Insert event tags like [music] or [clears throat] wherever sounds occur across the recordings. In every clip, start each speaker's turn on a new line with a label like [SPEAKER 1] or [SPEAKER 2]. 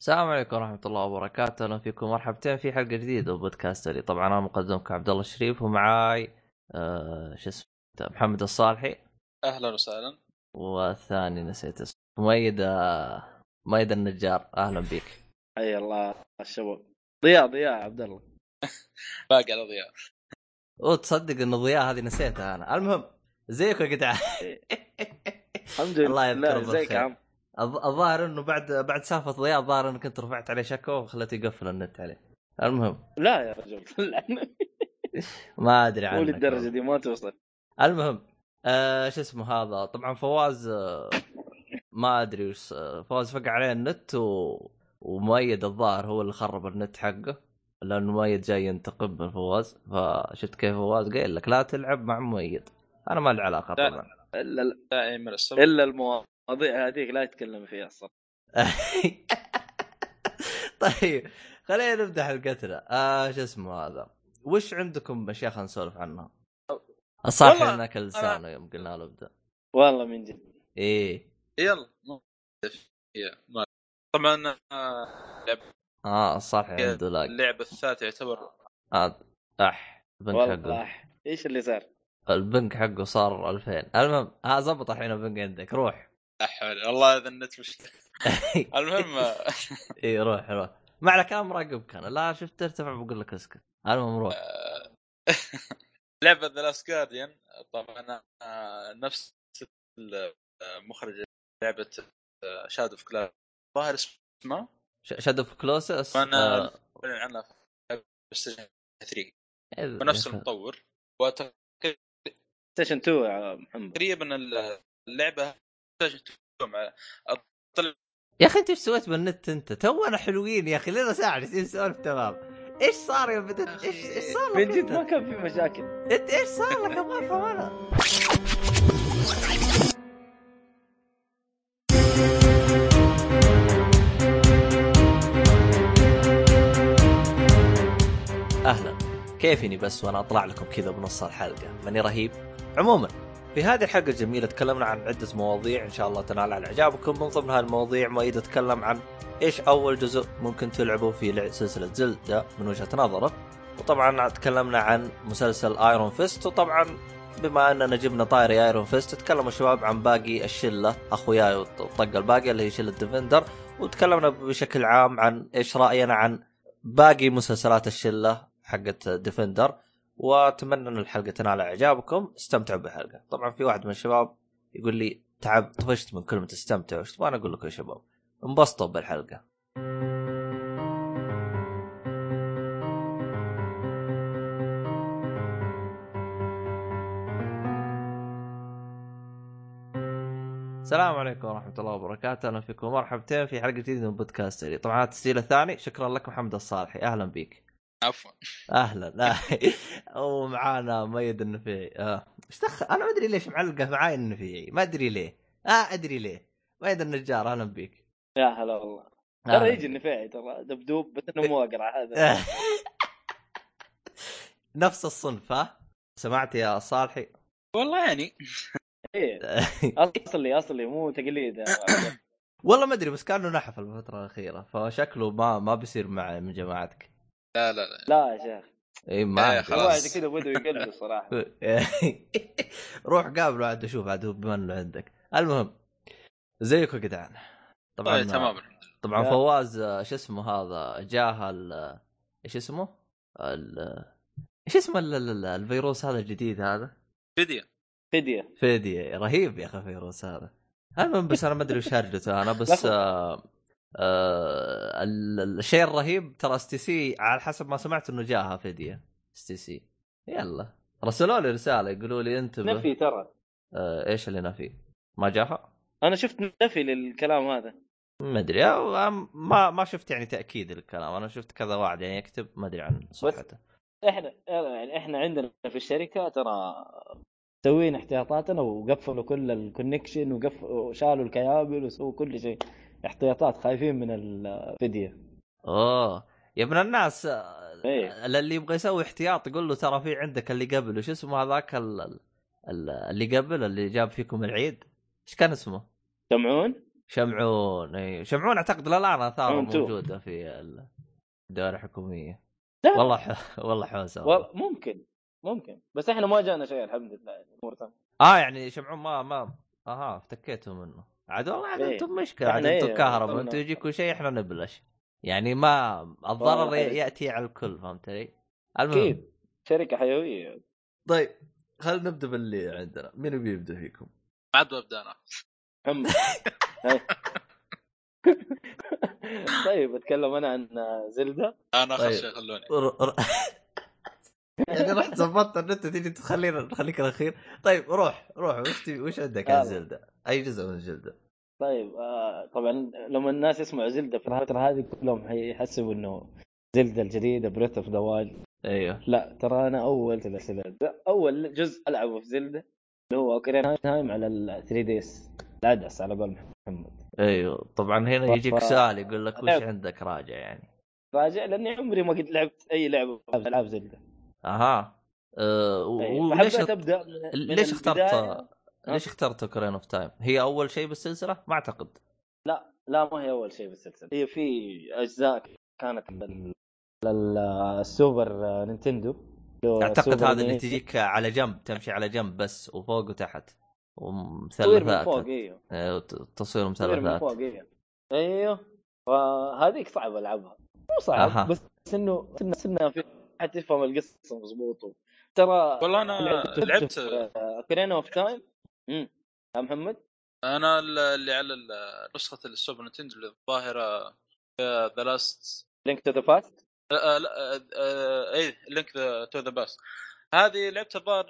[SPEAKER 1] السلام عليكم ورحمة الله وبركاته، أهلا فيكم مرحبتين في حلقة جديدة من بودكاستري، طبعا أنا مقدمكم عبد الله الشريف ومعاي آه شو اسمه محمد الصالحي
[SPEAKER 2] اهلا وسهلا
[SPEAKER 1] والثاني نسيت اسمه مؤيد آه، مؤيد النجار، أهلا بك.
[SPEAKER 3] اي الله الشباب ضياء ضياء عبد الله
[SPEAKER 2] [laughs] باقي على ضياء
[SPEAKER 1] وتصدق أن ضياء هذه نسيتها أنا، المهم زيكم يا جدعان [laughs]
[SPEAKER 3] الحمد
[SPEAKER 1] الله
[SPEAKER 3] لله
[SPEAKER 1] يذكره
[SPEAKER 3] لا، ازيك
[SPEAKER 1] بالخير.
[SPEAKER 3] يا عم
[SPEAKER 1] الظ- الظاهر أنه بعد بعد سالفة ضياء الظاهر أنك أنت رفعت عليه شكوى وخليته يقفل النت عليه. المهم
[SPEAKER 3] لا يا رجل [laughs] لا،
[SPEAKER 1] ما أدري عنك
[SPEAKER 3] مو للدرجه دي ما توصل
[SPEAKER 1] المهم آه شو اسمه هذا طبعا فواز آه ما ادري وش آه، فواز فقع عليه النت و... ومؤيد الظاهر هو اللي خرب النت حقه لانه مؤيد جاي ينتقم من فواز فشفت كيف فواز قايل لك لا تلعب مع مؤيد انا ما لي علاقه
[SPEAKER 2] لا.
[SPEAKER 1] طبعا
[SPEAKER 3] الا
[SPEAKER 2] داعي من السبب
[SPEAKER 3] الا المواضيع هذيك لا يتكلم فيها الصراحه
[SPEAKER 1] [laughs] طيب خلينا نبدا حلقتنا آه شو اسمه هذا وش عندكم اشياء خلينا نسولف عنها؟ الصالح
[SPEAKER 2] والله
[SPEAKER 1] هناك لسانه يوم قلنا له ابدا
[SPEAKER 3] والله من جد
[SPEAKER 1] ايه
[SPEAKER 2] يلا ما- يا، ما- طبعا آه، لعب-
[SPEAKER 1] اه الصالح عنده لاج
[SPEAKER 2] اللعب الثالث يعتبر
[SPEAKER 1] آه، اح البنك
[SPEAKER 3] والله
[SPEAKER 1] حقه
[SPEAKER 3] أح. ايش اللي صار؟
[SPEAKER 1] البنك حقه صار 2000 المهم ها زبط الحين البنك عندك
[SPEAKER 3] [laughs]
[SPEAKER 1] روح
[SPEAKER 2] لا حول والله اذا النت مش المهم آه، [laughs]
[SPEAKER 1] اي روح روح ما عليك انا مراقبك انا لا شفت ترتفع بقول لك اسكت المهم روح
[SPEAKER 3] آه.
[SPEAKER 2] لعبه ذا لاست جارديان طبعا آه، نفس ال- آه، مخرج آه، لعبه شاد اوف كلاس ظاهر اسمه
[SPEAKER 1] شاد اوف كلوسس
[SPEAKER 2] وأنا- أعلن عنها في PlayStation 3 ونفس المطور
[SPEAKER 3] ستيشن 2 يا محمد
[SPEAKER 2] وتقريبا ال- اللعبه مع-
[SPEAKER 1] يا اخي انت ايش سويت بالنت انت؟ تونا حلوين يا اخي لنا ساعه جالسين نسولف تمام ايش صار يا بدت
[SPEAKER 2] أخي.
[SPEAKER 1] ايش ايش صار
[SPEAKER 3] من
[SPEAKER 1] لك
[SPEAKER 3] جد ما
[SPEAKER 1] انت؟
[SPEAKER 3] كان في مشاكل
[SPEAKER 1] انت ايش صار لك ابغى افهم انا اهلا كيفني بس وانا اطلع لكم كذا بنص الحلقه ماني رهيب عموما في هذه الحلقه الجميله تكلمنا عن عده مواضيع ان شاء الله تنال على اعجابكم من ضمن هالمواضيع ما يتكلم عن ايش اول جزء ممكن تلعبه في لع- سلسله زلدا من وجهه نظره وطبعا تكلمنا عن مسلسل ايرون فيست وطبعا بما اننا جبنا طاري ايرون فيست تكلموا الشباب عن باقي الشله اخوياي والطقه الباقيه اللي هي شله ديفندر وتكلمنا بشكل عام عن ايش راينا عن باقي مسلسلات الشله حقت ديفندر واتمنى ان الحلقه تنال اعجابكم استمتعوا بالحلقه طبعا في واحد من الشباب يقول لي تعب طفشت من كلمه استمتع وش وانا اقول لكم يا شباب انبسطوا بالحلقه السلام عليكم ورحمة الله وبركاته، أهلا فيكم مرحبتين في حلقة جديدة من بودكاستري، طبعا هذا التسجيل الثاني، شكرا لك محمد الصالحي، أهلا بك.
[SPEAKER 2] عفوا
[SPEAKER 1] أهلا [laughs] ومعانا ميد النفيعي، آه. ايش دخل؟ أنا ما أدري ليش معلقة معاي النفيعي، ما أدري ليه، آه أدري ليه. ميد النجار أهلا بك.
[SPEAKER 3] يا هلا والله
[SPEAKER 1] أهلا
[SPEAKER 3] ترى يجي النفاعي ترى دبدوب بس انه مو اقرع هذا
[SPEAKER 1] بك. [laughs] نفس الصنف ها؟ سمعت يا صالحي؟
[SPEAKER 2] والله يعني
[SPEAKER 3] إيه. اصلي اصلي مو تقليد يا عبد
[SPEAKER 1] والله ما أدري بس كأنه نحف الفترة الأخيرة، فشكله ما ما بيصير مع من جماعتك.
[SPEAKER 2] لا لا لا
[SPEAKER 3] الله. لا يا شيخ
[SPEAKER 1] اي
[SPEAKER 2] إيه،
[SPEAKER 1] ما أدري.
[SPEAKER 2] خلاص.
[SPEAKER 3] الواحد كذا بده يقلب
[SPEAKER 1] [laughs]
[SPEAKER 3] صراحه
[SPEAKER 1] روح قابله عاد وشوف عاد هو بما انه عندك المهم زيكم يا جدعان طبعا
[SPEAKER 2] طيب تماما
[SPEAKER 1] طبعا
[SPEAKER 3] لا.
[SPEAKER 1] فواز آه، شو اسمه هذا جاه ال- ايش اسمه؟ ال- ايش اسمه ال- ال- ال- الفيروس هذا الجديد هذا؟
[SPEAKER 2] فيديو
[SPEAKER 3] فديه
[SPEAKER 1] فيدي رهيب يا اخي الفيروس هذا المهم بس انا ما ادري وش هرجته انا بس
[SPEAKER 3] لحظة.
[SPEAKER 1] آه آه ال- ال- الشيء الرهيب ترى اس تي سي على حسب ما سمعت انه جاها فديه اس تي سي يلا رسلوا لي رساله يقولوا لي انتبه
[SPEAKER 3] نفي ترى
[SPEAKER 1] آه، ايش اللي نفي؟ ما جاها؟
[SPEAKER 3] انا شفت نفي للكلام هذا
[SPEAKER 1] ما ادري آه، ما ما شفت يعني تاكيد للكلام انا شفت كذا واحد يعني يكتب ما ادري عن صحته
[SPEAKER 3] احنا يعني احنا عندنا في الشركه ترى مسوين احتياطاتنا وقفلوا كل الكونكشن وشالوا الكيابل وسووا كل شيء احتياطات خايفين من الفديه
[SPEAKER 1] اوه يا ابن الناس آه،
[SPEAKER 3] إيه.
[SPEAKER 1] اللي يبغى يسوي احتياط يقول له ترى في عندك اللي قبله شو اسمه هذاك ال- ال- ال- اللي قبل اللي جاب فيكم العيد ايش كان اسمه؟
[SPEAKER 3] سمعون؟
[SPEAKER 1] شمعون اي شمعون اعتقد للان اثاره
[SPEAKER 3] شمعون تو.
[SPEAKER 1] موجوده في ال- الدوائر الحكوميه
[SPEAKER 3] لا.
[SPEAKER 1] والله ح... والله حوسه والله.
[SPEAKER 3] و- ممكن ممكن بس احنا ما جانا شيء الحمد لله يعني الامور تمام
[SPEAKER 1] اه يعني شمعون ما ما اها افتكيتوا منه عاد والله عاد
[SPEAKER 3] إيه.
[SPEAKER 1] انتم مشكله عاد
[SPEAKER 3] إحنا إيه،
[SPEAKER 1] انتم كهرباء
[SPEAKER 3] وصلنا.
[SPEAKER 1] انتم يجيكم شيء احنا نبلش يعني ما الضرر
[SPEAKER 3] والله حلو.
[SPEAKER 1] ياتي على الكل فهمت علي؟ المهم
[SPEAKER 3] اكيد شركه حيويه
[SPEAKER 1] طيب خلينا نبدا باللي عندنا مين يبي يبدا فيكم؟
[SPEAKER 2] عاد ببدا انا
[SPEAKER 3] هم طيب اتكلم انا عن زلدة
[SPEAKER 2] انا اخر
[SPEAKER 1] طيب.
[SPEAKER 2] شيء خلوني
[SPEAKER 1] ر... [laughs] ر... يعني رحت ظبطت ان انت تجي تخلينا نخليك الاخير طيب روح روح وش تبي- وش عندك عن
[SPEAKER 3] يلا.
[SPEAKER 1] زلدة؟ اي جزء من زلدة؟
[SPEAKER 3] طيب آه طبعا لما الناس يسمعوا زلدة في الفترة هذه كلهم حيحسبوا انه زلدة الجديدة بريث اوف ذا وايلد
[SPEAKER 1] ايوه
[SPEAKER 3] لا ترى انا اول سلسلة اول جزء العبه في زلدة اللي هو اوكرين تايم على ال 3 ديس العدس على بال محمد
[SPEAKER 1] ايوه طبعا هنا
[SPEAKER 3] ف-
[SPEAKER 1] يجيك سؤال يقول لك وش
[SPEAKER 3] لعب.
[SPEAKER 1] عندك راجع يعني؟
[SPEAKER 3] راجع لاني عمري ما قد لعبت اي لعبه من العاب زلدة
[SPEAKER 1] اها أه و-
[SPEAKER 3] طيب،
[SPEAKER 1] وليش
[SPEAKER 3] فحبيت ابدا من- من
[SPEAKER 1] ليش اخترت
[SPEAKER 3] البداية.
[SPEAKER 1] ليش اخترت كرين اوف تايم؟ هي اول شيء بالسلسله؟ ما اعتقد
[SPEAKER 3] لا ما هي اول شيء بالسلسله هي في اجزاء كانت لل... للسوبر نينتندو لو
[SPEAKER 1] اعتقد
[SPEAKER 3] سوبر
[SPEAKER 1] هذا اللي
[SPEAKER 3] نين-
[SPEAKER 1] تجيك على جنب تمشي على جنب بس وفوق وتحت
[SPEAKER 3] تصوير من
[SPEAKER 1] ومثلثات
[SPEAKER 3] فوق ايوه
[SPEAKER 1] إيه، وت- تصوير
[SPEAKER 3] تصوير من
[SPEAKER 1] مثلثات
[SPEAKER 3] فوق ايوه ايوه فهذيك صعب العبها مو صعب
[SPEAKER 1] أها.
[SPEAKER 3] أه. بس انه سنة سنة في حتفهم القصه مضبوط ترى
[SPEAKER 2] والله انا آه، لعبت
[SPEAKER 3] كرينا اوف تايم امم يا محمد
[SPEAKER 2] انا اللي على ال- نسخه السوبر نتندو اللي آه، الظاهره ذا لاست
[SPEAKER 3] لينك تو ذا باست
[SPEAKER 2] لا لا آه، اي لينك تو ذا باس هذه لعبتها الظاهر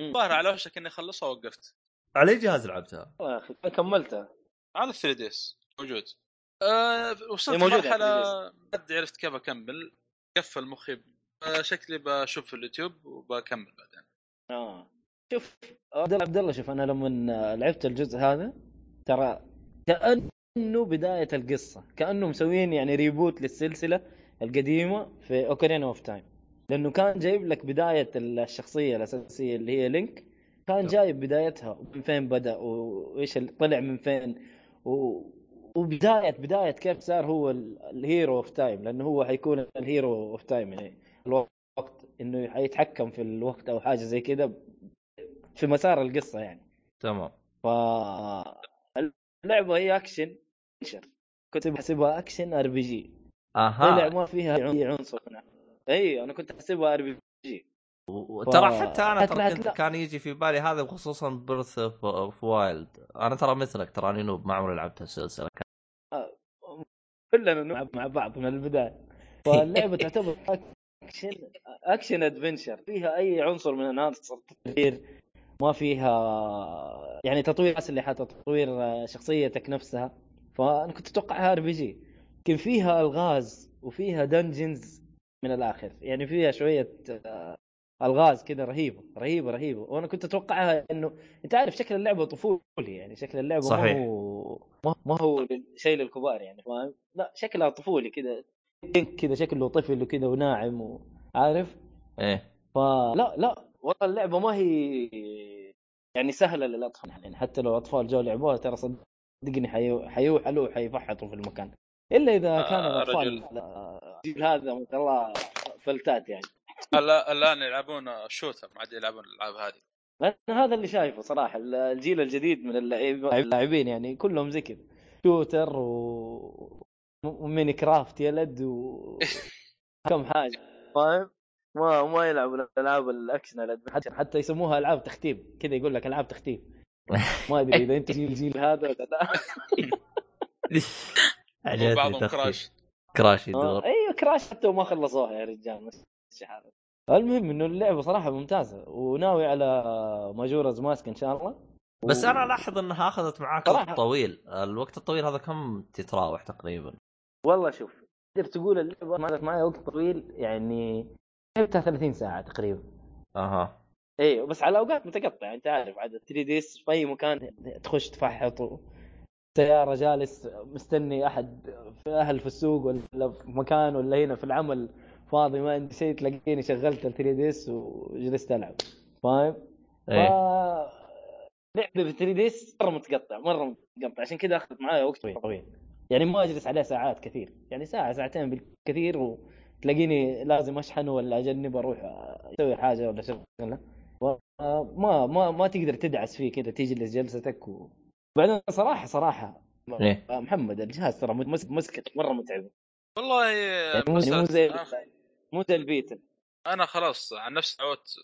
[SPEAKER 3] مم.
[SPEAKER 2] الظاهر على وشك اني اخلصها وقفت
[SPEAKER 1] على اي جهاز لعبتها؟
[SPEAKER 3] يا اخي أنا كملتها
[SPEAKER 2] على 3 ديس موجود آه وصلت
[SPEAKER 3] هي موجودة على
[SPEAKER 2] مرحله
[SPEAKER 3] 3DS.
[SPEAKER 2] ما أدري عرفت كيف اكمل قفل مخي آه شكلي بشوف في اليوتيوب وبكمل
[SPEAKER 3] [laughs]
[SPEAKER 2] بعدين
[SPEAKER 3] اه شوف عبد الله عبد الله شوف انا لما لعبت الجزء هذا ترى كانه بدايه القصه كانه مسوين يعني ريبوت للسلسله القديمه في اوكرين اوف تايم لانه كان جايب لك بدايه الشخصيه الاساسيه اللي هي لينك كان جايب بدايتها من فين بدا وايش اللي طلع من فين و... وبدايه بدايه كيف صار هو ال- الهيرو اوف تايم لانه هو حيكون الهيرو اوف تايم يعني الوقت انه حيتحكم في الوقت او حاجه زي كذا في مسار القصه يعني
[SPEAKER 1] تمام
[SPEAKER 3] ف اللعبه هي اكشن أكشن. كنت بحسبها اكشن ار بي جي طلع
[SPEAKER 1] اها
[SPEAKER 3] ما فيها أي عنصر من- اي انا كنت احسبها ار بي جي
[SPEAKER 1] وترى
[SPEAKER 3] ف-
[SPEAKER 1] حتى انا ترى
[SPEAKER 3] طلعت
[SPEAKER 1] كنت
[SPEAKER 3] لا.
[SPEAKER 1] كان يجي في بالي هذا وخصوصا بيرث اوف وايلد انا ترى مثلك تراني نوب ما عمري لعبت السلسله
[SPEAKER 3] كلنا نلعب مع بعض من البدايه فاللعبه تعتبر اكشن اكشن ادفنشر فيها اي عنصر من عناصر التطوير ما فيها يعني تطوير اسلحه تطوير شخصيتك نفسها فانا كنت اتوقعها ار بي جي لكن فيها الغاز وفيها دنجنز من الاخر يعني فيها شويه آه، الغاز كذا رهيبه رهيبه رهيبه وانا كنت اتوقعها انه انت عارف شكل اللعبه طفولي يعني شكل اللعبه
[SPEAKER 1] صحيح.
[SPEAKER 3] ما هو ما- ما هو شيء للكبار يعني فاهم لا شكلها طفولي كذا كذا شكله طفل وكذا وناعم وعارف
[SPEAKER 1] ايه
[SPEAKER 3] فلا لا والله اللعبه ما هي يعني سهله للاطفال يعني حتى لو اطفال جو لعبوها ترى صدقني حيو- حيوحلوا حيفحطوا في المكان الا اذا كان
[SPEAKER 2] آه،
[SPEAKER 3] الاطفال
[SPEAKER 2] رجل.
[SPEAKER 3] آه، الجيل هذا ما شاء الله فلتات يعني
[SPEAKER 2] هلا الان يلعبون شوتر ما عاد يلعبون الالعاب هذه
[SPEAKER 3] لان هذا اللي شايفه صراحه الجيل الجديد من اللعيب- اللاعبين يعني كلهم زي كذا شوتر و وميني كرافت يلد [laughs] و كم حاجه فاهم؟ طيب، ما ما يلعبوا الالعاب الاكشن الأد- حتى حتى يسموها العاب تختيم كذا يقول لك العاب تختيم ما ادري اذا انت جيل جيل هذا ولا [laughs] لا
[SPEAKER 2] وبعضهم
[SPEAKER 1] تخفيف.
[SPEAKER 2] كراش
[SPEAKER 1] كراش
[SPEAKER 3] [laughs] آه،
[SPEAKER 1] يدور
[SPEAKER 3] ايوه كراش حتى وما خلصوها يا رجال مش عارف. المهم انه اللعبه صراحه ممتازه وناوي على ماجورز ماسك ان شاء الله
[SPEAKER 1] بس انا الاحظ انها اخذت معاك
[SPEAKER 3] صراحة.
[SPEAKER 1] وقت طويل الوقت الطويل هذا كم تتراوح تقريبا
[SPEAKER 3] والله شوف تقدر تقول اللعبه مالت معي وقت طويل يعني لعبتها 30 ساعه تقريبا
[SPEAKER 1] اها
[SPEAKER 3] ايوه بس على اوقات متقطعه انت عارف عاد 3 دي اس في اي مكان تخش تفحط و- سياره جالس مستني احد في اهل في السوق ولا في مكان ولا هنا في العمل فاضي ما عندي شيء تلاقيني شغلت ال 3 دي اس وجلست العب فاهم؟ ف...
[SPEAKER 1] ايه
[SPEAKER 3] إيه. لعبه ب 3 دي اس مره متقطع مره قط عشان كذا اخذت معايا وقت طويل طويل يعني ما اجلس عليه ساعات كثير يعني ساعه ساعتين بالكثير وتلاقيني لازم اشحنه ولا اجنب اروح اسوي حاجه ولا شغله آه، ما ما ما تقدر تدعس فيه كذا تجلس جلستك و... بعدين صراحه صراحه
[SPEAKER 1] إيه.
[SPEAKER 3] محمد الجهاز ترى مس- مسكته مره متعبه
[SPEAKER 2] والله
[SPEAKER 3] يعني مو مو
[SPEAKER 2] مسألة-
[SPEAKER 3] زي
[SPEAKER 2] آه،
[SPEAKER 3] مو زي البيتا
[SPEAKER 2] انا خلاص عن نفسي تعودت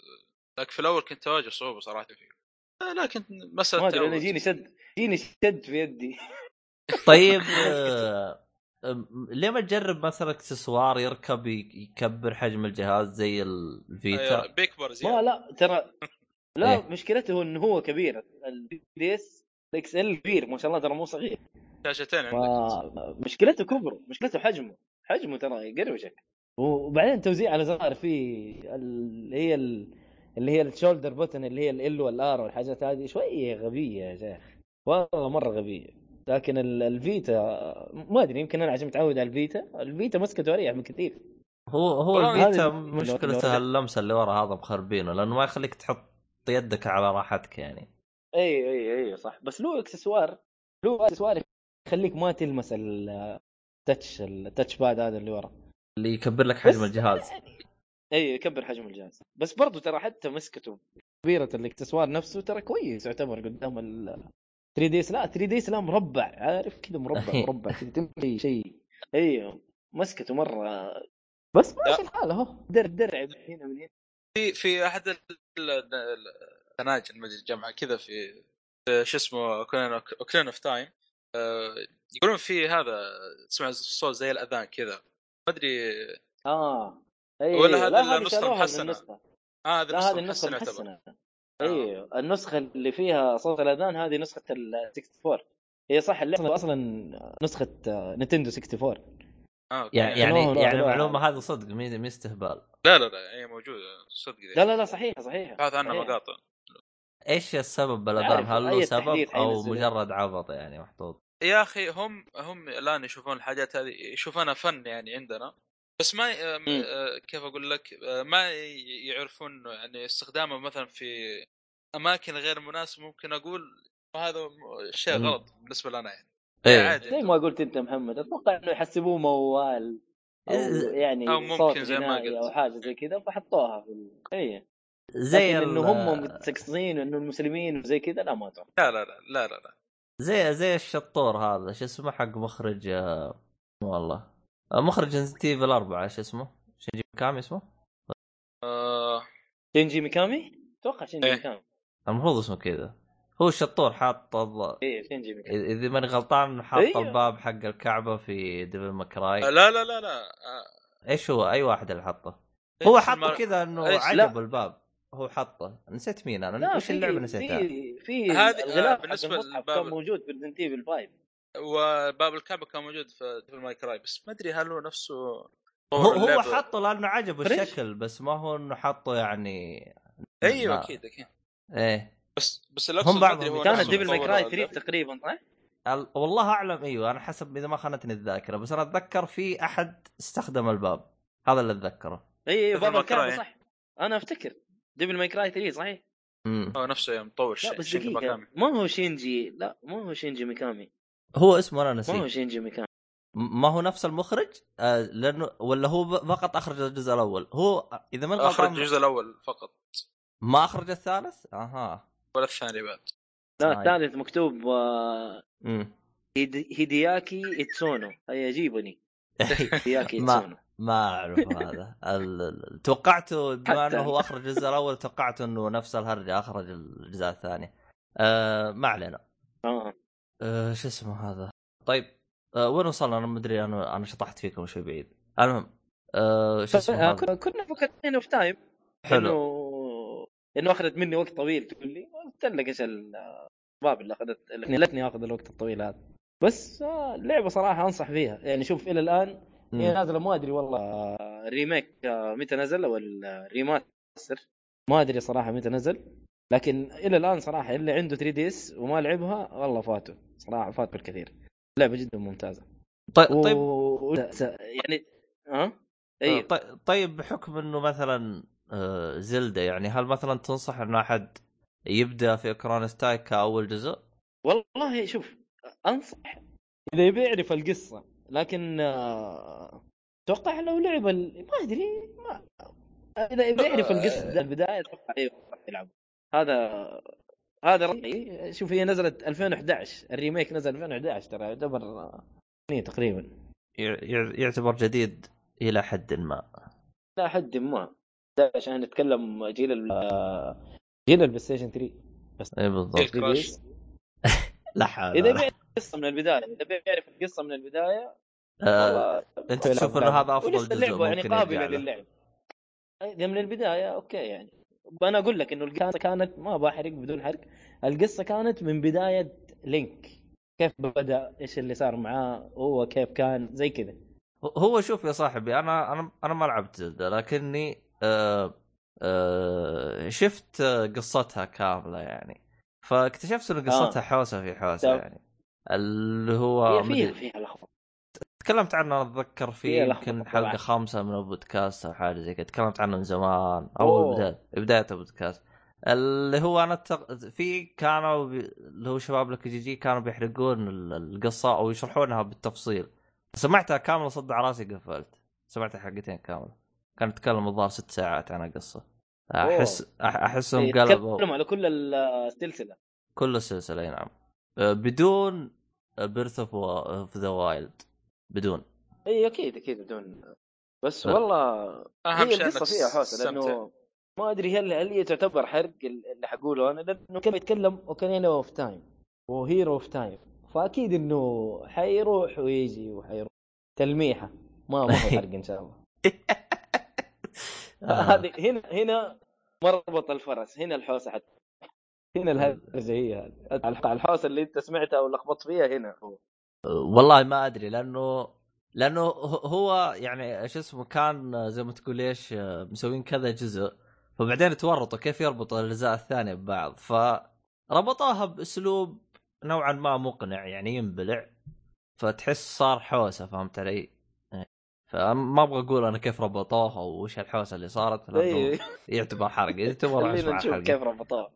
[SPEAKER 2] لكن في الاول كنت اواجه صعوبه صراحه فيه آه، لكن مساله
[SPEAKER 3] ما ادري انا
[SPEAKER 2] تعود.
[SPEAKER 3] جيني شد جيني شد في يدي
[SPEAKER 1] طيب آه، آم، ليه ما تجرب مثلا اكسسوار يركب ي- يكبر حجم الجهاز زي
[SPEAKER 2] أيوة،
[SPEAKER 1] الفيتا
[SPEAKER 2] بيكبر زياده
[SPEAKER 3] ما لا ترى لا
[SPEAKER 1] إيه.
[SPEAKER 3] مشكلته انه هو كبير البي دي اس الاكس ال كبير ما شاء الله ترى مو صغير
[SPEAKER 2] شاشتين عندك
[SPEAKER 3] ما- مشكلته كبره مشكلته حجمه حجمه ترى يقروشك وبعدين توزيع على زرار في اللي هي ال- اللي هي الشولدر بوتن اللي هي ال والار والحاجات هذه شويه غبيه يا شيخ والله مره غبيه لكن ال- الفيتا ما ادري يمكن انا عشان متعود على الفيتا الفيتا مسكته اريح من كثير
[SPEAKER 1] هو هو
[SPEAKER 3] والله
[SPEAKER 1] الفيتا
[SPEAKER 3] هذه- لو-
[SPEAKER 1] مشكلته
[SPEAKER 3] لو-
[SPEAKER 1] اللمسه اللي ورا هذا مخربينه لانه ما يخليك تحط يدك على راحتك يعني
[SPEAKER 3] اي اي اي صح بس له اكسسوار له اكسسوار يخليك ما تلمس ال- التاتش التاتش باد هذا اللي ورا
[SPEAKER 1] اللي يكبر لك حجم
[SPEAKER 3] بس-
[SPEAKER 1] الجهاز
[SPEAKER 3] اي يكبر حجم الجهاز بس برضو ترى حتى مسكته كبيرة الاكسسوار نفسه ترى كويس يعتبر قدام ال 3 دي اس لا 3 دي اس لا مربع عارف كذا مربع مربع كذا تمشي شيء ايوه مسكته مره بس ماشي الحال اهو درع درع من هنا من هنا
[SPEAKER 2] في في احد ال- ال- ال- التناجم مجلس الجامعه كذا في في شو اسمه اوكلين اوف تايم آه، يقولون في هذا تسمع صوت زي الاذان كذا ما آه، ادري
[SPEAKER 3] اه ايوه
[SPEAKER 2] ولا
[SPEAKER 3] أيوه.
[SPEAKER 2] هذه
[SPEAKER 3] لا،
[SPEAKER 2] النسخة
[SPEAKER 3] شالوها من
[SPEAKER 2] المحسنة.
[SPEAKER 3] النسخة.
[SPEAKER 2] آه هذا
[SPEAKER 3] لا هذه النسخه
[SPEAKER 2] محسن يعتبر. آه.
[SPEAKER 3] المحسنه ايوه النسخه اللي فيها صوت الاذان هذه نسخه ال 64 هي صح اللعبه اصلا نسخه نتندو 64
[SPEAKER 2] آه. أوكي.
[SPEAKER 1] يعني يعني
[SPEAKER 3] لا،
[SPEAKER 1] يعني
[SPEAKER 3] لا.
[SPEAKER 1] المعلومه هذه صدق مي مي استهبال
[SPEAKER 2] لا لا لا هي موجوده صدق يعني.
[SPEAKER 3] لا لا لا صحيحه صحيحه
[SPEAKER 2] بحث عنها
[SPEAKER 3] صحيحة.
[SPEAKER 2] مقاطع
[SPEAKER 1] ايش السبب بالاذان
[SPEAKER 3] عارف،
[SPEAKER 1] هل له
[SPEAKER 3] أي
[SPEAKER 1] سبب
[SPEAKER 3] تحديث
[SPEAKER 1] او
[SPEAKER 3] حينزلوه.
[SPEAKER 1] مجرد عبط يعني محطوط
[SPEAKER 2] يا اخي هم هم الان يشوفون الحاجات هذه يشوفونها فن يعني عندنا بس ما ي- آم-
[SPEAKER 3] مم.
[SPEAKER 2] آه، كيف اقول لك آه، ما ي- يعرفون يعني استخدامه مثلا في اماكن غير مناسبه ممكن اقول هذا م- شيء
[SPEAKER 1] مم.
[SPEAKER 2] غلط بالنسبه لنا يعني
[SPEAKER 1] ايه
[SPEAKER 2] عادي
[SPEAKER 3] زي ما قلت انت محمد اتوقع انه يحسبوه موال او
[SPEAKER 1] إيه.
[SPEAKER 3] يعني
[SPEAKER 2] أو ممكن
[SPEAKER 3] صوت
[SPEAKER 2] زي ما
[SPEAKER 3] غنائي
[SPEAKER 2] قلت.
[SPEAKER 3] او حاجه زي كذا فحطوها في ال... اي
[SPEAKER 1] زي
[SPEAKER 3] زي انه
[SPEAKER 1] ال-
[SPEAKER 3] هم متسكسين وانه المسلمين وزي كذا لا ما اتوقع
[SPEAKER 2] لا لا لا لا لا, لا.
[SPEAKER 1] زي زي الشطور هذا شو اسمه حق مخرج آه، والله آه، مخرج ريزنت ايفل الاربعه شو اسمه؟ شنجي كام اسمه؟
[SPEAKER 2] آه
[SPEAKER 3] شينجي ميكامي؟ اتوقع شينجي
[SPEAKER 2] إيه.
[SPEAKER 3] ميكامي
[SPEAKER 1] المفروض اسمه كذا هو الشطور حاط الض-
[SPEAKER 3] اي إيه، شينجي ميكامي
[SPEAKER 1] اذا ماني غلطان حاط
[SPEAKER 3] أيوه.
[SPEAKER 1] الباب حق الكعبه في ديفل مكراي
[SPEAKER 2] لا لا لا لا آه،
[SPEAKER 1] ايش هو اي واحد اللي حطه؟
[SPEAKER 2] إيه،
[SPEAKER 1] هو
[SPEAKER 2] بس
[SPEAKER 1] حطه
[SPEAKER 2] المر-
[SPEAKER 1] كذا انه
[SPEAKER 2] إيش؟
[SPEAKER 1] عجب الباب هو حطه نسيت مين انا
[SPEAKER 3] لا
[SPEAKER 1] وش
[SPEAKER 3] في-
[SPEAKER 1] اللعبه نسيتها؟
[SPEAKER 3] في في
[SPEAKER 2] هذه- آه،
[SPEAKER 3] الغلاف
[SPEAKER 2] بالنسبة
[SPEAKER 3] بالنسبه للمصحف
[SPEAKER 2] للباب-
[SPEAKER 3] كان موجود في ريزنت ايفل 5
[SPEAKER 2] وباب الكعبه كان موجود في ديفل ماي كراي بس ما ادري هل هو نفسه
[SPEAKER 1] هو
[SPEAKER 2] طور
[SPEAKER 1] هو
[SPEAKER 2] اللعبة.
[SPEAKER 1] حطه لانه عجبه
[SPEAKER 3] فريش.
[SPEAKER 1] الشكل بس ما هو انه حطه يعني
[SPEAKER 2] ايوه
[SPEAKER 1] لا.
[SPEAKER 2] اكيد اكيد
[SPEAKER 1] ايه
[SPEAKER 2] بس بس اللي أقصد ما
[SPEAKER 1] بعضهم
[SPEAKER 2] أدري هو
[SPEAKER 1] كانت
[SPEAKER 3] كانت
[SPEAKER 2] نفسه
[SPEAKER 1] ديفل
[SPEAKER 3] ديفل ماي
[SPEAKER 2] مطور
[SPEAKER 3] كراي
[SPEAKER 2] ولا
[SPEAKER 3] 3 تقريبا صح؟
[SPEAKER 1] ال- والله اعلم ايوه انا حسب اذا ما خانتني الذاكره بس انا اتذكر في احد استخدم الباب هذا اللي اتذكره
[SPEAKER 3] اي اي
[SPEAKER 2] Devil
[SPEAKER 3] بابا
[SPEAKER 2] May Cry.
[SPEAKER 3] الكعبه إيه، صح انا افتكر ديفل ماي كراي 3 صحيح
[SPEAKER 1] امم
[SPEAKER 2] هو نفسه يعني مطور
[SPEAKER 3] لا
[SPEAKER 2] شيء
[SPEAKER 3] بس
[SPEAKER 2] شيء
[SPEAKER 3] دقيقه
[SPEAKER 2] مكامي
[SPEAKER 3] ما هو شينجي لا ما هو شينجي ميكامي
[SPEAKER 1] هو اسمه انا
[SPEAKER 3] ما هو
[SPEAKER 1] نسيت
[SPEAKER 3] شينجي ميكامي
[SPEAKER 1] م- ما هو نفس المخرج آه لانه ولا هو ب- فقط اخرج الجزء الاول هو اذا ما
[SPEAKER 2] اخرج
[SPEAKER 1] غلطان
[SPEAKER 2] الجزء الاول فقط
[SPEAKER 1] ما اخرج الثالث اها
[SPEAKER 2] ولا الثاني بعد
[SPEAKER 1] آه.
[SPEAKER 3] لا الثالث مكتوب آه،
[SPEAKER 1] امم
[SPEAKER 3] هيد- هيدياكي اتسونو اي جيبني هيدياكي
[SPEAKER 1] ما-
[SPEAKER 3] اتسونو
[SPEAKER 1] إيه، [laughs] ما اعرف هذا ال- ال- توقعته بما
[SPEAKER 3] حتى
[SPEAKER 1] انه هو
[SPEAKER 3] أنا.
[SPEAKER 1] اخرج الجزء الاول توقعت انه نفس الهرجه اخرج الجزء الثاني آه ما علينا
[SPEAKER 3] اه
[SPEAKER 1] أه، شو اسمه هذا طيب أه وين وصلنا انا ما ادري انا انا شطحت فيكم شوي بعيد المهم أه شو اسمه هذا
[SPEAKER 3] ك- كنا فكرتين اوف تايم
[SPEAKER 1] حلو
[SPEAKER 3] انه انه اخذت مني وقت طويل تقول لي قلت لك ايش الاسباب اللي اخذت اللي خلتني اخذ الوقت الطويل هذا بس آه، اللعبه صراحه انصح فيها يعني شوف الى الان هي
[SPEAKER 1] مم.
[SPEAKER 3] نازله ما ادري والله آه، ريميك آه، متى نزل او الريماستر ما ادري صراحه متى نزل لكن الى الان صراحه اللي عنده 3 دي اس وما لعبها والله فاته صراحه فات بالكثير لعبه جدا ممتازه
[SPEAKER 1] طيب طيب
[SPEAKER 3] و... و- س- يعني ها ايوه
[SPEAKER 1] طي- طيب بحكم انه مثلا أه زلده يعني هل مثلا تنصح انه احد يبدا في اكران ستايك كاول جزء؟
[SPEAKER 3] والله شوف انصح اذا يبي يعرف القصه لكن آه، اتوقع لو لعب ال... ما ادري ما اذا يبي يعرف القصه من البدايه اتوقع ايوه يلعب هذا هذا رايي شوف هي نزلت 2011 الريميك نزل 2011 ترى يعتبر آه، سنين تقريبا
[SPEAKER 1] يع- يع- يعتبر جديد الى حد ما
[SPEAKER 3] لا حد ما ده عشان نتكلم جيل ال آه، جيل البلاي ستيشن 3
[SPEAKER 1] اي بالضبط
[SPEAKER 2] تلك كراش.
[SPEAKER 1] لا حول
[SPEAKER 3] اذا
[SPEAKER 1] ولا قوة.
[SPEAKER 3] بيعرف القصه من البدايه اذا بيعرف القصه من البدايه
[SPEAKER 1] آه،
[SPEAKER 3] والله
[SPEAKER 1] انت
[SPEAKER 3] يلعب
[SPEAKER 1] تشوف انه
[SPEAKER 3] لعبة.
[SPEAKER 1] هذا افضل
[SPEAKER 3] ولسه
[SPEAKER 1] جزء
[SPEAKER 3] اللعبه يعني
[SPEAKER 1] ممكن
[SPEAKER 3] قابله
[SPEAKER 1] يرجع له
[SPEAKER 3] للعب اذا من البدايه اوكي يعني انا اقول لك انه القصه كانت ما بحرق بدون حرق القصه كانت من بدايه لينك كيف بدا ايش اللي صار معاه هو كيف كان زي كذا
[SPEAKER 1] هو شوف يا صاحبي انا انا انا ما لعبت زلدة لكني آه آه شفت آه، قصتها كامله يعني فاكتشفت ان قصتها آه. حوسه في حوسه
[SPEAKER 3] طب.
[SPEAKER 1] يعني اللي هو
[SPEAKER 3] هي فيها
[SPEAKER 1] آه، مدري-
[SPEAKER 3] فيها لخبطه
[SPEAKER 1] تكلمت عنه انا اتذكر في
[SPEAKER 3] فيها لخبطة
[SPEAKER 1] يمكن
[SPEAKER 3] إيه، طبعاً.
[SPEAKER 1] حلقه خامسه من البودكاست او حاجه زي كذا تكلمت عنه من زمان
[SPEAKER 3] أوه.
[SPEAKER 1] او بدايه بدايه البودكاست اللي هو انا التق... في كانوا بي... اللي هو شباب لك جي جي كانوا بيحرقون ال- القصه او يشرحونها بالتفصيل سمعتها كامله صد على راسي قفلت سمعتها حلقتين كامله كان يتكلم الظاهر ست ساعات عن القصه احس أح-
[SPEAKER 3] إيه،
[SPEAKER 1] احسهم قلبوا
[SPEAKER 3] يتكلم على كل السلسله
[SPEAKER 1] كل السلسله اي نعم أه، بدون بيرث اوف ذا وايلد بدون
[SPEAKER 3] اي اكيد اكيد إيه، بدون بس
[SPEAKER 1] لا.
[SPEAKER 3] والله
[SPEAKER 2] اهم
[SPEAKER 3] هي
[SPEAKER 2] شيء
[SPEAKER 3] القصه
[SPEAKER 2] انك
[SPEAKER 3] فيها حوسه
[SPEAKER 2] تستمتع.
[SPEAKER 3] لانه ما ادري هل هل هي تعتبر حرق ال- اللي حقوله انا لانه كان يتكلم اوكانينا اوف تايم وهيرو اوف تايم فاكيد انه حيروح ويجي وحيروح تلميحه ما ما هو حرق ان
[SPEAKER 2] [laughs]
[SPEAKER 3] شاء الله
[SPEAKER 1] آه.
[SPEAKER 3] [laughs] هذه هنا هنا مربط الفرس هنا الحوسه حتى هنا
[SPEAKER 2] آه.
[SPEAKER 3] الهرجه هي هذه الح- الحوسه اللي انت سمعتها ولخبطت فيها هنا هو
[SPEAKER 1] والله ما ادري لانه لانه ه- هو يعني شو اسمه كان زي ما تقول ايش مسوين كذا جزء فبعدين تورطوا كيف يربطوا الاجزاء الثانيه ببعض فربطوها باسلوب نوعا ما مقنع يعني ينبلع فتحس صار حوسه فهمت علي؟ فما ابغى اقول انا كيف ربطوها وش الحوسه اللي صارت لأنه
[SPEAKER 3] ايوه
[SPEAKER 1] يعتبر حرق يعتبر
[SPEAKER 3] [laughs] خلينا نشوف
[SPEAKER 1] حرق
[SPEAKER 3] كيف ربطوها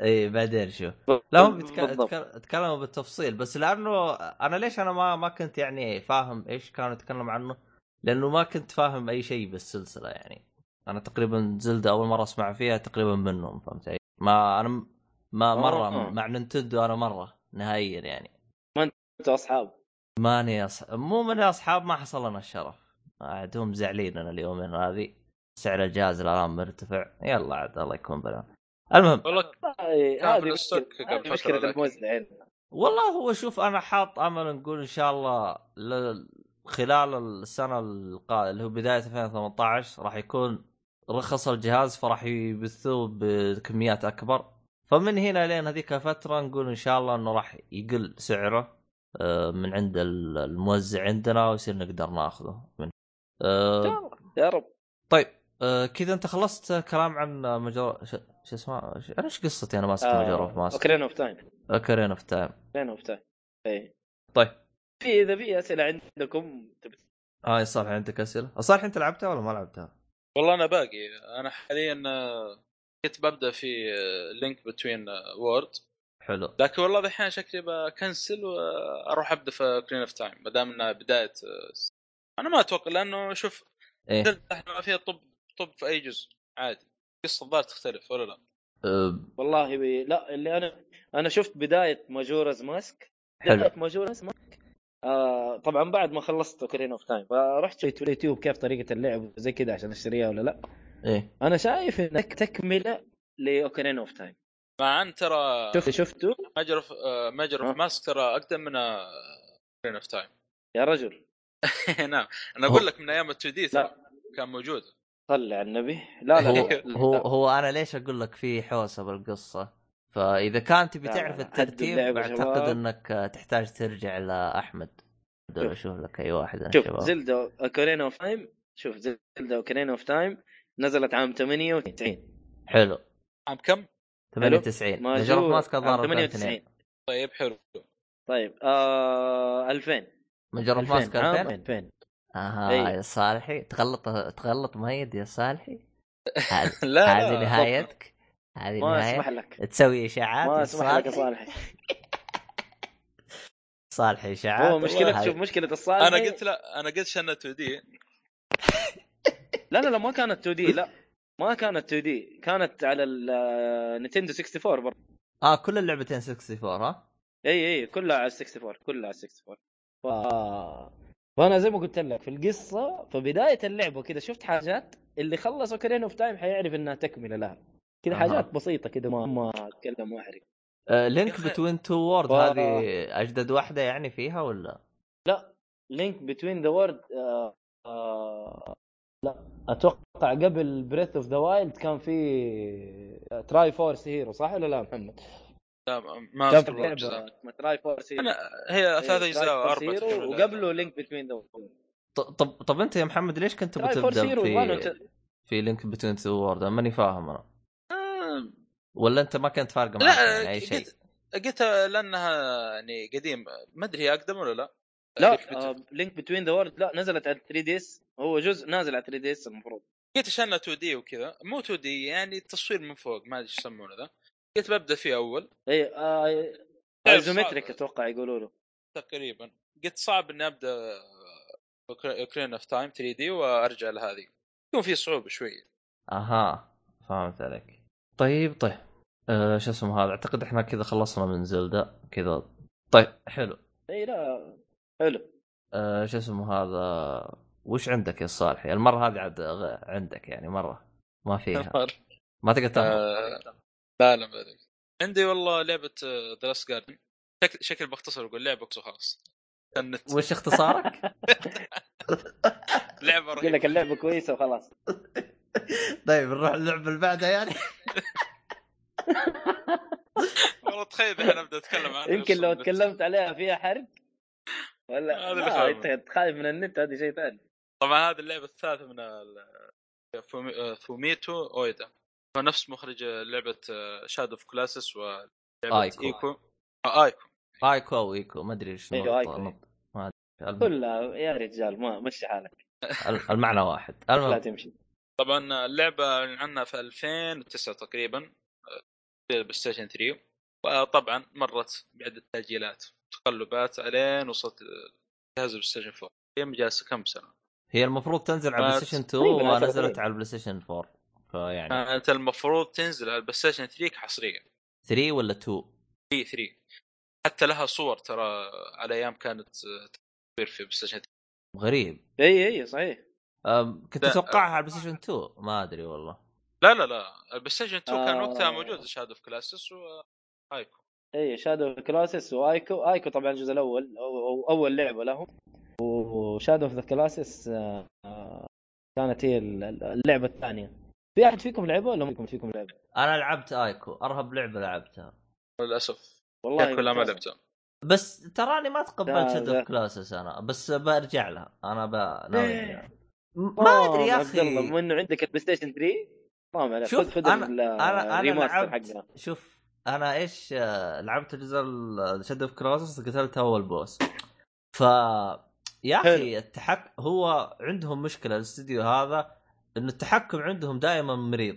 [SPEAKER 1] اي إيه، بعدين شوف لا هم بيتك-
[SPEAKER 3] بالضبط.
[SPEAKER 1] تك- تكلموا بالتفصيل بس لانه انا ليش انا ما ما كنت يعني فاهم ايش كانوا يتكلموا عنه لانه ما كنت فاهم اي شيء بالسلسله يعني انا تقريبا زلدة اول مره اسمع فيها تقريبا منهم فهمت علي؟ ما انا م- ما مره
[SPEAKER 3] آه.
[SPEAKER 1] مع نينتندو انا مره نهائيا يعني
[SPEAKER 3] انتوا اصحاب
[SPEAKER 1] ماني أص... مو من اصحاب ما حصل لنا الشرف عاد هم زعلين انا اليومين هذه سعر الجهاز الان مرتفع يلا عاد الله يكون بالعون المهم
[SPEAKER 2] والله
[SPEAKER 3] هاي-
[SPEAKER 2] كان في
[SPEAKER 3] هذه
[SPEAKER 2] الستوك
[SPEAKER 3] مشكلة-
[SPEAKER 2] قبل
[SPEAKER 3] هذه
[SPEAKER 2] فترة
[SPEAKER 3] مشكلة
[SPEAKER 2] لكن-
[SPEAKER 3] الموزع عندنا.
[SPEAKER 1] والله هو شوف انا حاط امل نقول ان شاء الله ل... خلال السنه القادمه اللي هو بدايه 2018 راح يكون رخص الجهاز فراح يبثوه بكميات اكبر فمن هنا لين هذيك الفتره نقول ان شاء الله انه راح يقل سعره آه، من عند ال- الموزع عندنا ويصير نقدر ناخذه منه. آه،
[SPEAKER 3] يا رب
[SPEAKER 1] طيب آه، كذا انت خلصت كلام عن مجرى شو شو اسمه شو- انا ايش قصتي انا
[SPEAKER 3] آه،
[SPEAKER 1] ماسك مجرى اوف ماسك
[SPEAKER 3] اوكرين اوف تايم
[SPEAKER 1] اوكرين اوف تايم
[SPEAKER 3] اوكرين اوف تايم اي
[SPEAKER 1] طيب
[SPEAKER 3] إيه. في اذا في اسئلة عندكم تبي
[SPEAKER 1] اه يا صالح عندك اسئله؟ صالح انت لعبتها ولا ما لعبتها؟
[SPEAKER 2] والله انا باقي انا حاليا آه، كنت ببدا في آه، لينك بتوين وورد
[SPEAKER 1] حلو
[SPEAKER 2] لكن والله دحين شكلي بكنسل واروح ابدا في كلين اوف تايم ما دام انها بدايه آه، س- انا ما اتوقع لانه شوف
[SPEAKER 3] [laughs]
[SPEAKER 1] ايه
[SPEAKER 2] زلدة احنا ما فيها طب طب في اي جزء عادي قصه الظاهر تختلف ولا لا
[SPEAKER 1] أه
[SPEAKER 3] والله بي... لا اللي انا انا شفت بداية ماجورز ماسك
[SPEAKER 1] حلو
[SPEAKER 3] بداية ماجورز ماسك آه طبعا بعد ما خلصت اوكرين اوف تايم فرحت شفت اليوتيوب كيف طريقة اللعب وزي كذا عشان اشتريها ولا لا
[SPEAKER 1] ايه
[SPEAKER 3] انا شايف انك تكملة لاوكرين اوف تايم
[SPEAKER 2] مع ان ترى
[SPEAKER 1] آه.
[SPEAKER 3] شفت شفته
[SPEAKER 2] ماجر اوف آه، ماجر
[SPEAKER 3] ها؟
[SPEAKER 2] اوف ماسك ترى اقدم من آه، كلين اوف تايم
[SPEAKER 3] يا رجل
[SPEAKER 2] [laughs] نعم انا اقول لك من ايام 2 دي ترى كان موجود
[SPEAKER 3] صلي على النبي لا لا
[SPEAKER 1] هو
[SPEAKER 3] لا، لا.
[SPEAKER 1] هو هو انا ليش اقول لك في حوسه بالقصه؟ فاذا كان تبي
[SPEAKER 3] لا، لا،
[SPEAKER 1] تعرف
[SPEAKER 3] لا، حد
[SPEAKER 1] الترتيب
[SPEAKER 3] اللعبة يا
[SPEAKER 1] اعتقد
[SPEAKER 3] شباب.
[SPEAKER 1] انك آه، تحتاج ترجع لاحمد
[SPEAKER 3] شوف.
[SPEAKER 1] اشوف لك اي واحد انا
[SPEAKER 3] شوف
[SPEAKER 1] شباب
[SPEAKER 3] زلدا اوكارينا اوف تايم شوف زلدا اوكارينا اوف تايم نزلت عام 98
[SPEAKER 1] حلو
[SPEAKER 2] عام كم؟
[SPEAKER 1] 98
[SPEAKER 3] ماجور
[SPEAKER 1] مجرى ماسك الظاهر
[SPEAKER 3] عام
[SPEAKER 1] 2002
[SPEAKER 3] 98
[SPEAKER 2] طيب حلو [laughs]
[SPEAKER 3] طيب آه 2000
[SPEAKER 1] مجرى
[SPEAKER 3] 2000
[SPEAKER 1] ماسك
[SPEAKER 3] عام
[SPEAKER 1] 2000
[SPEAKER 3] 2000
[SPEAKER 1] اها
[SPEAKER 3] إيه.
[SPEAKER 1] يا صالحي تغلط تغلط ميد يا
[SPEAKER 3] [laughs]
[SPEAKER 1] صالحي هذه
[SPEAKER 2] لا لا
[SPEAKER 1] هذه نهايتك هذه
[SPEAKER 3] ما
[SPEAKER 1] نهايتك
[SPEAKER 3] اسمح لك
[SPEAKER 1] تسوي اشاعات
[SPEAKER 3] ما
[SPEAKER 1] يا
[SPEAKER 3] اسمح لك يا
[SPEAKER 1] صالحي؟
[SPEAKER 3] صالح
[SPEAKER 1] صالح اشاعات
[SPEAKER 3] هو
[SPEAKER 1] والله
[SPEAKER 3] مشكلة
[SPEAKER 1] هاي.
[SPEAKER 3] شوف مشكلة الصالح
[SPEAKER 2] انا قلت لا انا قلت شنة 2 دي
[SPEAKER 3] لا لا لا ما كانت 2 دي لا ما كانت 2 دي كانت على آه، النتندو 64 برضه
[SPEAKER 1] اه كل اللعبتين 64 ها
[SPEAKER 3] اي اي إيه، كلها على 64 كلها على 64 ف... فانا زي ما قلت لك في القصه في بدايه اللعبه كذا شفت حاجات اللي خلص اوكرين اوف تايم حيعرف انها تكمله لها كذا
[SPEAKER 1] أها.
[SPEAKER 3] حاجات بسيطه كذا ما ما اتكلم واحرق
[SPEAKER 1] آه
[SPEAKER 2] يا
[SPEAKER 1] لينك
[SPEAKER 2] أخي-
[SPEAKER 1] بتوين تو وورد
[SPEAKER 3] آه.
[SPEAKER 1] هذه اجدد واحده يعني فيها ولا
[SPEAKER 3] لينك بتوين ذا وورد آه، لا اتوقع قبل بريث اوف ذا وايلد كان آه، في تراي فورس هيرو صح ولا لا محمد؟
[SPEAKER 2] لا ما
[SPEAKER 3] كان في
[SPEAKER 2] اذكر والله الجزء.
[SPEAKER 3] اللعبة تراي فورس هيرو
[SPEAKER 2] انا
[SPEAKER 3] إيه،
[SPEAKER 2] هي ثلاث اجزاء اربع تقريباً.
[SPEAKER 3] وقبله لينك بتوين ذا وورد
[SPEAKER 1] ط- طب طب انت يا محمد ليش كنت
[SPEAKER 3] تراي فورس
[SPEAKER 1] بتبدا
[SPEAKER 3] هيرو
[SPEAKER 1] في في لينك بتوين تو وورد أنا ماني فاهم انا
[SPEAKER 2] آه،
[SPEAKER 1] ولا انت ما كنت فارقه معك
[SPEAKER 2] لا
[SPEAKER 1] يعني اي شيء
[SPEAKER 2] قلت قلت لانها يعني قديم ما ادري هي اقدم ولا لا
[SPEAKER 3] لا آه، لينك بتوين ذا وورد لا نزلت على 3 دي اس هو جزء نازل على 3 دي اس المفروض
[SPEAKER 2] قلت عشان 2 دي وكذا مو 2 دي يعني تصوير من فوق ما ادري ايش يسمونه ذا قلت ببدا فيه اول
[SPEAKER 3] اي آه
[SPEAKER 2] إيه،
[SPEAKER 3] ايزومتريك
[SPEAKER 2] صعب.
[SPEAKER 3] اتوقع يقولوا له
[SPEAKER 2] تقريبا قلت صعب اني ابدا اوكرين اوف تايم 3 دي وارجع لهذه يكون في صعوبه شوي
[SPEAKER 1] اها فهمت عليك طيب طيب آه شو اسمه هذا اعتقد احنا كذا خلصنا من زلدة كذا طيب حلو
[SPEAKER 3] اي لا حلو
[SPEAKER 2] طيب.
[SPEAKER 1] آه شو اسمه هذا وش عندك يا صالحي المره هذه عاد غ- عندك يعني مره ما
[SPEAKER 3] إيه.
[SPEAKER 1] فيها ما تقدر تهرب
[SPEAKER 2] آه، لا لا [laughs] ما أدري. عندي والله آه، لعبه ذا لاست جاردن شكل شكل بختصر اقول لعبه خلاص النت
[SPEAKER 1] وش اختصارك؟
[SPEAKER 2] لعبه
[SPEAKER 3] يقول
[SPEAKER 2] رهيبه
[SPEAKER 3] لك اللعبه كويسه وخلاص
[SPEAKER 1] [laughs] طيب نروح اللعبه اللي بعدها يعني
[SPEAKER 2] والله تخيل الحين ابدا اتكلم عنها
[SPEAKER 3] يمكن لو
[SPEAKER 2] أصلاً.
[SPEAKER 3] تكلمت عليها فيها حرق ولا
[SPEAKER 2] هذا اللي
[SPEAKER 3] لا
[SPEAKER 2] خايف.
[SPEAKER 3] انت خايف من النت هذه شيء ثاني
[SPEAKER 2] طبعا هذه اللعبه الثالثه من ال- فومي- آه، فوميتو اويدا هو نفس مخرج آه، لعبه شادو اوف كلاسس ولعبه
[SPEAKER 1] آيكو.
[SPEAKER 2] ايكو آه، ايكو
[SPEAKER 1] ايكو او ايكو ما ادري ايش
[SPEAKER 3] أيوة،
[SPEAKER 1] نط-
[SPEAKER 3] آيكو.
[SPEAKER 1] نط- ما ادري الم-
[SPEAKER 3] كلها يا رجال ما مشي حالك
[SPEAKER 1] الم- المعنى واحد
[SPEAKER 3] لا
[SPEAKER 2] آه.
[SPEAKER 1] المهم
[SPEAKER 3] تمشي
[SPEAKER 2] طبعا اللعبه أعلن عنها في 2009 تقريبا آه، بلاي ستيشن 3 وطبعا مرت بعده تاجيلات تقلبات الين وصلت آه، جهاز بلاي ستيشن 4 هي جالسه كم سنه
[SPEAKER 1] هي المفروض تنزل على
[SPEAKER 2] ما
[SPEAKER 1] بلاي ستيشن 2
[SPEAKER 3] آه، تقريباً على
[SPEAKER 1] ونزلت
[SPEAKER 3] تقريباً. آه.
[SPEAKER 1] على بلاي ستيشن 4 فيعني
[SPEAKER 2] كانت المفروض تنزل على البلاي ستيشن 3 حصريا
[SPEAKER 1] 3 ولا 2
[SPEAKER 2] 3 3 حتى لها صور ترى على ايام كانت آه، تصوير في بلاي ستيشن 3
[SPEAKER 1] غريب
[SPEAKER 3] اي اي صحيح
[SPEAKER 1] أم، كنت
[SPEAKER 2] لا.
[SPEAKER 1] اتوقعها
[SPEAKER 3] آه.
[SPEAKER 1] على بلاي ستيشن 2 ما ادري والله
[SPEAKER 2] لا لا لا البلاي ستيشن 2 كان
[SPEAKER 3] آه.
[SPEAKER 2] وقتها موجود شاد اوف كلاسس وايكو
[SPEAKER 3] اي شادو كلاسس وايكو ايكو طبعا الجزء الاول أو أو اول لعبه لهم وشادو اوف ذا كلاسس آه، كانت هي ال- اللعبه الثانيه في احد فيكم لعبه ولا ما فيكم لعبه؟
[SPEAKER 1] انا لعبت ايكو ارهب لعبه لعبتها
[SPEAKER 2] للاسف
[SPEAKER 3] والله
[SPEAKER 2] ايكو لا ما
[SPEAKER 3] ممتاز.
[SPEAKER 2] لعبته
[SPEAKER 1] بس تراني ما تقبلت
[SPEAKER 3] لا،
[SPEAKER 1] شادو
[SPEAKER 3] لا.
[SPEAKER 1] اوف كلاسس انا بس برجع لها انا ب...
[SPEAKER 3] ليه؟
[SPEAKER 1] ناوي أرجع. م- ما
[SPEAKER 3] آه،
[SPEAKER 1] ادري يا
[SPEAKER 3] عبد الله بما
[SPEAKER 1] اخي
[SPEAKER 3] انه عندك البلاي ستيشن 3 حرام عليك
[SPEAKER 1] شوف،
[SPEAKER 3] خذ خذ
[SPEAKER 1] أنا-
[SPEAKER 3] ال-
[SPEAKER 1] انا انا
[SPEAKER 3] الريماستر
[SPEAKER 1] لعبت
[SPEAKER 3] حقنا
[SPEAKER 1] شوف انا ايش آه، لعبت جزء شادو اوف كلاسس قتلت اول بوس ف يا اخي
[SPEAKER 3] حلو.
[SPEAKER 1] التحك هو عندهم مشكله الاستديو هذا انه التحكم عندهم دائما مريض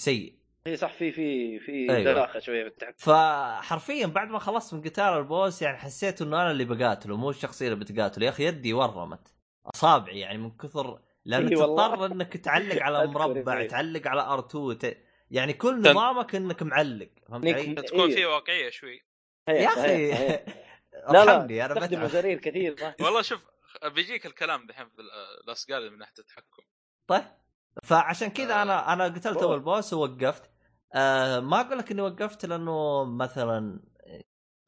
[SPEAKER 1] سيء
[SPEAKER 3] اي إيه، صح في في في
[SPEAKER 1] أيوة.
[SPEAKER 3] دراخه شويه في التحكم
[SPEAKER 1] فحرفيا بعد ما خلصت من قتال البوس يعني حسيت انه انا اللي بقاتله مو الشخصيه اللي بتقاتله يا اخي يدي ورمت اصابعي يعني من كثر لانه
[SPEAKER 3] إي والله.
[SPEAKER 1] تضطر انك تعلق
[SPEAKER 3] [laughs]
[SPEAKER 1] على
[SPEAKER 3] أذكر
[SPEAKER 1] مربع
[SPEAKER 3] إي.
[SPEAKER 1] تعلق على ار2 ت... يعني كل
[SPEAKER 2] تن-
[SPEAKER 1] نظامك انك معلق فهمت
[SPEAKER 3] إنك
[SPEAKER 1] علي؟
[SPEAKER 3] م-
[SPEAKER 2] تكون
[SPEAKER 3] إيه.
[SPEAKER 2] في واقعيه شوي
[SPEAKER 3] صحيح،
[SPEAKER 1] يا
[SPEAKER 3] صحيح،
[SPEAKER 1] اخي
[SPEAKER 3] صحيح. لا لا
[SPEAKER 1] ارحمني انا
[SPEAKER 3] تستخدم
[SPEAKER 1] بتعب
[SPEAKER 3] مزارير كثير صح
[SPEAKER 2] والله شوف بيجيك الكلام دحين في الاسقال من ناحيه التحكم
[SPEAKER 1] طيب فعشان كذا
[SPEAKER 2] آه.
[SPEAKER 1] انا انا قتلت
[SPEAKER 3] أوه.
[SPEAKER 1] اول بوس ووقفت آه ما اقول لك اني وقفت لانه مثلا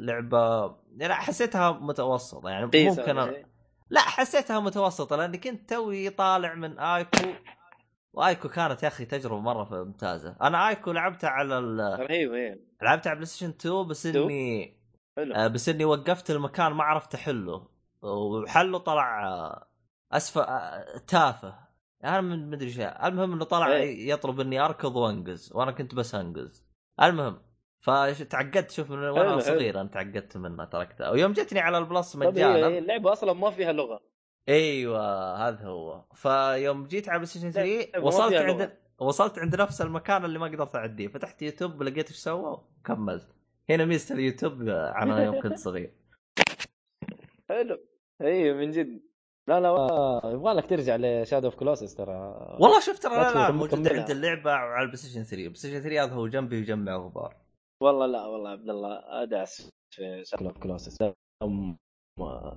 [SPEAKER 1] لعبه لا يعني حسيتها متوسطه يعني
[SPEAKER 3] إي،
[SPEAKER 1] ممكن
[SPEAKER 3] إيه، صح.
[SPEAKER 1] أ... لا حسيتها متوسطه لاني كنت توي طالع من ايكو وايكو كانت يا اخي تجربه مره ممتازه انا ايكو لعبتها على ال...
[SPEAKER 3] رهيب إيه. اي
[SPEAKER 1] لعبتها على بلاي ستيشن 2 بس
[SPEAKER 3] تو؟
[SPEAKER 1] اني
[SPEAKER 3] حلو
[SPEAKER 1] آه، بس اني وقفت المكان ما عرفت احله وحله طلع آه، اسفل آه، تافه انا ما ادري ايش المهم انه طلع
[SPEAKER 3] إيه.
[SPEAKER 1] يطلب اني اركض وانقز وانا كنت بس انقز المهم فتعقدت شوف من وانا
[SPEAKER 3] حلو، حلو.
[SPEAKER 1] صغير انا تعقدت منه تركته ويوم جتني على البلس
[SPEAKER 3] طب هي هي
[SPEAKER 1] مجانا
[SPEAKER 3] اللعبه اصلا ما فيها لغه
[SPEAKER 1] ايوه هذا هو فيوم جيت على بلاي ستيشن 3
[SPEAKER 3] ما
[SPEAKER 1] وصلت
[SPEAKER 3] فيها
[SPEAKER 1] عند
[SPEAKER 3] لغة.
[SPEAKER 1] وصلت عند نفس المكان اللي ما قدرت اعديه فتحت يوتيوب لقيت
[SPEAKER 3] [laughs]
[SPEAKER 1] ايش سوى وكملت هنا ميزه اليوتيوب عن يوم كنت صغير
[SPEAKER 3] حلو ايوه من جد لا لا و- يبغى لك ترجع لشادو اوف كلوسس ترى
[SPEAKER 1] والله شفت ترى
[SPEAKER 3] لا تفوت،
[SPEAKER 1] الالعاب
[SPEAKER 3] مو
[SPEAKER 1] موجوده
[SPEAKER 3] كملها.
[SPEAKER 1] عند اللعبه وعلى البلاي ستيشن 3 البلاي ستيشن 3 هذا هو جنبي ويجمع غبار
[SPEAKER 3] والله لا والله عبد الله ادعس في شادو اوف كلوسس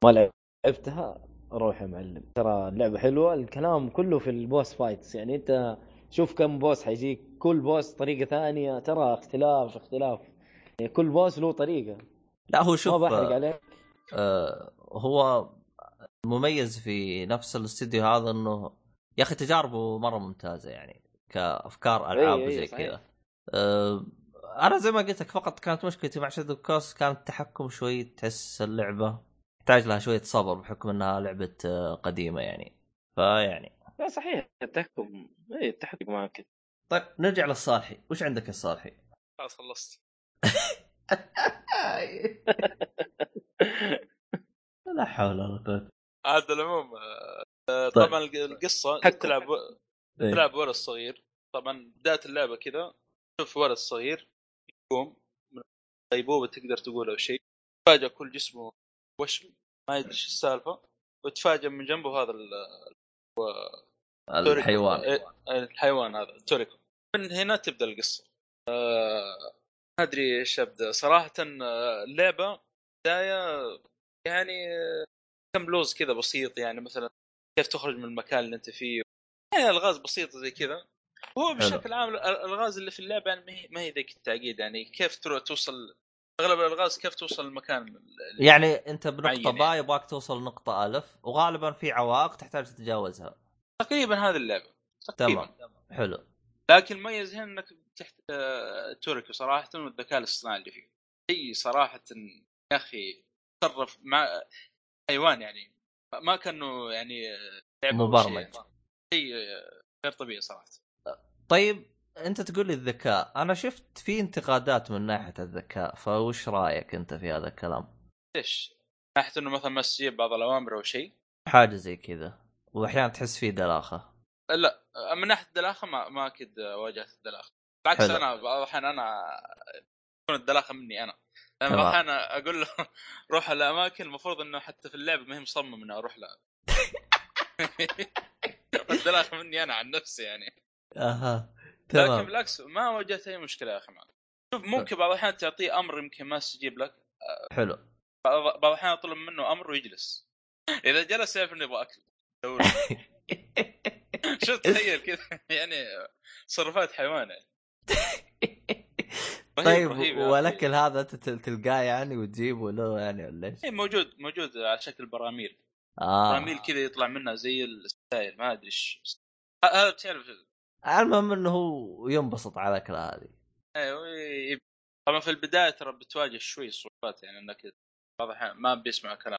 [SPEAKER 3] ما لعبتها روح يا معلم ترى اللعبه حلوه الكلام كله في البوس فايتس يعني انت شوف كم بوس حيجيك كل بوس طريقه ثانيه ترى اختلاف اختلاف يعني كل بوس له طريقه
[SPEAKER 1] لا هو
[SPEAKER 3] ما
[SPEAKER 1] شوف
[SPEAKER 3] بحرق عليك
[SPEAKER 1] آه هو مميز في نفس الاستديو هذا انه يا اخي تجاربه مره ممتازه يعني كافكار العاب
[SPEAKER 3] أي- أي،
[SPEAKER 1] وزي
[SPEAKER 3] صحيح.
[SPEAKER 1] كذا آه انا زي ما قلت لك فقط كانت مشكلتي مع شادو كوس كان التحكم شوي تحس اللعبه تحتاج لها شويه صبر بحكم انها لعبه آه، قديمه يعني فيعني
[SPEAKER 3] لا صحيح التحكم اي التحكم معك [laughs]
[SPEAKER 1] طيب نرجع للصالحي وش عندك يا صالحي؟
[SPEAKER 2] خلاص خلصت
[SPEAKER 1] لا حول ولا قوه
[SPEAKER 2] هذا العموم آه، آه،
[SPEAKER 1] طيب.
[SPEAKER 2] طبعا الق- القصه
[SPEAKER 3] حكم.
[SPEAKER 2] تلعب
[SPEAKER 1] إيه.
[SPEAKER 2] تلعب ولد صغير طبعا بدايه اللعبه كذا تشوف ولد صغير يقوم من غيبوبه تقدر تقول او شيء تفاجئ كل جسمه وشم ما يدري ايش السالفه وتفاجئ من جنبه هذا ال-
[SPEAKER 1] الحيوان
[SPEAKER 2] إيه، الحيوان هذا توريكو من هنا تبدا القصه آه، ما ادري ايش ابدا صراحه آه، اللعبه بدايه يعني آه، كم لوز كذا بسيط يعني مثلا كيف تخرج من المكان اللي انت فيه يعني الغاز بسيطه زي كذا هو بشكل عام ال- الالغاز اللي في اللعبه يعني ما هي- ما هي ذيك التعقيد يعني كيف تروح توصل اغلب الالغاز كيف توصل المكان اللي-
[SPEAKER 1] يعني انت بنقطه
[SPEAKER 2] معين
[SPEAKER 1] باء يبغاك توصل نقطه الف وغالبا في عوائق تحتاج تتجاوزها
[SPEAKER 2] تقريبا هذه اللعبه تقريبا
[SPEAKER 1] تمام حلو
[SPEAKER 2] لكن ميز هنا انك تحت آه، تركي صراحه والذكاء الاصطناعي اللي فيه شيء صراحه يا اخي تصرف مع حيوان يعني ما- ما كانه يعني آه، لعبة أو شيء.
[SPEAKER 1] مبرمج.
[SPEAKER 2] شيء آه، غير طبيعي صراحه
[SPEAKER 1] طيب انت تقول لي الذكاء انا شفت في انتقادات من ناحيه الذكاء فوش رايك انت في هذا الكلام
[SPEAKER 2] ليش؟ ناحيه انه مثلا ما تستجيب بعض الاوامر او شيء
[SPEAKER 1] حاجه زي كذا واحيانا تحس فيه دلاخه
[SPEAKER 2] آه، لا آه، من ناحيه الدلاخه ما, ما اكيد آه، واجهت الدلاخه بالعكس
[SPEAKER 1] حلو.
[SPEAKER 2] انا بعض الاحيان انا تكون الدلاخه مني انا لما
[SPEAKER 1] تمام.
[SPEAKER 2] احيانا اقول له [laughs] روح على اماكن المفروض انه حتى في اللعبه ما هي مصمم اني اروح
[SPEAKER 1] [laughs]
[SPEAKER 2] لها الدلاخه مني انا عن نفسي يعني
[SPEAKER 1] اها
[SPEAKER 2] لكن
[SPEAKER 1] تمام
[SPEAKER 2] بالعكس ما واجهت اي مشكله يا اخي معك شوف ممكن بعض الاحيان تعطيه امر يمكن ما يستجيب لك [laughs]
[SPEAKER 1] حلو
[SPEAKER 2] بعض بعض الاحيان اطلب منه امر ويجلس اذا جلس يعرف انه يبغى اكل دوري.
[SPEAKER 1] [laughs]
[SPEAKER 2] شوف تخيل كذا [laughs] يعني تصرفات حيوان يعني رهيب-
[SPEAKER 1] طيب
[SPEAKER 2] رهيب يا أخي.
[SPEAKER 1] والاكل هذا انت تل- تلقاه يعني وتجيبه له يعني ولا ايش؟
[SPEAKER 2] إيه، موجود موجود على شكل براميل
[SPEAKER 1] اه
[SPEAKER 2] براميل كذا يطلع منها زي السائل ما ادري ايش ه- هذا تعرف
[SPEAKER 1] المهم انه هو ينبسط على الاكله هذه
[SPEAKER 2] ايوه يب- طبعا في البدايه ترى بتواجه شوي صعوبات يعني انك بعض الأحيان ما بيسمع كلام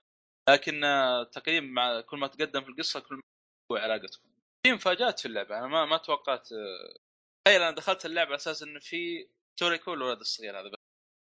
[SPEAKER 2] لكن آه، تقريبا مع كل ما تقدم في القصه كل ما تقوي علاقتكم في مفاجات في اللعبه انا ما ما توقعت آه، تخيل انا دخلت اللعبه على اساس انه في توريكو الولد الصغير هذا بس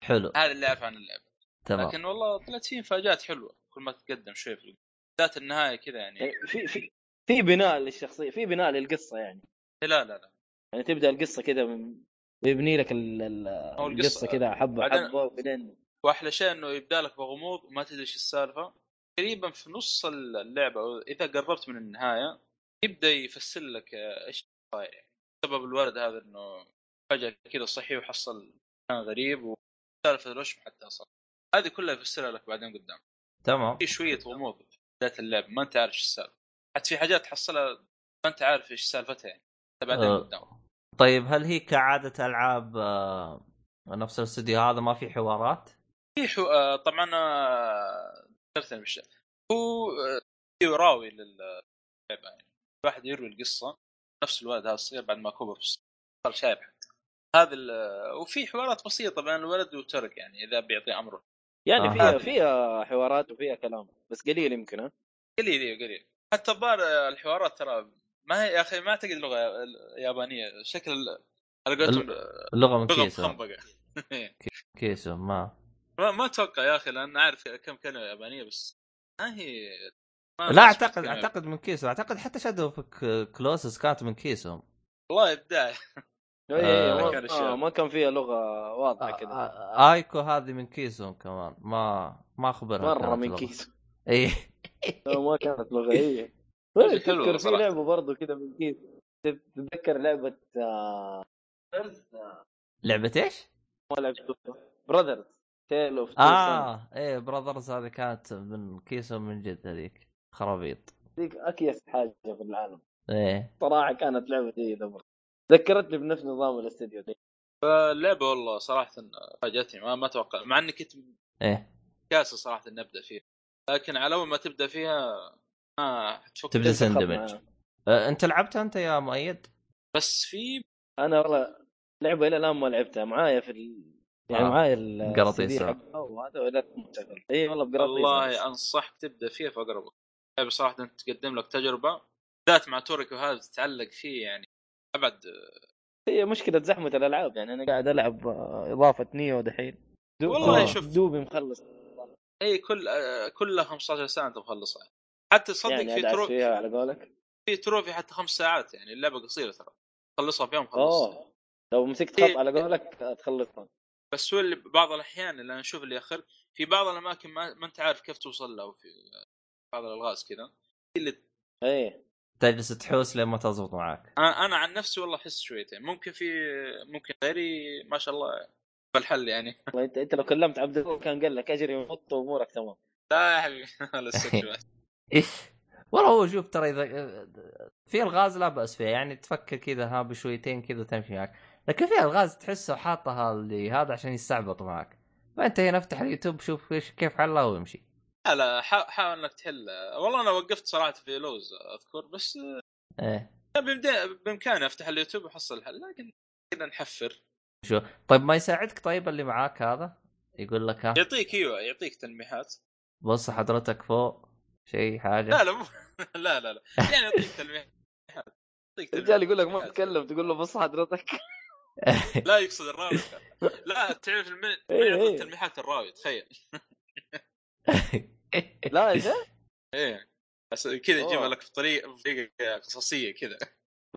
[SPEAKER 1] حلو
[SPEAKER 2] هذا اللي اعرفه عن اللعبه
[SPEAKER 1] تمام
[SPEAKER 2] لكن والله طلعت فيه مفاجات حلوه كل ما تقدم شوي في ذات النهايه كذا يعني
[SPEAKER 3] في في في بناء للشخصيه في بناء للقصه يعني
[SPEAKER 2] لا لا لا
[SPEAKER 3] يعني تبدا القصه كذا من ويبني لك ال- ال-
[SPEAKER 2] هو
[SPEAKER 3] القصه كذا حبه
[SPEAKER 2] بعدين-
[SPEAKER 3] حبه وبعدين
[SPEAKER 2] واحلى شيء انه يبدا لك بغموض وما تدري ايش السالفه تقريبا في نص اللعبه او اذا قربت من النهايه يبدا يفسر لك آه، ايش صاير يعني. سبب الورد هذا انه فجاه كذا صحي وحصل كان غريب وسالفه الوشم حتى صار هذه كلها يفسرها لك بعدين قدام
[SPEAKER 1] تمام
[SPEAKER 2] في شويه غموض في بدايه اللعبه ما انت عارف ايش السالفه حتى في حاجات تحصلها ما انت عارف ايش سالفتها يعني حتى بعدين
[SPEAKER 1] آه.
[SPEAKER 2] قدام
[SPEAKER 1] طيب هل هي كعادة ألعاب آه، نفس الاستوديو هذا ما في حوارات؟
[SPEAKER 2] في حو... آه، طبعا آه، ذكرت أنا بالشيء هو آه، يراوي للعبه يعني الواحد يروي القصه نفس الولد هذا الصغير بعد ما كبر في السن، صار شايب حتى هذا ال... آه، وفي حوارات بسيطه بين الولد وترك يعني اذا بيعطيه امره
[SPEAKER 3] يعني
[SPEAKER 1] آه.
[SPEAKER 3] فيها فيها حوارات وفيها كلام بس قليل يمكن ها
[SPEAKER 2] قليل إيه، قليل حتى الظاهر آه، الحوارات ترى ما هي يا اخي ما اعتقد لغه يابانيه شكل ال- على قولتهم آه،
[SPEAKER 1] اللغة من
[SPEAKER 2] لغه
[SPEAKER 1] كيسو
[SPEAKER 2] مخنبقه
[SPEAKER 1] كيسو ما
[SPEAKER 2] ما ما اتوقع يا اخي لان اعرف كم كلمه يابانيه بس ما هي ما-
[SPEAKER 1] لا
[SPEAKER 2] ما أسمع
[SPEAKER 1] أعتقد
[SPEAKER 2] كلمة
[SPEAKER 1] أعتقد من كيسو أعتقد حتى شادو كلوسس كانت من كيسو
[SPEAKER 2] والله ابداع
[SPEAKER 3] إيه،
[SPEAKER 1] آه.
[SPEAKER 3] ما-
[SPEAKER 2] كان الشيء.
[SPEAKER 3] آه ما كان فيها لغه واضحه كذا
[SPEAKER 1] آه، آيكو هذه من كيسو كمان ما ما أخبرها
[SPEAKER 3] مره
[SPEAKER 1] كانت إيه.
[SPEAKER 3] من
[SPEAKER 1] لغة.
[SPEAKER 3] كيس
[SPEAKER 1] [laughs] اي
[SPEAKER 3] لو ما
[SPEAKER 1] [laughs]
[SPEAKER 2] [laughs]
[SPEAKER 3] كانت مغريه
[SPEAKER 2] حلوة
[SPEAKER 3] تذكر في
[SPEAKER 2] صراحة.
[SPEAKER 3] لعبه برضو كذا من كيس تتذكر لعبه آه،
[SPEAKER 1] لعبه ايش؟
[SPEAKER 3] ما لعبت براذرز تيل اوف
[SPEAKER 1] اه ايه براذرز هذه كانت من كيسه من جد هذيك خرابيط
[SPEAKER 3] ذيك اكيس حاجه في العالم
[SPEAKER 1] ايه
[SPEAKER 3] صراحه كانت لعبه جيده مره ذكرتني بنفس نظام الاستديو ذي
[SPEAKER 2] فاللعبه والله صراحه فاجاتني ما ما اتوقع مع اني كنت
[SPEAKER 1] ايه
[SPEAKER 2] كاسه صراحه اني ابدا فيها لكن على اول ما تبدا فيها ما حتفك
[SPEAKER 1] تبدا
[SPEAKER 2] تنسى.
[SPEAKER 1] تندمج آه، انت لعبتها انت يا مؤيد؟
[SPEAKER 2] بس في
[SPEAKER 3] انا والله لعبه الى الان ما لعبتها معايا في ال... يعني
[SPEAKER 1] آه.
[SPEAKER 3] معايا ال-
[SPEAKER 1] قراطيس.
[SPEAKER 3] CD حقها وهذا ولا مشتغل اي والله بقراطيس
[SPEAKER 2] والله انصحك تبدا فيها في اقربك اللعبه صراحه تقدم لك تجربه بالذات مع توريكو هذا تتعلق فيه يعني ابعد
[SPEAKER 3] هي مشكله زحمه الالعاب يعني انا قاعد العب آه، اضافه نيو دحين دوب-
[SPEAKER 2] والله
[SPEAKER 3] آه،
[SPEAKER 2] شوف.
[SPEAKER 3] دوبي مخلص
[SPEAKER 2] اي كل آه، كلها 15 ساعه انت مخلصها حتى تصدق
[SPEAKER 3] يعني
[SPEAKER 2] في
[SPEAKER 3] ادعس
[SPEAKER 2] ترو...
[SPEAKER 3] فيها على قولك
[SPEAKER 2] في تروفي حتى خمس ساعات يعني اللعبه قصيره ترى تخلصها في يوم خلص
[SPEAKER 3] اوه لو مسكت
[SPEAKER 2] إيه.
[SPEAKER 3] خط على قولك آه، تخلصها
[SPEAKER 2] بس هو اللي بعض الاحيان اللي انا اشوف اللي ياخر في بعض الاماكن ما, ما انت عارف كيف توصل له في بعض الالغاز كذا
[SPEAKER 3] ايه
[SPEAKER 1] تجلس تحوس لين ما تزبط معاك
[SPEAKER 2] انا أنا عن نفسي والله احس شويتين ممكن في ممكن غيري ما شاء الله بالحل يعني [laughs]
[SPEAKER 3] والله انت انت لو كلمت عبد الله كان قال لك اجري وحط امورك تمام
[SPEAKER 2] لا يا حبيبي [laughs] لا استكشف.
[SPEAKER 1] والله هو شوف ترى اذا في الغاز لا باس فيها يعني تفكر كذا ها بشويتين كذا تمشي معك لكن في الغاز تحسه حاطها اللي هذا عشان يستعبط معك فانت هنا افتح اليوتيوب شوف ايش كيف حلها وامشي
[SPEAKER 2] لا لا حا- حاول انك تحل والله انا وقفت صراحه في لوز اذكر بس
[SPEAKER 1] ايه
[SPEAKER 2] كان بإمدا- بامكاني افتح اليوتيوب واحصل الحل لكن كذا نحفر
[SPEAKER 1] طيب ما يساعدك طيب اللي معاك هذا يقول لك ها
[SPEAKER 2] يعطيك ايوه يعطيك تلميحات
[SPEAKER 1] بص حضرتك فوق شيء حاجه
[SPEAKER 2] لا لا مو [laughs] لا لا لا يعني يعطيك تلميحات يعطيك
[SPEAKER 3] الرجال يقول لك ما
[SPEAKER 2] تلميحات.
[SPEAKER 3] تتكلم تقول له بص حضرتك
[SPEAKER 2] لا يقصد الراوي لا تعرف المن من
[SPEAKER 3] [laughs] إيه،
[SPEAKER 2] يعطيك
[SPEAKER 3] إيه.
[SPEAKER 2] تلميحات الراوي تخيل
[SPEAKER 1] [laughs]
[SPEAKER 3] لا يا شيخ
[SPEAKER 2] ايه بس كذا يجيبها
[SPEAKER 3] أوه.
[SPEAKER 2] لك بطريقه بطريقه قصصيه كذا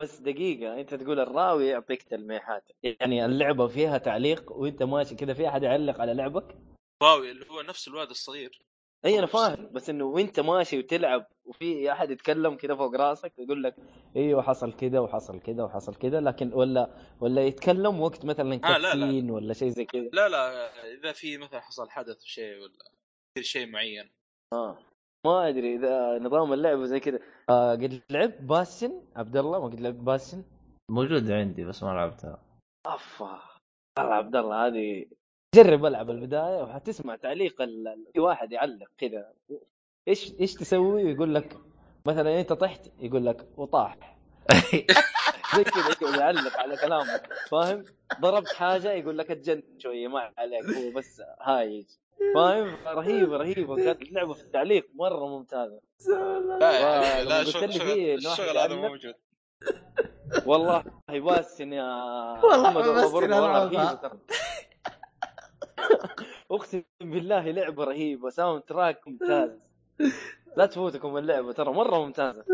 [SPEAKER 3] بس دقيقة أنت تقول الراوي يعطيك تلميحات يعني اللعبة فيها تعليق وأنت ماشي كذا في أحد يعلق على لعبك
[SPEAKER 2] راوي اللي هو نفس الواد الصغير
[SPEAKER 3] أي أنا فاهم بس إنه وأنت ماشي وتلعب وفي أحد يتكلم كذا فوق راسك ويقول لك أيوه حصل كذا وحصل كذا وحصل كذا لكن ولا ولا يتكلم وقت مثلا
[SPEAKER 2] آه، لا، لا.
[SPEAKER 3] كاتسين ولا شيء زي كذا
[SPEAKER 2] لا لا اذا في مثلا حصل حدث شيء ولا يصير شيء معين
[SPEAKER 3] آه ما أدري إذا نظام اللعبة زي كذا آه قد لعبت باسن عبد الله ما قد لعبت باسن
[SPEAKER 1] موجود عندي بس ما لعبتها
[SPEAKER 3] افا والله عبد الله هذه جرب العب البدايه وحتسمع تعليق ال... ال- في واحد يعلق كذا ايش ايش تسوي يقول لك مثلا انت طحت يقول لك وطاح زي كذا يقعد يعلق على كلامك فاهم ضربت حاجه يقول لك اتجنن شويه ما عليك هو بس هايج فاهم رهيبه رهيبه كانت اللعبه في التعليق مره ممتازه
[SPEAKER 2] لا يا حبيبي، لا
[SPEAKER 3] والله، لما آه، قلت
[SPEAKER 2] شغل
[SPEAKER 3] لي فيه إنه
[SPEAKER 2] شغل,
[SPEAKER 3] واحد
[SPEAKER 2] شغل هذا
[SPEAKER 3] يعلق.
[SPEAKER 2] موجود
[SPEAKER 3] والله باسن يا
[SPEAKER 1] والله
[SPEAKER 3] محمد والله
[SPEAKER 1] باسن
[SPEAKER 3] برضه والله
[SPEAKER 1] ألعابها.
[SPEAKER 3] رهيبة ترى. اقسم بالله لعبه رهيبه ساوند تراك ممتاز لا تفوتكم اللعبه ترى مره ممتازه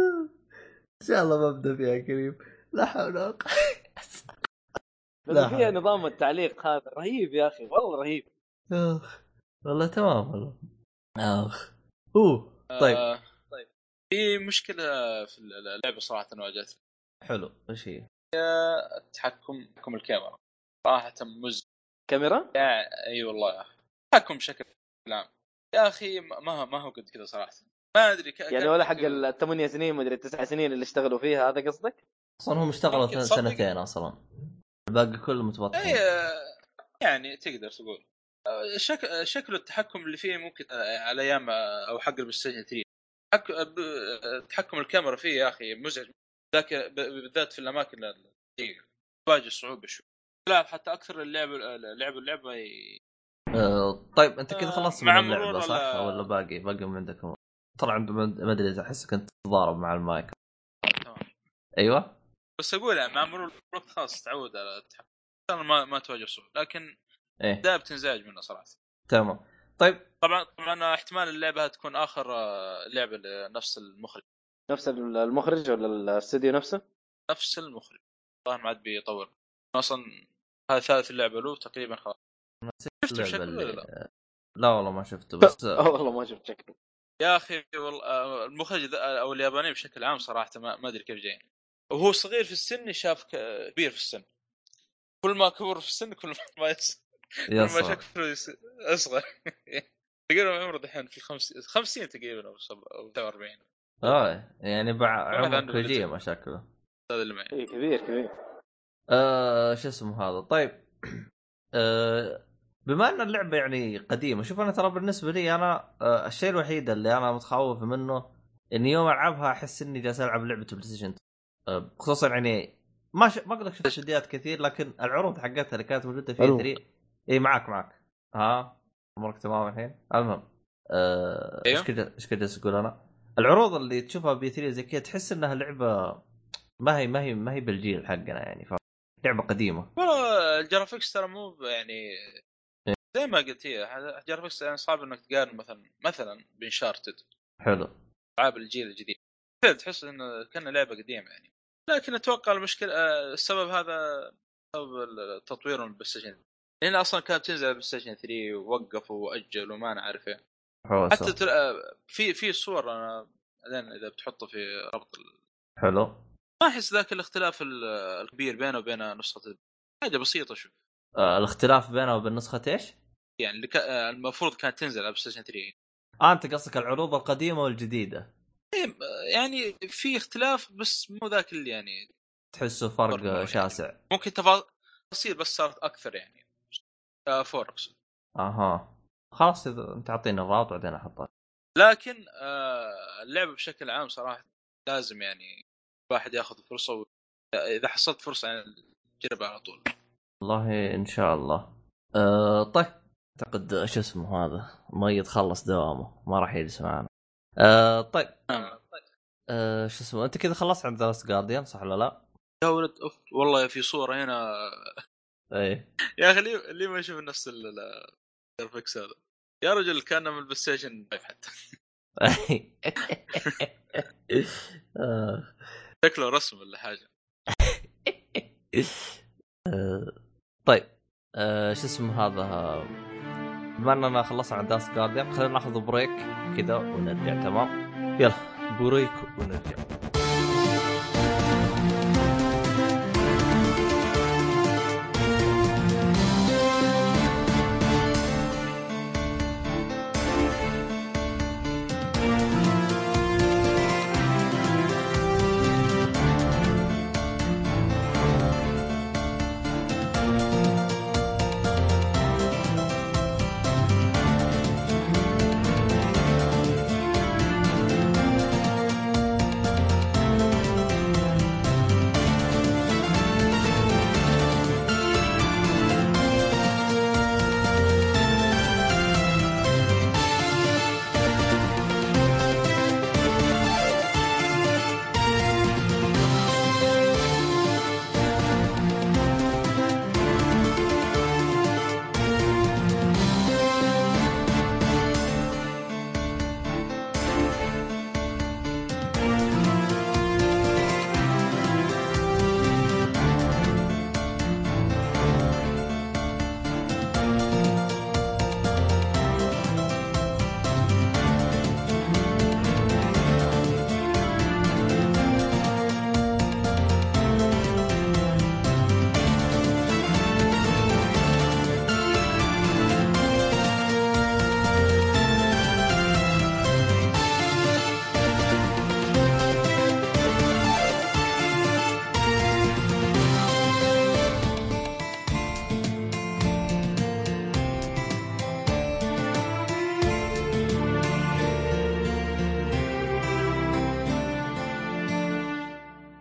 [SPEAKER 1] ان شاء الله ما ابدا فيها كريم لا حول ولا قوه
[SPEAKER 3] بس
[SPEAKER 1] لا
[SPEAKER 3] فيها
[SPEAKER 1] حول.
[SPEAKER 3] نظام التعليق هذا رهيب يا اخي والله رهيب
[SPEAKER 1] اخ والله تمام والله اخ اوه طيب
[SPEAKER 2] آه، طيب في مشكله في اللعبه صراحه واجهتني
[SPEAKER 1] حلو وش هي؟
[SPEAKER 2] التحكم تحكم الكاميرا صراحه مزعج
[SPEAKER 3] كاميرا
[SPEAKER 2] يا- اي والله يا اخي تحكم بشكل عام يا اخي ما ما- ما هو قد كذا صراحه ما ادري ك-
[SPEAKER 3] يعني
[SPEAKER 2] ك-
[SPEAKER 3] ولا حق الثمانية سنين مدري التسع سنين اللي اشتغلوا فيها هذا قصدك؟
[SPEAKER 1] اصلا هم اشتغلوا
[SPEAKER 2] ممكن تصدق.
[SPEAKER 1] سنتين اصلا الباقي كله متبطل
[SPEAKER 2] اي آه، يعني تقدر تقول آه، شك... آه، شكل التحكم اللي فيه ممكن آه، على ايام آه، او حق البلاي ستيشن 3 حك... آه، ب- آه، تحكم الكاميرا فيه يا اخي مزعج ذاك ب- بالذات في الاماكن الضيقه تواجه صعوبه شوي لا حتى اكثر اللعب اللعب اللعبه ي-
[SPEAKER 1] آه، طيب انت كذا خلصت من
[SPEAKER 2] مع مرور
[SPEAKER 1] اللعبه صح؟
[SPEAKER 2] ال-
[SPEAKER 1] ولا باقي باقي من عندك امور؟ ترى عند ما ادري احسك انت تتضارب مع المايك
[SPEAKER 2] تمام.
[SPEAKER 1] ايوه
[SPEAKER 2] بس اقول يعني مع مرور الوقت خلاص تعود على التحكم ترى ما ما تواجه صعوبه لكن
[SPEAKER 1] ايه
[SPEAKER 2] دائما تنزعج منه صراحه
[SPEAKER 1] تمام طيب
[SPEAKER 2] طبعا طبعا احتمال اللعبه تكون اخر آه، لعبه لنفس المخرج
[SPEAKER 3] نفس ال- المخرج ولا الاستوديو نفسه؟
[SPEAKER 2] نفس المخرج الظاهر ما عاد بيطور اصلا هذا ثالث لعبه له تقريبا خلاص شفت
[SPEAKER 1] اللعبة
[SPEAKER 2] شكله
[SPEAKER 1] اللي-
[SPEAKER 2] ولا لا؟ [laughs]
[SPEAKER 1] لا والله ما شفته بس
[SPEAKER 3] آه، والله ما شفت شكله
[SPEAKER 2] يا اخي والله آه، المخرج ذا- او اليابانيين بشكل عام صراحه ما ما ادري كيف جايين وهو صغير في السن شاف ك- كبير في السن كل ما كبر في السن كل ما يص- كل
[SPEAKER 1] يا
[SPEAKER 2] ما
[SPEAKER 1] صار.
[SPEAKER 2] شكله يص- [laughs] اصغر تقريبا عمره دحين في 50 50 تقريبا او سبعة- أو 47
[SPEAKER 1] اه يعني بع... عمر
[SPEAKER 2] عنده
[SPEAKER 1] كوجيما شكله
[SPEAKER 2] هذا اللي معي
[SPEAKER 3] إيه، كبير كبير
[SPEAKER 1] آه شو اسمه هذا طيب [clears throat] آه بما ان اللعبه يعني قديمه شوف انا ترى بالنسبه لي انا آه الشيء الوحيد اللي انا متخوف منه اني يوم العبها احس اني جالس العب لعبه بلاي ستيشن آه خصوصا يعني ما ش... ما اقول لك شفت فيديوهات كثير لكن العروض حقتها اللي كانت موجوده في E
[SPEAKER 3] حلو.
[SPEAKER 1] 3 اي معك معك ها امورك تمام الحين المهم آه،
[SPEAKER 2] أيوه.
[SPEAKER 1] ايش كذا ايش كذا اقول انا العروض اللي تشوفها بي 3 زي كذا تحس انها لعبه ما هي ما هي ما هي بالجيل حقنا يعني ف... لعبه قديمه
[SPEAKER 2] والله الجرافيكس ترى مو ب- يعني زي ما قلت هي ح- الجرافيكس يعني صعب انك تقارن مثلا مثلا بانشارتد
[SPEAKER 1] حلو
[SPEAKER 2] العاب الجيل الجديد كذا تحس انه كان لعبه قديمه يعني لكن اتوقع المشكله آه، السبب هذا سبب ال- تطويرهم البلاي ستيشن لان اصلا كانت تنزل على البلاي ستيشن 3 ووقفوا واجلوا ما انا عارف إيه.
[SPEAKER 1] حوسه
[SPEAKER 2] حتى تل... آه، في في صور انا بعدين اذا بتحطه في رابط ال-
[SPEAKER 1] حلو
[SPEAKER 2] ما احس ذاك الاختلاف ال- الكبير بينه وبين نسخه ال- حاجه بسيطه شوف
[SPEAKER 1] آه الاختلاف بينها وبين نسخه ايش؟
[SPEAKER 2] يعني اللي كا- آه، المفروض كانت تنزل على بلاي ستيشن 3
[SPEAKER 1] آه انت قصدك العروض القديمه والجديده
[SPEAKER 2] إيه، آه، يعني في اختلاف بس مو ذاك اللي يعني
[SPEAKER 1] تحسه فرق
[SPEAKER 2] فرق مرة
[SPEAKER 1] آه،
[SPEAKER 2] يعني.
[SPEAKER 1] شاسع
[SPEAKER 2] ممكن تفاصيل بس صارت اكثر يعني آه، فور اقصد
[SPEAKER 1] اها خلاص إذا انت اعطيني الرابط بعدين احطه
[SPEAKER 2] لكن آه، اللعبه بشكل عام صراحه لازم يعني الواحد ياخذ فرصه و... اذا حصلت فرصه يعني تجربها على طول
[SPEAKER 1] والله ان شاء الله أه طيب اعتقد شو اسمه هذا ميت خلص دوامه ما راح يجلس معنا أه طيب
[SPEAKER 2] آه.
[SPEAKER 1] أه شو اسمه انت كذا خلصت عن ذا لاست جارديان صح ولا لا؟
[SPEAKER 2] يا ولد اوف والله في صوره هنا
[SPEAKER 1] [laughs] ايه
[SPEAKER 2] يا اخي ليه ليه ما يشوف نفس ال- ال- الجرافيكس هذا يا رجل كان من البلاي ستيشن فايف حتى
[SPEAKER 1] آه.
[SPEAKER 2] شكله رسم ولا حاجه
[SPEAKER 1] أه، طيب أه شو اسمه هذا آه، بما اننا خلصنا عن داس جارديان خلينا ناخذ بريك كذا ونرجع تمام يلا بريك ونرجع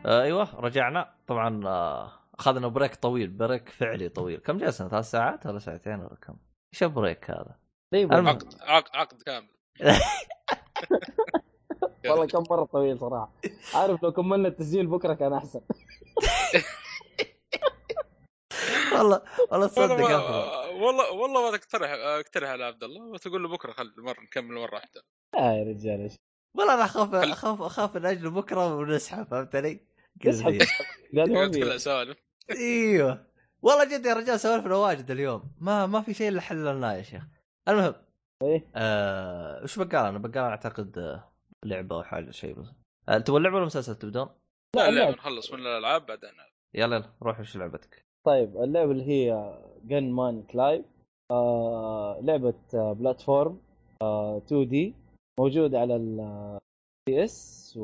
[SPEAKER 1] آه، ايوه رجعنا طبعا آه، اخذنا بريك طويل بريك فعلي طويل كم جلسنا ثلاث ساعات ولا ساعتين ولا كم؟ ايش البريك هذا؟
[SPEAKER 3] طيب
[SPEAKER 1] المهم.
[SPEAKER 2] عقد عقد عقد كامل
[SPEAKER 3] [laughs] والله كم مره طويل صراحه عارف لو كملنا التسجيل بكره كان احسن
[SPEAKER 1] والله والله تصدق
[SPEAKER 2] والله
[SPEAKER 1] أفضل.
[SPEAKER 2] ما- والله والله ما تقترح اقترح على عبد الله وتقول له بكره خل مره نكمل مره واحده
[SPEAKER 3] [laughs] آه يا رجال [laughs] ايش
[SPEAKER 1] والله انا اخاف
[SPEAKER 2] خل-
[SPEAKER 1] اخاف اخاف من اجل بكره ونسحب فهمت علي؟
[SPEAKER 3] اسحب [laughs]
[SPEAKER 1] كذا.
[SPEAKER 3] قال ما
[SPEAKER 2] يقعد
[SPEAKER 3] في
[SPEAKER 2] كلها سوالف
[SPEAKER 1] ايوه والله جد يا رجال سوالفنا واجد اليوم ما ما في شيء الا حللناه يا شيخ المهم
[SPEAKER 3] ايه
[SPEAKER 1] آه، وش بقال انا بقال اعتقد آه، لعبه او حاجه شيء بس آه، تبغى اللعبه ولا مسلسل تبدون؟
[SPEAKER 2] لا لا
[SPEAKER 3] اللعبة.
[SPEAKER 2] نخلص من الالعاب بعدين
[SPEAKER 1] يلا يلا روح وش لعبتك؟
[SPEAKER 3] طيب اللعبه اللي هي جن مان كلايف آه لعبه آه بلاتفورم آه 2 دي موجوده على البي اس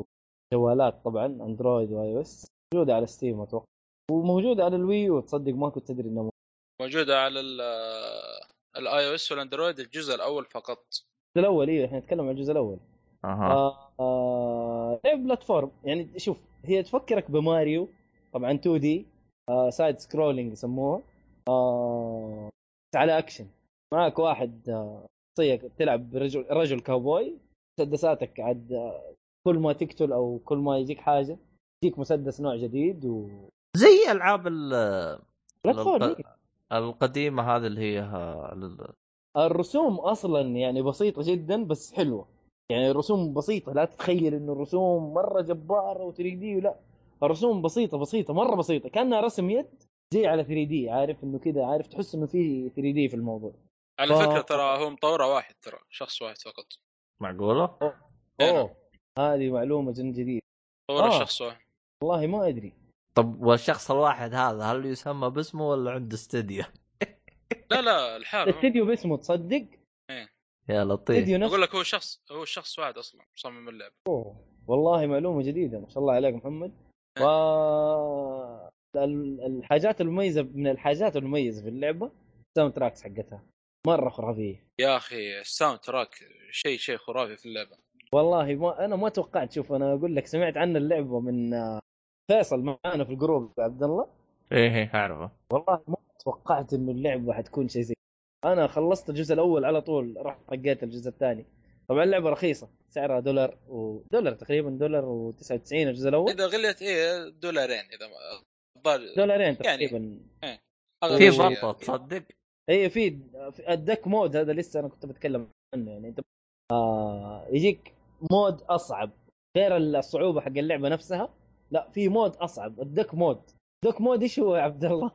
[SPEAKER 3] وجوالات طبعا اندرويد واي او اس موجوده على ستيم اتوقع وموجوده على الوي وتصدق ما كنت تدري انه موجودة.
[SPEAKER 2] موجوده على الاي او اس والاندرويد الجزء الاول فقط
[SPEAKER 3] الجزء الاول ايه احنا نتكلم عن الجزء الاول
[SPEAKER 1] اها
[SPEAKER 3] آه آه لعبه بلاتفورم يعني شوف هي تفكرك بماريو طبعا 2 دي آه سايد سكرولينج يسموها آه بس على اكشن معك واحد آه، شخصيه تلعب برجل رجل كاوبوي مسدساتك عاد آه، كل ما تقتل او كل ما يجيك حاجه يجيك مسدس نوع جديد و
[SPEAKER 1] زي العاب ال-
[SPEAKER 3] بلاتفورم
[SPEAKER 1] الق-
[SPEAKER 3] إيه.
[SPEAKER 1] القديمه هذه اللي هي آه، لل-
[SPEAKER 3] الرسوم اصلا يعني بسيطه جدا بس حلوه يعني الرسوم بسيطه لا تتخيل انه الرسوم مره جباره و 3 دي لا الرسوم بسيطه بسيطه مره بسيطه كانها رسم يد جاي على 3 دي عارف انه كذا عارف تحس انه في 3 دي في الموضوع
[SPEAKER 2] على
[SPEAKER 3] ف-
[SPEAKER 2] فكره ترى هو مطوره واحد ترى شخص واحد فقط
[SPEAKER 1] معقوله؟
[SPEAKER 2] إيه
[SPEAKER 3] اوه هذه معلومه جن جديده
[SPEAKER 2] مطوره
[SPEAKER 3] آه.
[SPEAKER 2] شخص واحد
[SPEAKER 3] والله ما ادري
[SPEAKER 1] طب والشخص الواحد هذا هل يسمى باسمه ولا عنده استديو؟
[SPEAKER 2] لا لا الحال هو.
[SPEAKER 3] الاستديو باسمه تصدق
[SPEAKER 1] يا لطيف
[SPEAKER 3] استديو نفسه
[SPEAKER 2] اقول لك هو شخص هو شخص واحد اصلا مصمم اللعبه
[SPEAKER 3] والله معلومه جديده ما شاء الله عليك محمد و ال- الحاجات المميزه من الحاجات المميزه في اللعبه الساوند تراكس حقتها مره خرافيه
[SPEAKER 2] يا اخي الساوند تراك شيء شيء خرافي في اللعبه
[SPEAKER 3] والله ما انا ما توقعت شوف انا اقول لك سمعت عن اللعبه من آه، فيصل معانا في الجروب عبد الله
[SPEAKER 1] ايه ايه اعرفه
[SPEAKER 3] والله ما توقعت انه اللعبه حتكون شيء زي انا خلصت الجزء الاول على طول رحت طقيت الجزء الثاني طبعا اللعبه رخيصه سعرها دولار ودولار تقريبا دولار و99 الجزء الاول
[SPEAKER 2] اذا غلت ايه دولارين اذا ما الظاهر
[SPEAKER 3] دولارين
[SPEAKER 2] يعني.
[SPEAKER 3] تقريبا
[SPEAKER 2] أغلى
[SPEAKER 1] في
[SPEAKER 2] شيء
[SPEAKER 1] ضبطه
[SPEAKER 2] يعني.
[SPEAKER 1] تصدق؟
[SPEAKER 3] اي إيه، في في الدك مود هذا لسه انا كنت بتكلم عنه يعني انت آه يجيك مود اصعب غير الصعوبه حق اللعبه نفسها لا في مود اصعب الدك مود الدك مود ايش هو يا عبد الله؟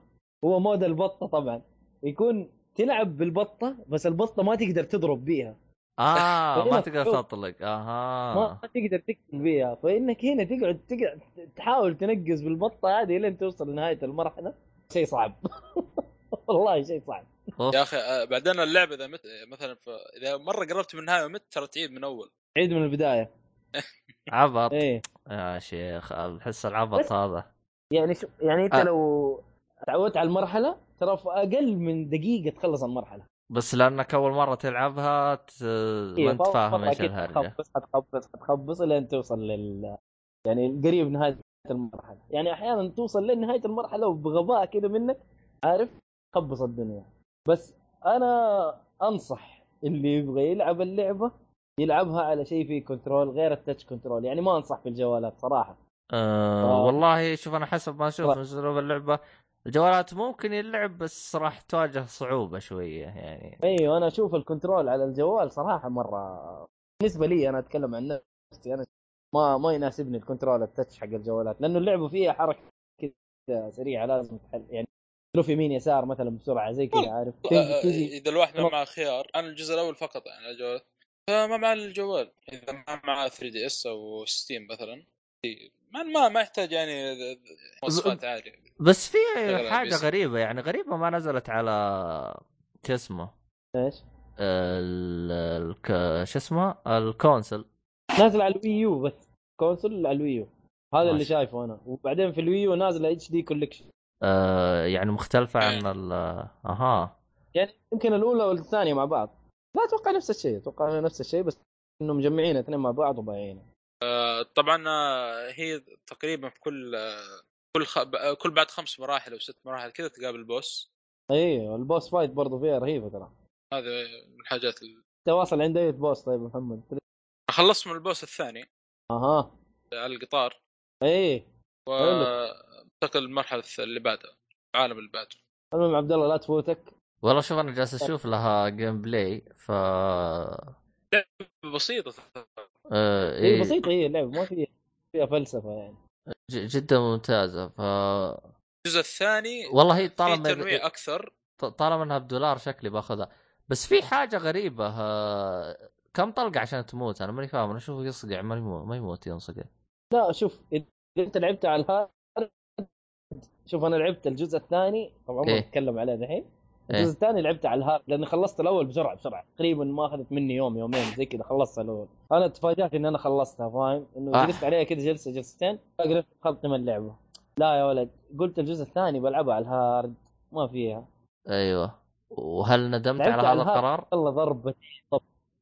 [SPEAKER 3] هو مود البطه طبعا يكون تلعب بالبطه بس البطه ما تقدر تضرب بيها
[SPEAKER 1] اه ما
[SPEAKER 3] [laughs] هنا
[SPEAKER 1] تقدر
[SPEAKER 3] صعوبة.
[SPEAKER 1] تطلق
[SPEAKER 3] ما
[SPEAKER 1] اها
[SPEAKER 3] تقدر تقتل بيها فانك هنا تقعد تقعد تحاول تنقز بالبطه هذه لين توصل لنهايه المرحله شيء صعب [laughs] والله شيء صعب
[SPEAKER 1] أوف.
[SPEAKER 2] يا اخي آه، بعدين اللعبه اذا مت... مثلا ف... اذا مره قربت من النهايه ومت ترى تعيد من اول
[SPEAKER 3] عيد من البدايه
[SPEAKER 1] عبط
[SPEAKER 3] ايه
[SPEAKER 1] يا شيخ احس العبط هذا
[SPEAKER 3] يعني شو يعني انت
[SPEAKER 1] آه.
[SPEAKER 3] آه. لو تعودت على المرحله ترى في اقل من دقيقه تخلص المرحله
[SPEAKER 1] بس لانك اول مره تلعبها ت... ما انت
[SPEAKER 3] فأول
[SPEAKER 1] فاهم
[SPEAKER 3] مرة
[SPEAKER 1] ايش
[SPEAKER 3] إيه، أكيد
[SPEAKER 1] الهرجه
[SPEAKER 3] حتخبص حتخبص حتخبص لين توصل لل يعني قريب نهايه المرحله يعني احيانا توصل لنهايه المرحله وبغباء كذا منك عارف خبص الدنيا بس انا انصح اللي يبغى يلعب اللعبه يلعبها على شيء فيه كنترول غير التاتش كنترول يعني ما انصح في الجوالات صراحه
[SPEAKER 1] أه
[SPEAKER 3] آه.
[SPEAKER 1] والله شوف انا حسب ما اشوف
[SPEAKER 3] صح.
[SPEAKER 1] من اسلوب اللعبه الجوالات ممكن يلعب بس راح تواجه صعوبه شويه يعني
[SPEAKER 3] ايوه انا اشوف الكنترول على الجوال صراحه مره بالنسبه لي انا اتكلم عن نفسي انا ما ما يناسبني الكنترول التتش حق الجوالات لانه اللعبه فيها حركه كذا سريعه لازم تحل يعني تلف يمين يسار مثلا بسرعه زي كذا عارف
[SPEAKER 2] آه،
[SPEAKER 3] تنزل
[SPEAKER 2] آه،
[SPEAKER 3] تجي
[SPEAKER 2] اذا الواحد ما معه خيار انا الجزء الاول فقط يعني على الجوال فما مع الجوال اذا ما معه 3 دي اس او ستيم مثلا ما ما ما يحتاج يعني ذ- ذ- مواصفات عاليه
[SPEAKER 1] بس في
[SPEAKER 2] شغل على
[SPEAKER 1] حاجه
[SPEAKER 2] البيس.
[SPEAKER 1] غريبه إيه، يعني غريبه ما نزلت على شو اسمه
[SPEAKER 3] ايش
[SPEAKER 1] ال... الك- شو اسمه الكونسل
[SPEAKER 3] نازل على الوي يو بس كونسول على الوي يو هذا
[SPEAKER 1] ماشي.
[SPEAKER 3] اللي شايفه انا وبعدين في الوي يو نازله اتش دي كولكشن
[SPEAKER 1] أه يعني مختلفه عن
[SPEAKER 2] إيه.
[SPEAKER 1] ال... اها
[SPEAKER 3] يعني يمكن الاولى والثانيه مع بعض لا اتوقع نفس الشيء اتوقع نفس الشيء بس انه مجمعين اثنين مع بعض وبايعينه
[SPEAKER 2] آه، طبعا آه، هي تقريبا في كل آه، كل خ... ب- آه، كل بعد خمس مراحل او ست مراحل كذا تقابل بوس
[SPEAKER 3] ايوه البوس فايت برضه فيها رهيبه ترى
[SPEAKER 2] هذا من الحاجات ال...
[SPEAKER 3] تواصل عند اي بوس طيب محمد
[SPEAKER 2] خلصت من البوس الثاني
[SPEAKER 3] اها
[SPEAKER 2] على القطار
[SPEAKER 3] ايه
[SPEAKER 2] وانتقل المرحله اللي بعدها العالم اللي بعده
[SPEAKER 3] المهم عبد الله لا تفوتك
[SPEAKER 1] والله شوف انا جالس اشوف لها جيم بلاي ف
[SPEAKER 2] بسيطه
[SPEAKER 1] آه
[SPEAKER 3] هي
[SPEAKER 1] إيه
[SPEAKER 3] بسيطه هي اللعبه ما فيها فيها فلسفه يعني
[SPEAKER 1] ج- جدا ممتازه ف
[SPEAKER 2] الجزء الثاني
[SPEAKER 1] والله هي
[SPEAKER 2] في
[SPEAKER 1] طالما إيه.
[SPEAKER 2] تنويع اكثر
[SPEAKER 1] ط- طالما انها بدولار شكلي باخذها بس
[SPEAKER 2] إيه.
[SPEAKER 1] في حاجه غريبه ها... كم طلقه عشان تموت انا ماني فاهم انا اشوفه يصقع ما يموت ما يموت ينصقع
[SPEAKER 3] لا شوف اذا انت لعبت على الهارد شوف انا لعبت الجزء الثاني طبعا ما
[SPEAKER 1] إيه.
[SPEAKER 3] اتكلم عليه دحين
[SPEAKER 1] إيه.
[SPEAKER 3] الجزء الثاني لعبت على الهارد لاني خلصت الاول بسرعه بسرعه تقريبا ما اخذت مني يوم يومين زي كذا خلصت الاول انا تفاجات ان انا خلصتها فاهم انه
[SPEAKER 1] آه.
[SPEAKER 3] جلست عليها كذا جلسه جلستين اقدر خلطي من اللعبه لا يا ولد قلت الجزء الثاني بلعبها على الهارد ما فيها
[SPEAKER 1] ايوه وهل ندمت
[SPEAKER 3] لعبت
[SPEAKER 1] على
[SPEAKER 3] على
[SPEAKER 1] هذا
[SPEAKER 3] الهارد.
[SPEAKER 1] القرار؟
[SPEAKER 3] والله ضربت طب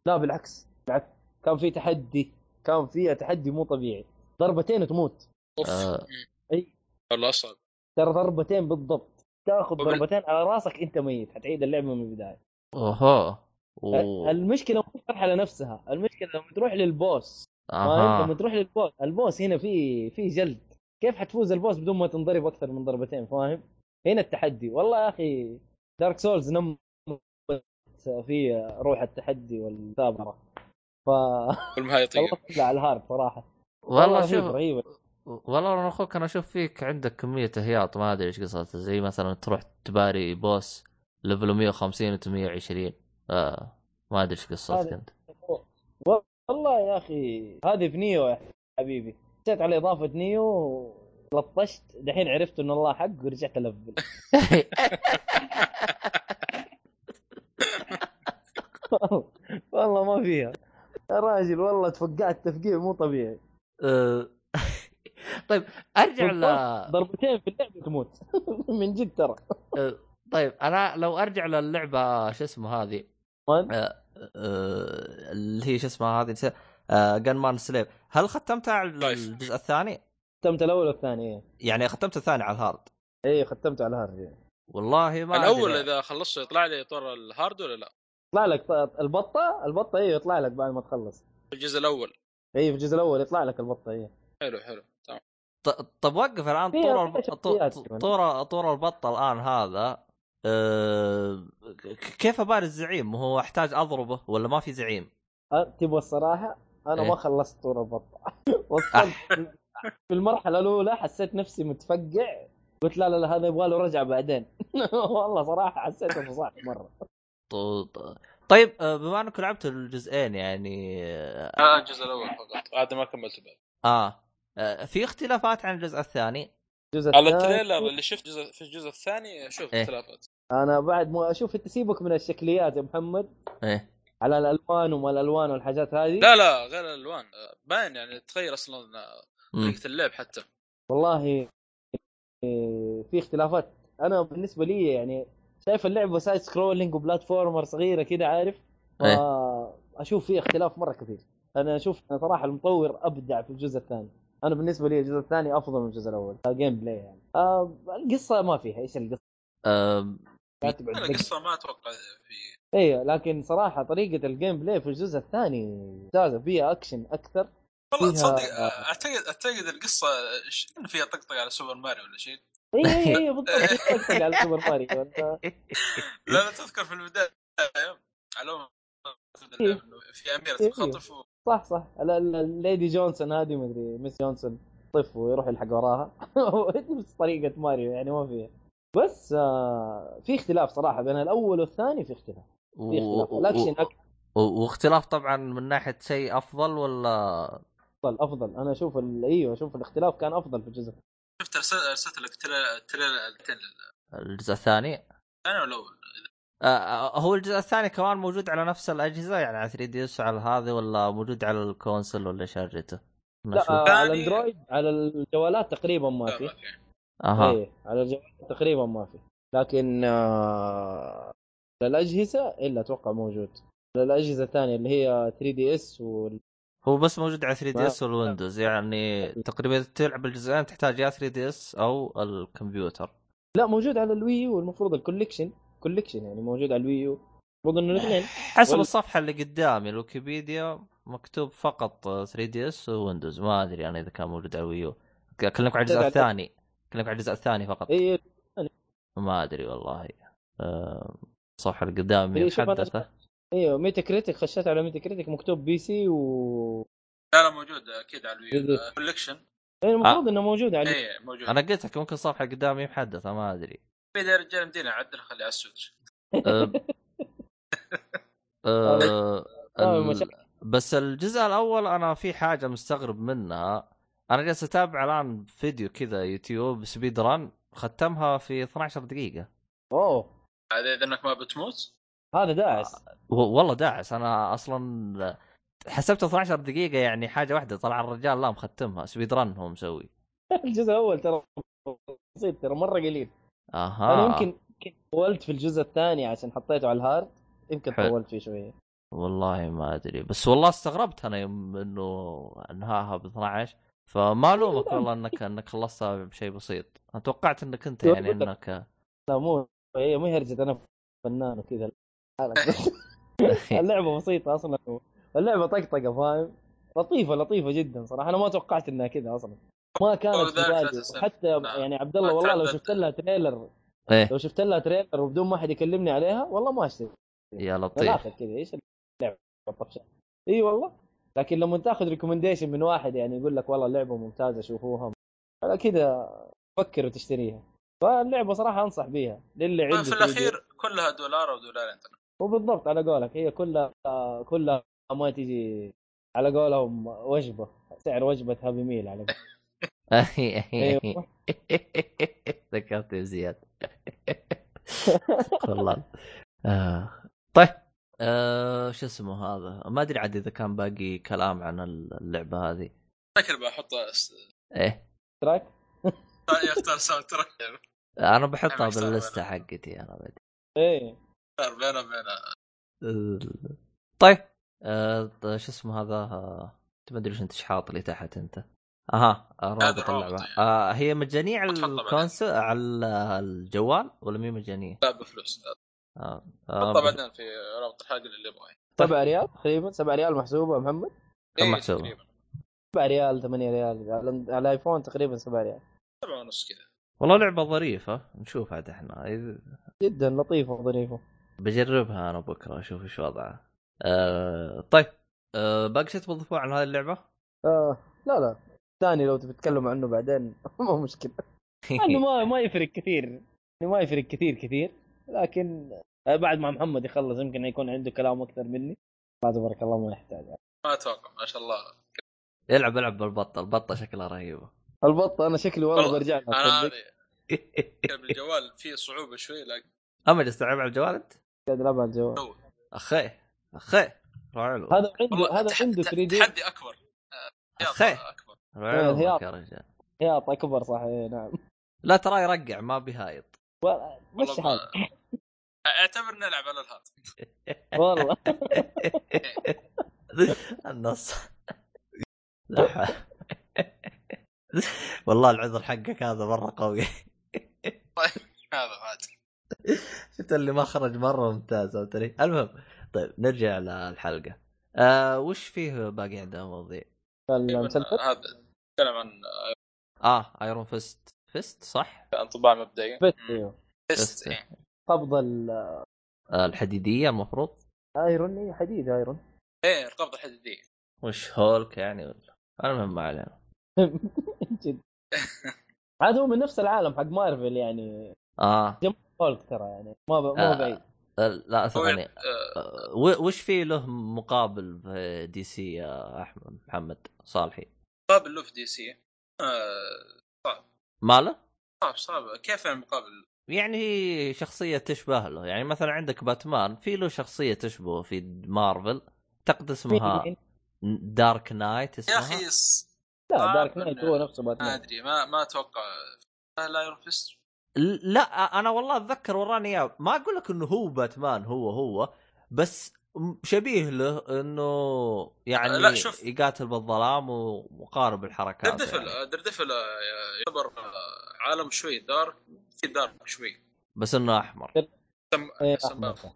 [SPEAKER 3] لا بالعكس بالعكس كان في تحدي كان فيها تحدي مو طبيعي ضربتين وتموت
[SPEAKER 2] اوف
[SPEAKER 1] آه.
[SPEAKER 2] مم.
[SPEAKER 3] أي.
[SPEAKER 2] والله اصعب
[SPEAKER 3] ترى ضربتين بالضبط تاخذ
[SPEAKER 2] وبال-
[SPEAKER 3] ضربتين على راسك انت ميت حتعيد اللعبه من البدايه
[SPEAKER 1] اوهو و...
[SPEAKER 3] المشكله مو في المرحله نفسها المشكله لما تروح للبوس فاهم؟ لما
[SPEAKER 1] اها
[SPEAKER 3] تروح للبوس البوس هنا في في جلد كيف حتفوز البوس بدون ما تنضرب اكثر من ضربتين فاهم هنا التحدي والله يا اخي دارك سولز نمت في روح التحدي والمثابره ف
[SPEAKER 2] والمهاية طيب
[SPEAKER 3] خلصت على الهارد صراحه
[SPEAKER 1] والله
[SPEAKER 3] رهيب-
[SPEAKER 1] شوف
[SPEAKER 3] رهيبه
[SPEAKER 1] والله انا اخوك انا اشوف فيك عندك كميه هياط ما ادري ايش قصته زي مثلا تروح تباري بوس ليفل 150 انت 120 آه ما ادري ايش قصتك
[SPEAKER 3] هذا-
[SPEAKER 1] انت
[SPEAKER 3] إيه، والله يا اخي هذه بنيو يا حبيبي جيت على اضافه نيو لطشت دحين عرفت انه الله حق ورجعت الفل [laughs] والله ما فيها يا راجل والله تفقعت تفقيع مو طبيعي
[SPEAKER 1] [laughs] آه، [laughs] طيب ارجع ل
[SPEAKER 3] ضربتين في اللعبه تموت [laughs] من جد ترى
[SPEAKER 1] آه، طيب انا لو ارجع للعبه شو اسمه هذه
[SPEAKER 3] فاهم؟
[SPEAKER 1] آه، اللي هي شو اسمها هذه جن مان سليب هل ختمتها على
[SPEAKER 2] طيب.
[SPEAKER 1] الجزء الثاني؟
[SPEAKER 3] ختمت الاول والثاني إيه.
[SPEAKER 1] يعني ختمت الثاني على الهارد
[SPEAKER 3] ايه ختمته على الهارد
[SPEAKER 1] والله ما
[SPEAKER 2] الاول
[SPEAKER 1] أدري.
[SPEAKER 2] اذا خلصته يطلع لي طور الهارد ولا لا؟
[SPEAKER 3] يطلع لك ط- البطه البطه ايه يطلع لك بعد ما تخلص
[SPEAKER 2] في الجزء الاول
[SPEAKER 3] ايه في الجزء الاول يطلع لك البطه ايه
[SPEAKER 2] حلو حلو تمام
[SPEAKER 1] ط- طب وقف الان
[SPEAKER 3] فيها-
[SPEAKER 1] طور الب... طو-
[SPEAKER 3] فيها شخصيات
[SPEAKER 1] طو-
[SPEAKER 3] كمان.
[SPEAKER 1] طور طور البط الان هذا أه... ك- كيف اباري الزعيم هو احتاج اضربه ولا ما في زعيم
[SPEAKER 3] أه، تبغى الصراحه انا
[SPEAKER 1] إيه.
[SPEAKER 3] ما خلصت طور
[SPEAKER 2] [laughs]
[SPEAKER 3] البطه وصلت في المرحله الاولى حسيت نفسي متفقع قلت لا لا لا هذا يبغى له رجعه بعدين [laughs] والله صراحه حسيت انه صعب مره
[SPEAKER 1] طو... ط- طيب أه، بما انك لعبت الجزئين يعني اه,
[SPEAKER 2] آه الجزء الاول فقط هذا ما كملت بعد
[SPEAKER 1] آه. أه، في اختلافات عن الجزء الثاني
[SPEAKER 3] الجزء
[SPEAKER 2] على
[SPEAKER 3] الثاني-
[SPEAKER 2] التريلر اللي شفت جزء في الجزء الثاني شوف
[SPEAKER 1] آه، إيه.
[SPEAKER 2] اختلافات
[SPEAKER 3] انا بعد ما اشوف انت سيبك من الشكليات يا محمد
[SPEAKER 1] ايه
[SPEAKER 3] على الالوان وما الالوان والحاجات هذه
[SPEAKER 2] لا لا غير الالوان آه، باين يعني تغير اصلا آه،
[SPEAKER 1] مم.
[SPEAKER 2] طريقه اللعب حتى
[SPEAKER 3] والله إيه، في اختلافات انا بالنسبه لي يعني شايف اللعبه سايد سكرولينج وبلاتفورمر صغيره كده عارف
[SPEAKER 1] إيه.
[SPEAKER 3] فا اشوف في اختلاف مره كثير انا اشوف انا صراحه المطور ابدع في الجزء الثاني انا بالنسبه لي الجزء الثاني افضل من الجزء الاول جيم بلاي يعني آه القصه ما فيها ايش القصه
[SPEAKER 1] أه...
[SPEAKER 3] لا تقعد
[SPEAKER 2] لا،
[SPEAKER 3] تدقق.
[SPEAKER 2] القصه ما اتوقع في
[SPEAKER 3] ايوه لكن صراحه طريقه الجيم بلاي في الجزء الثاني ممتازه فيها اكشن اكثر
[SPEAKER 2] والله
[SPEAKER 3] فيها-
[SPEAKER 2] تصدق آه، اعتقد اعتقد القصه ش- كان فيها طقطقه على سوبر ماريو ولا شيء
[SPEAKER 3] ايوه ايوه ايوه بالضبط طقطق على سوبر ماريو إيه.
[SPEAKER 2] لا لا تذكر في البدايه على أول ما تبدأ اللعبة إنه في اميره
[SPEAKER 3] إيه.
[SPEAKER 2] تنخطف و-
[SPEAKER 3] صح صح ال- ال- الليدي جونسون هذه ما ادري مس جونسون طف ويروح يلحق وراها [laughs] نفس طريقه ماريو يعني ما فيها بس آه في اختلاف صراحه بين الاول والثاني في اختلاف في اختلاف الاكشن افضل
[SPEAKER 1] و... واختلاف طبعا من ناحيه شيء افضل ولا
[SPEAKER 3] افضل انا اشوف ال- ايوه اشوف الاختلاف كان افضل في الجزء
[SPEAKER 2] شفت أرسل- ارسلت لك تريلر تريلر
[SPEAKER 1] الجزء الثاني
[SPEAKER 2] انا الاول
[SPEAKER 1] آه، هو الجزء الثاني كمان موجود على نفس الاجهزه يعني على 3 دي اس وعلى هذه ولا موجود على الكونسل ولا شارجته؟
[SPEAKER 3] لا
[SPEAKER 1] لا
[SPEAKER 3] آه على
[SPEAKER 2] ثاني-
[SPEAKER 3] الاندرويد على الجوالات تقريبا ما
[SPEAKER 2] لا،
[SPEAKER 3] في
[SPEAKER 2] ما في.
[SPEAKER 1] اها
[SPEAKER 3] ايه على الجوالات تقريبا ما في لكن آه للاجهزه الا اتوقع موجود للاجهزه الثانيه اللي هي 3 دي اس وال...
[SPEAKER 1] هو بس موجود على 3 دي اس
[SPEAKER 3] ما-
[SPEAKER 1] والويندوز يعني تقريبا إذا تلعب الجزئين تحتاج يا 3 دي اس او الكمبيوتر
[SPEAKER 3] لا موجود على الوي يو والمفروض الكوليكشن كوليكشن يعني موجود على الوي يو
[SPEAKER 1] نعم.
[SPEAKER 3] المفروض انه الاثنين
[SPEAKER 1] حسب
[SPEAKER 3] وال-
[SPEAKER 1] الصفحه اللي قدامي الويكيبيديا مكتوب فقط 3 دي اس وويندوز ما ادري انا اذا كان موجود على الويو اكلمك على الجزء
[SPEAKER 3] تلعب-
[SPEAKER 1] الثاني اكلمك على الجزء الثاني فقط
[SPEAKER 3] اي
[SPEAKER 1] ما ادري والله آه، الصفحه اللي قدامي
[SPEAKER 3] إيه، شوف أنا-
[SPEAKER 1] محدثه
[SPEAKER 3] ايوه ميتا كريتيك خشيت على ميتا كريتيك مكتوب بي سي و
[SPEAKER 2] لا لا موجود اكيد على الويو
[SPEAKER 3] إيه.
[SPEAKER 2] كوليكشن
[SPEAKER 3] إيه، المفروض
[SPEAKER 1] آه.
[SPEAKER 3] انه موجود على
[SPEAKER 1] إيه.
[SPEAKER 2] اي موجود
[SPEAKER 1] انا قلت لك ممكن الصفحه اللي قدامي محدثه ما ادري
[SPEAKER 3] [laughs]
[SPEAKER 2] في يا رجال مدينه عدل خليها على السويتش
[SPEAKER 1] أه، آه،
[SPEAKER 3] طيب،
[SPEAKER 1] ال-
[SPEAKER 3] مشاكل.
[SPEAKER 1] بس الجزء الاول انا في حاجه مستغرب منها انا جالس اتابع الان فيديو كذا يوتيوب سبيد ران ختمها في 12 دقيقه
[SPEAKER 3] اوه
[SPEAKER 2] هذا اذا انك ما بتموت
[SPEAKER 3] هذا داعس
[SPEAKER 1] و- والله داعس انا اصلا حسبت 12 دقيقه يعني حاجه واحده طلع الرجال لا مختمها سبيد ران هو مسوي
[SPEAKER 3] [laughs] الجزء الاول ترى بسيط ترى مره قليل
[SPEAKER 1] اها
[SPEAKER 3] انا طيب، يمكن يمكن طولت في الجزء الثاني عشان حطيته على الهارد يمكن
[SPEAKER 1] حلو.
[SPEAKER 3] طولت فيه شويه
[SPEAKER 1] والله ما ادري بس والله استغربت انا يوم انه انهاها ب 12 فما الومك والله انك انك خلصتها بشيء بسيط انا توقعت انك انت يعني انك
[SPEAKER 3] لا مو هي مو هرجة انا فنان وكذا
[SPEAKER 2] [laughs]
[SPEAKER 1] إيه.
[SPEAKER 3] [laughs] اللعبه بسيطه اصلا اللعبه طقطقه فاهم لطيفه لطيفه جدا صراحه انا ما توقعت انها كذا اصلا ما كانت في
[SPEAKER 2] وذاك
[SPEAKER 3] بالي
[SPEAKER 2] أساساً.
[SPEAKER 3] حتى
[SPEAKER 2] نعم.
[SPEAKER 3] يعني عبد الله
[SPEAKER 2] ما
[SPEAKER 3] والله لو
[SPEAKER 2] تعدد.
[SPEAKER 3] شفت لها تريلر
[SPEAKER 1] ايه
[SPEAKER 3] لو شفت لها تريلر وبدون ما احد يكلمني عليها والله ما اشتري
[SPEAKER 1] يا لطيف
[SPEAKER 3] بالاخر كذا ايش اللعبه الطفشه اي والله لكن لما تاخذ ريكومنديشن من واحد يعني يقول لك والله اللعبه ممتازه شوفوها على كذا فكر وتشتريها فاللعبه صراحه انصح بيها للي عنده
[SPEAKER 2] في
[SPEAKER 3] 3D.
[SPEAKER 2] الاخير كلها دولار او دولارين تقريباً.
[SPEAKER 3] وبالضبط على قولك هي كلها كلها ما تجي على قولهم وجبه سعر وجبه هابي ميل على قولك.
[SPEAKER 1] إيه.
[SPEAKER 3] أيوة.
[SPEAKER 1] [laughs] ذكرت يا زياد والله آه. طيب آه شو اسمه هذا ما ادري عاد اذا كان باقي كلام عن اللعبه هذه
[SPEAKER 2] فكر بحط س- [laughs]
[SPEAKER 1] ايه
[SPEAKER 3] تراك
[SPEAKER 2] ثاني اختار ساوند تراك [laughs]
[SPEAKER 1] انا
[SPEAKER 2] أنا
[SPEAKER 1] بحطها
[SPEAKER 2] مستغرب
[SPEAKER 1] باللسته
[SPEAKER 2] أنا.
[SPEAKER 1] حقتي انا بدي
[SPEAKER 3] ايه
[SPEAKER 2] اختار بينه وبين
[SPEAKER 1] طيب آه ط- شو اسمه هذا آه، ما ادري ايش انت ايش حاط لي تحت انت اها آه، رابط
[SPEAKER 2] الرابط
[SPEAKER 1] اللعبه
[SPEAKER 2] يعني.
[SPEAKER 1] آه هي مجانيه على
[SPEAKER 2] بتحطها بعدين.
[SPEAKER 1] الكونسول على الجوال ولا مي مجانيه؟
[SPEAKER 2] لا بفلوس
[SPEAKER 1] آه.
[SPEAKER 2] حطها
[SPEAKER 1] آه
[SPEAKER 2] بعدين في رابط الحلقه اللي يبغاه
[SPEAKER 3] سبع ريال تقريبا سبع ريال محسوبه يا محمد
[SPEAKER 1] كم
[SPEAKER 2] إيه،
[SPEAKER 1] محسوبة؟
[SPEAKER 2] تقريبا
[SPEAKER 3] سبع ريال ثمانية ريال على على الايفون تقريبا سبع ريال
[SPEAKER 2] سبعة ونص كذا
[SPEAKER 1] والله لعبه ظريفه نشوف عاد احنا إذ-
[SPEAKER 3] جدا لطيفه وظريفه
[SPEAKER 1] بجربها انا بكره اشوف ايش وضعها آه طيب آه باقي شيء تبغى تضيفوه عن هذه اللعبه؟
[SPEAKER 3] آه لا لا الثاني لو تبي تتكلم عنه بعدين [laughs] ما مشكله
[SPEAKER 1] [laughs]
[SPEAKER 3] عنه ما ما يفرق كثير يعني ما يفرق كثير كثير لكن آه، بعد ما محمد يخلص يمكن يكون عنده كلام اكثر مني لا تبارك الله ما يحتاج
[SPEAKER 2] ما اتوقع ما شاء الله
[SPEAKER 1] العب العب بالبطه البطه شكلها [laughs] رهيبه
[SPEAKER 3] البطه انا شكلي والله
[SPEAKER 2] والله
[SPEAKER 3] برجع لها
[SPEAKER 2] انا
[SPEAKER 3] تصدق.
[SPEAKER 2] هذه بالجوال فيه صعوبه شوي لكن
[SPEAKER 1] اما جالس تلعب على الجوال انت؟
[SPEAKER 3] قاعد العبها على الجوال
[SPEAKER 2] هو.
[SPEAKER 1] اخي اخي روح علو
[SPEAKER 3] هذا عنده
[SPEAKER 2] والله
[SPEAKER 3] هذا
[SPEAKER 2] تح-
[SPEAKER 3] عنده
[SPEAKER 2] تح-
[SPEAKER 3] 3 دي
[SPEAKER 2] تحدي اكبر آه، يلا،
[SPEAKER 1] أخي.
[SPEAKER 2] اكبر
[SPEAKER 1] روح علومك
[SPEAKER 3] هياط.
[SPEAKER 1] يا رجال
[SPEAKER 3] ياط اكبر صح إيه، نعم
[SPEAKER 1] لا ترى يرقع ما بهايط
[SPEAKER 3] و- مش
[SPEAKER 2] والله ما-
[SPEAKER 3] حالك
[SPEAKER 2] اعتبر نلعب على الهات [laughs]
[SPEAKER 3] والله
[SPEAKER 1] [laughs] النص لا حول. [laughs] والله العذر حقك هذا مره قوي [laughs]
[SPEAKER 2] هذا هات
[SPEAKER 1] شفت اللي ما خرج مره ممتاز فهمت علي؟ المهم طيب نرجع للحلقه آه وش فيه باقي عندنا مواضيع؟
[SPEAKER 3] المسلسل
[SPEAKER 2] آه، هذا نتكلم عن
[SPEAKER 1] اه ايرون فيست فيست صح؟
[SPEAKER 2] انطباع مبدئي
[SPEAKER 3] بس ايوه
[SPEAKER 2] بس
[SPEAKER 1] بس.
[SPEAKER 2] إيه.
[SPEAKER 3] قبضه ال-
[SPEAKER 1] آه الحديديه المفروض
[SPEAKER 3] ايرون إيه، حديد ايرون
[SPEAKER 2] ايه القبضه الحديديه
[SPEAKER 1] وش هولك يعني ولا المهم ما علينا
[SPEAKER 3] [laughs] جد عاد هو من نفس العالم حق مارفل يعني
[SPEAKER 1] اه
[SPEAKER 3] هولك ترى يعني ما ب... ما
[SPEAKER 1] آه.
[SPEAKER 3] هو بعيد
[SPEAKER 1] لا ثواني
[SPEAKER 2] آه،
[SPEAKER 1] آه، و- وش في له مقابل في دي سي يا احمد محمد صالحي
[SPEAKER 2] مقابل له في دي سي آه،
[SPEAKER 1] ماله؟
[SPEAKER 2] صعب صعب كيف يعني مقابل
[SPEAKER 1] يعني شخصية تشبه له يعني مثلا عندك باتمان في له شخصية تشبهه في مارفل تقد اسمها
[SPEAKER 3] مين- مين؟
[SPEAKER 1] دارك نايت
[SPEAKER 2] يا
[SPEAKER 1] اسمها
[SPEAKER 2] اخي ص-
[SPEAKER 3] لا
[SPEAKER 2] آه،
[SPEAKER 3] دارك
[SPEAKER 2] من-
[SPEAKER 3] نايت هو نفسه
[SPEAKER 2] ما
[SPEAKER 3] باتمان
[SPEAKER 2] ادري ما ما اتوقع آه، لا يروح فيست
[SPEAKER 1] ل- لا انا والله اتذكر وراني اياه ما اقول لك انه هو باتمان هو هو بس م- شبيه له انه يعني
[SPEAKER 2] لا، شوف.
[SPEAKER 1] يقاتل بالظلام ومقارب الحركات يعني.
[SPEAKER 2] دردفل آه، دردفل يعتبر آه، عالم شوي دارك في دارك شوي
[SPEAKER 1] بس انه احمر
[SPEAKER 2] سم-
[SPEAKER 3] إيه،
[SPEAKER 2] سم-
[SPEAKER 3] أحمر.
[SPEAKER 2] دارك.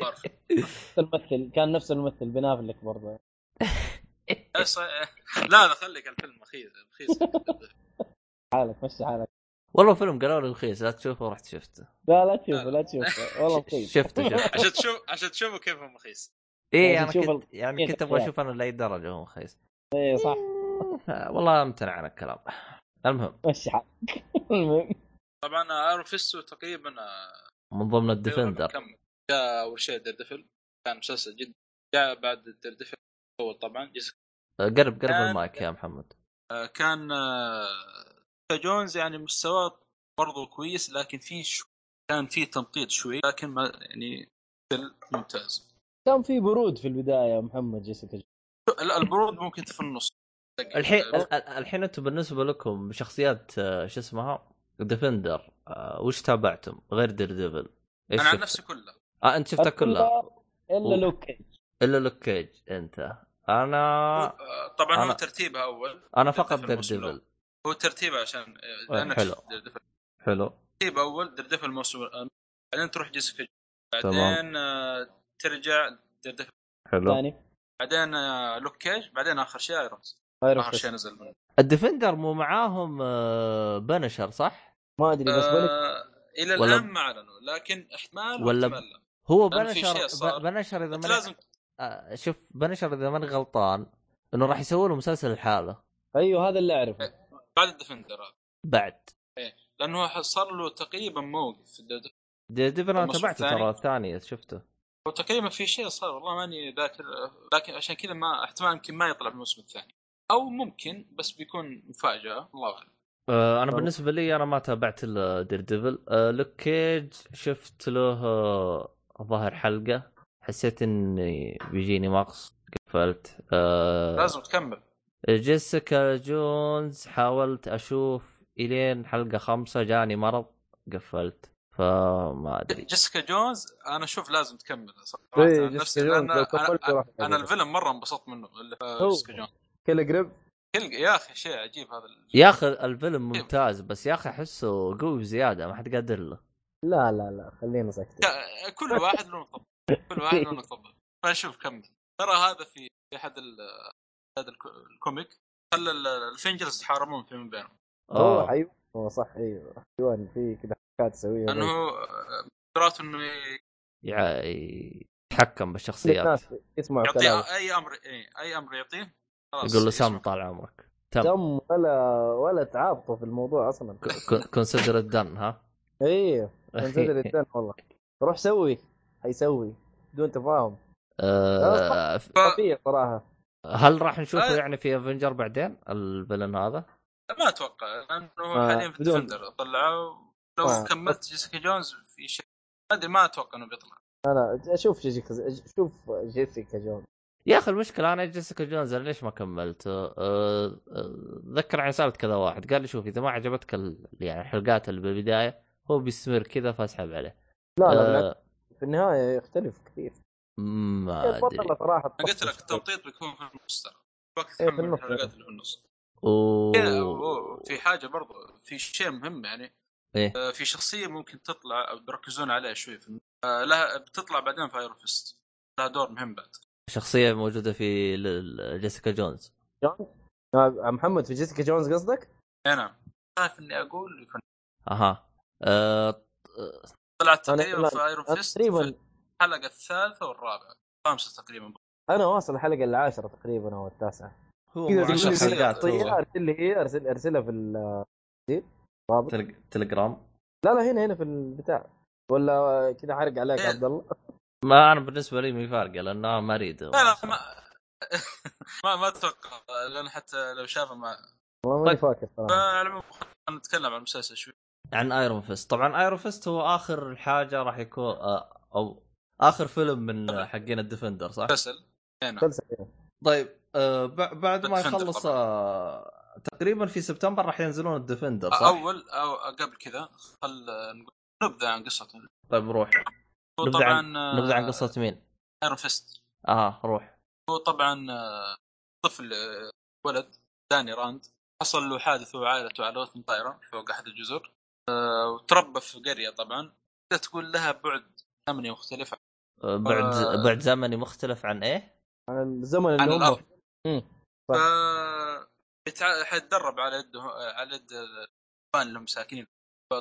[SPEAKER 3] نفس الممثل كان نفس الممثل بنافلك برضه
[SPEAKER 2] بس، آه، لا لا خليك الفيلم رخيص رخيص
[SPEAKER 3] حالك مشي حالك
[SPEAKER 1] والله فيلم قالوا لي رخيص لا تشوفه رحت شفته
[SPEAKER 3] لا لا تشوفه لا
[SPEAKER 2] [laughs]
[SPEAKER 3] تشوفه والله
[SPEAKER 1] ش-
[SPEAKER 3] مخيف
[SPEAKER 1] شفته شفته
[SPEAKER 3] [laughs]
[SPEAKER 2] عشان تشوف عشان تشوفوا كيف هو رخيص
[SPEAKER 1] ايه
[SPEAKER 3] يعني
[SPEAKER 1] انا
[SPEAKER 3] تشوف
[SPEAKER 1] كنت يعني
[SPEAKER 3] الخير
[SPEAKER 1] كنت ابغى
[SPEAKER 3] يعني.
[SPEAKER 1] اشوف انا لاي درجه هو مخيس
[SPEAKER 3] اي إيه، صح
[SPEAKER 1] آه، والله امتنع عن الكلام المهم
[SPEAKER 3] مشي حالك [laughs] المهم
[SPEAKER 2] طبعا ايرون فيستو تقريبا آه،
[SPEAKER 1] من ضمن
[SPEAKER 2] تقريباً
[SPEAKER 1] الديفندر
[SPEAKER 2] كم جاء اول شيء دردفل كان مسلسل جدا جاء بعد دردفل اول طبعا جزء
[SPEAKER 1] أه، قرب قرب
[SPEAKER 2] كان-
[SPEAKER 1] المايك يا محمد
[SPEAKER 2] آه، كان آه، جونز يعني مستواه برضو كويس لكن في شو... كان في تمطيط شوي لكن ما يعني ممتاز
[SPEAKER 3] كان في برود في البدايه يا محمد جيسيكا
[SPEAKER 2] لا البرود ممكن في النص
[SPEAKER 1] الحين
[SPEAKER 2] آه،
[SPEAKER 1] ال- ال- أه، الحين انتم بالنسبه لكم شخصيات آه، شو اسمها ديفندر أه، وش تابعتم غير دير ديفل ايش
[SPEAKER 2] انا عن
[SPEAKER 1] شفت؟
[SPEAKER 2] نفسي كله
[SPEAKER 1] آه انت شفتها كلها
[SPEAKER 3] الا
[SPEAKER 1] أوه.
[SPEAKER 3] لوك كيج.
[SPEAKER 1] الا لوك كيج انت انا
[SPEAKER 2] آه، طبعا هو
[SPEAKER 1] أنا-
[SPEAKER 2] ترتيبها اول
[SPEAKER 1] انا فقط
[SPEAKER 2] Daredevil
[SPEAKER 1] دير
[SPEAKER 2] الموسم
[SPEAKER 1] ديفل
[SPEAKER 2] هو ترتيبها عشان آه،
[SPEAKER 1] آه،
[SPEAKER 2] لأنك
[SPEAKER 1] حلو.
[SPEAKER 2] شفت Daredevil.
[SPEAKER 1] حلو
[SPEAKER 2] ترتيب اول دردفل الموسم الأول. بعدين تروح جيسيكا
[SPEAKER 1] تمام.
[SPEAKER 2] بعدين آه، ترجع دردفل
[SPEAKER 1] حلو
[SPEAKER 3] ثاني
[SPEAKER 2] بعدين آه، لوك كيج بعدين اخر شيء ايرون
[SPEAKER 3] غير
[SPEAKER 2] اخر
[SPEAKER 3] القصة.
[SPEAKER 2] شيء نزل منه
[SPEAKER 1] الديفندر مو معاهم آه، بنشر صح؟
[SPEAKER 3] ما ادري بس بقول
[SPEAKER 2] آه الى
[SPEAKER 1] ولا-
[SPEAKER 2] الان ما اعلنوا لكن احتمال
[SPEAKER 1] ولا-
[SPEAKER 2] ولا احتمال لا
[SPEAKER 1] هو
[SPEAKER 2] لأن في شيء
[SPEAKER 1] بنشر
[SPEAKER 2] صار.
[SPEAKER 1] ب- بنشر اذا
[SPEAKER 2] انت
[SPEAKER 1] ماني
[SPEAKER 2] لازم
[SPEAKER 1] آه، شوف بنشر اذا ماني غلطان انه راح يسوي له مسلسل لحاله
[SPEAKER 3] ايوه هذا اللي
[SPEAKER 2] إيه،
[SPEAKER 3] اعرفه
[SPEAKER 2] بعد الديفندر هذا
[SPEAKER 1] بعد
[SPEAKER 2] لانه ح- صار له تقريبا موقف في الديفندر.
[SPEAKER 1] دير ديفل انا
[SPEAKER 2] الموسم
[SPEAKER 1] تابعته
[SPEAKER 2] الثاني؟
[SPEAKER 1] ترى الثاني شفته
[SPEAKER 2] هو تقريبا في شيء صار والله ماني ذاكر لكن عشان كذا ما احتمال يمكن ما يطلع في الموسم الثاني او ممكن بس بيكون مفاجاه الله اعلم
[SPEAKER 4] إيه.
[SPEAKER 1] آه، انا
[SPEAKER 3] طب-
[SPEAKER 1] بالنسبه لي انا ما تابعت الا دير ديفل آه، لوك كيج شفت له آه، ظاهر حلقه حسيت اني بيجيني مقص قفلت آه،
[SPEAKER 2] لازم تكمل
[SPEAKER 1] جيسيكا جونز حاولت اشوف الين حلقه خمسة جاني مرض قفلت فما ادري
[SPEAKER 2] جيسيكا جونز انا اشوف لازم تكمل صراحه
[SPEAKER 3] إيه،
[SPEAKER 4] اي
[SPEAKER 2] عن نفسي
[SPEAKER 4] إيه، جيسيكا جونز
[SPEAKER 2] لأن
[SPEAKER 4] لو كملت
[SPEAKER 2] انا,
[SPEAKER 4] راح
[SPEAKER 2] أنا
[SPEAKER 3] يعني.
[SPEAKER 2] الفيلم مره انبسطت منه اللي
[SPEAKER 4] هو.
[SPEAKER 2] في جيسيكا جونز
[SPEAKER 4] كل قريب
[SPEAKER 2] كل- يا اخي شيء عجيب هذا ال-
[SPEAKER 1] يا اخي الفيلم ممتاز بس يا اخي احسه قوي بزياده ما حد قادر له
[SPEAKER 3] لا لا لا خلينا ساكتين
[SPEAKER 2] لا، كل واحد له نقطه كل واحد له نقطه فشوف كمل ترى هذا في في احد ال- هذا الك- الكوميك خلى ال- الفينجرز يتحاربون فيما بينهم
[SPEAKER 3] هو
[SPEAKER 1] آه.
[SPEAKER 3] حيوان هو صح ايوه حيوان في كذا حركات تسويها
[SPEAKER 2] انه
[SPEAKER 3] زي-
[SPEAKER 2] آه، قدراته انه
[SPEAKER 1] يع- يتحكم بالشخصيات
[SPEAKER 3] الناس يسمعوا كلام
[SPEAKER 2] يعطيه اي امر إيه، اي امر يعطيه خلاص
[SPEAKER 1] يقول له
[SPEAKER 2] يسمع.
[SPEAKER 1] سم طال عمرك تم
[SPEAKER 3] دم ولا ولا تعاطفوا في الموضوع اصلا
[SPEAKER 1] كونسيدر الدن ها
[SPEAKER 3] ايوه [laughs] كونسيدر الدن والله روح سوي حيسوي بدون تفاهم
[SPEAKER 1] [laughs] آه،
[SPEAKER 2] ف-
[SPEAKER 3] طبيعي صراحه
[SPEAKER 1] هل راح نشوفه
[SPEAKER 2] آه.
[SPEAKER 1] يعني في افنجر بعدين الفيلن هذا؟
[SPEAKER 2] ما اتوقع لانه
[SPEAKER 3] ما-
[SPEAKER 2] حاليا في
[SPEAKER 3] آه، بدون- آه.
[SPEAKER 2] الديفندر طلعوه لو
[SPEAKER 3] ما-
[SPEAKER 2] كملت جيسيكا جونز في شيء ما ادري ما اتوقع انه بيطلع
[SPEAKER 3] انا اشوف جيسيكا شوف جيسيكا جون
[SPEAKER 1] يا اخي المشكله انا جيسيكا جونز أنا ليش ما كملت؟ أه، أه، اتذكر عن سالت كذا واحد قال لي شوف اذا ما عجبتك ال- يعني الحلقات اللي بالبدايه هو بيستمر كذا فاسحب عليه.
[SPEAKER 3] لا لا بالعكس،
[SPEAKER 1] أه
[SPEAKER 3] في النهايه يختلف كثير
[SPEAKER 1] ما ادري
[SPEAKER 3] البطلة صراحه
[SPEAKER 2] انا قلت لك
[SPEAKER 3] تطفش.
[SPEAKER 2] التمطيط بيكون في النص ترى وقت
[SPEAKER 3] إيه، في
[SPEAKER 2] تحمل
[SPEAKER 3] النص.
[SPEAKER 2] الحلقات اللي في النص
[SPEAKER 1] و...
[SPEAKER 2] كذا، و- في حاجه برضو في شيء مهم يعني
[SPEAKER 1] إيه.
[SPEAKER 2] آه، في شخصيه ممكن تطلع أو بيركزون عليها شوي في الم- آه، لها بتطلع بعدين في ايرون فيست لها دور مهم بعد
[SPEAKER 1] شخصيه موجوده في ل- ل- جيسيكا جونز
[SPEAKER 3] جون آه، محمد في جيسيكا جونز قصدك؟
[SPEAKER 2] اي نعم خايف اني اقول يكون
[SPEAKER 1] اها أه...
[SPEAKER 2] طلعت
[SPEAKER 3] أنا-
[SPEAKER 2] تقريبا
[SPEAKER 3] لا،
[SPEAKER 2] في ايرون
[SPEAKER 3] أنا
[SPEAKER 2] فيست
[SPEAKER 3] تقريبا
[SPEAKER 2] في الحلقه الثالثه والرابعه خامسه تقريبا
[SPEAKER 3] انا واصل الحلقه العاشره تقريبا او التاسعه
[SPEAKER 1] هو
[SPEAKER 3] كذا
[SPEAKER 1] مو
[SPEAKER 2] عشر
[SPEAKER 3] تقول لي
[SPEAKER 1] عشر
[SPEAKER 2] شخصيات.
[SPEAKER 1] حلقات
[SPEAKER 3] طيب
[SPEAKER 1] هو
[SPEAKER 3] ارسل لي هي ارسل ارسلها في ال رابط
[SPEAKER 1] تلق- تلجرام
[SPEAKER 3] لا لا هنا هنا في البتاع ولا كذا حرق عليك
[SPEAKER 2] إيه.
[SPEAKER 3] عبد الله
[SPEAKER 1] ما انا بالنسبه لي مي فارقه لانه ما اريد
[SPEAKER 2] لا لا ما [laughs] ما ما اتوقع لان حتى لو شافه ما
[SPEAKER 3] والله ماني
[SPEAKER 1] طيب.
[SPEAKER 3] فاكر صراحه
[SPEAKER 2] فعلى العموم خلينا نتكلم عن المسلسل شوي
[SPEAKER 1] عن ايرون فيست طبعا ايرون فيست هو اخر حاجه راح يكون آه، او اخر فيلم من حقين الديفندر صح؟
[SPEAKER 2] مسلسل إي نعم.
[SPEAKER 3] مسلسل يعني.
[SPEAKER 1] طيب آه، ب- بعد ما
[SPEAKER 2] الديفندر
[SPEAKER 1] يخلص
[SPEAKER 2] طبعاً.
[SPEAKER 1] آه، تقريبا في سبتمبر راح ينزلون الديفندر صح؟
[SPEAKER 2] اول او قبل كذا خل نقول- نبدا عن قصته آه،
[SPEAKER 1] طيب روح
[SPEAKER 2] هو
[SPEAKER 1] نبدأ عن-
[SPEAKER 2] طبعا
[SPEAKER 1] نبدا عن قصه مين؟
[SPEAKER 2] ايرون فيست
[SPEAKER 1] اه روح
[SPEAKER 2] هو طبعا آه، طفل آه، ولد داني راند حصل له حادث هو وعائلته على وثن طائره فوق احد الجزر آه، وتربى في قريه طبعا تقدر تقول لها بعد امني مختلف
[SPEAKER 1] آه، بعد
[SPEAKER 2] آه.
[SPEAKER 1] بعد زمني مختلف عن ايه؟
[SPEAKER 3] عن
[SPEAKER 2] عن
[SPEAKER 3] الزمن اللي هم
[SPEAKER 2] الارض
[SPEAKER 3] صح.
[SPEAKER 2] ف بتع- حيتدرب على يد على يد الاخوان اللي هم ساكنين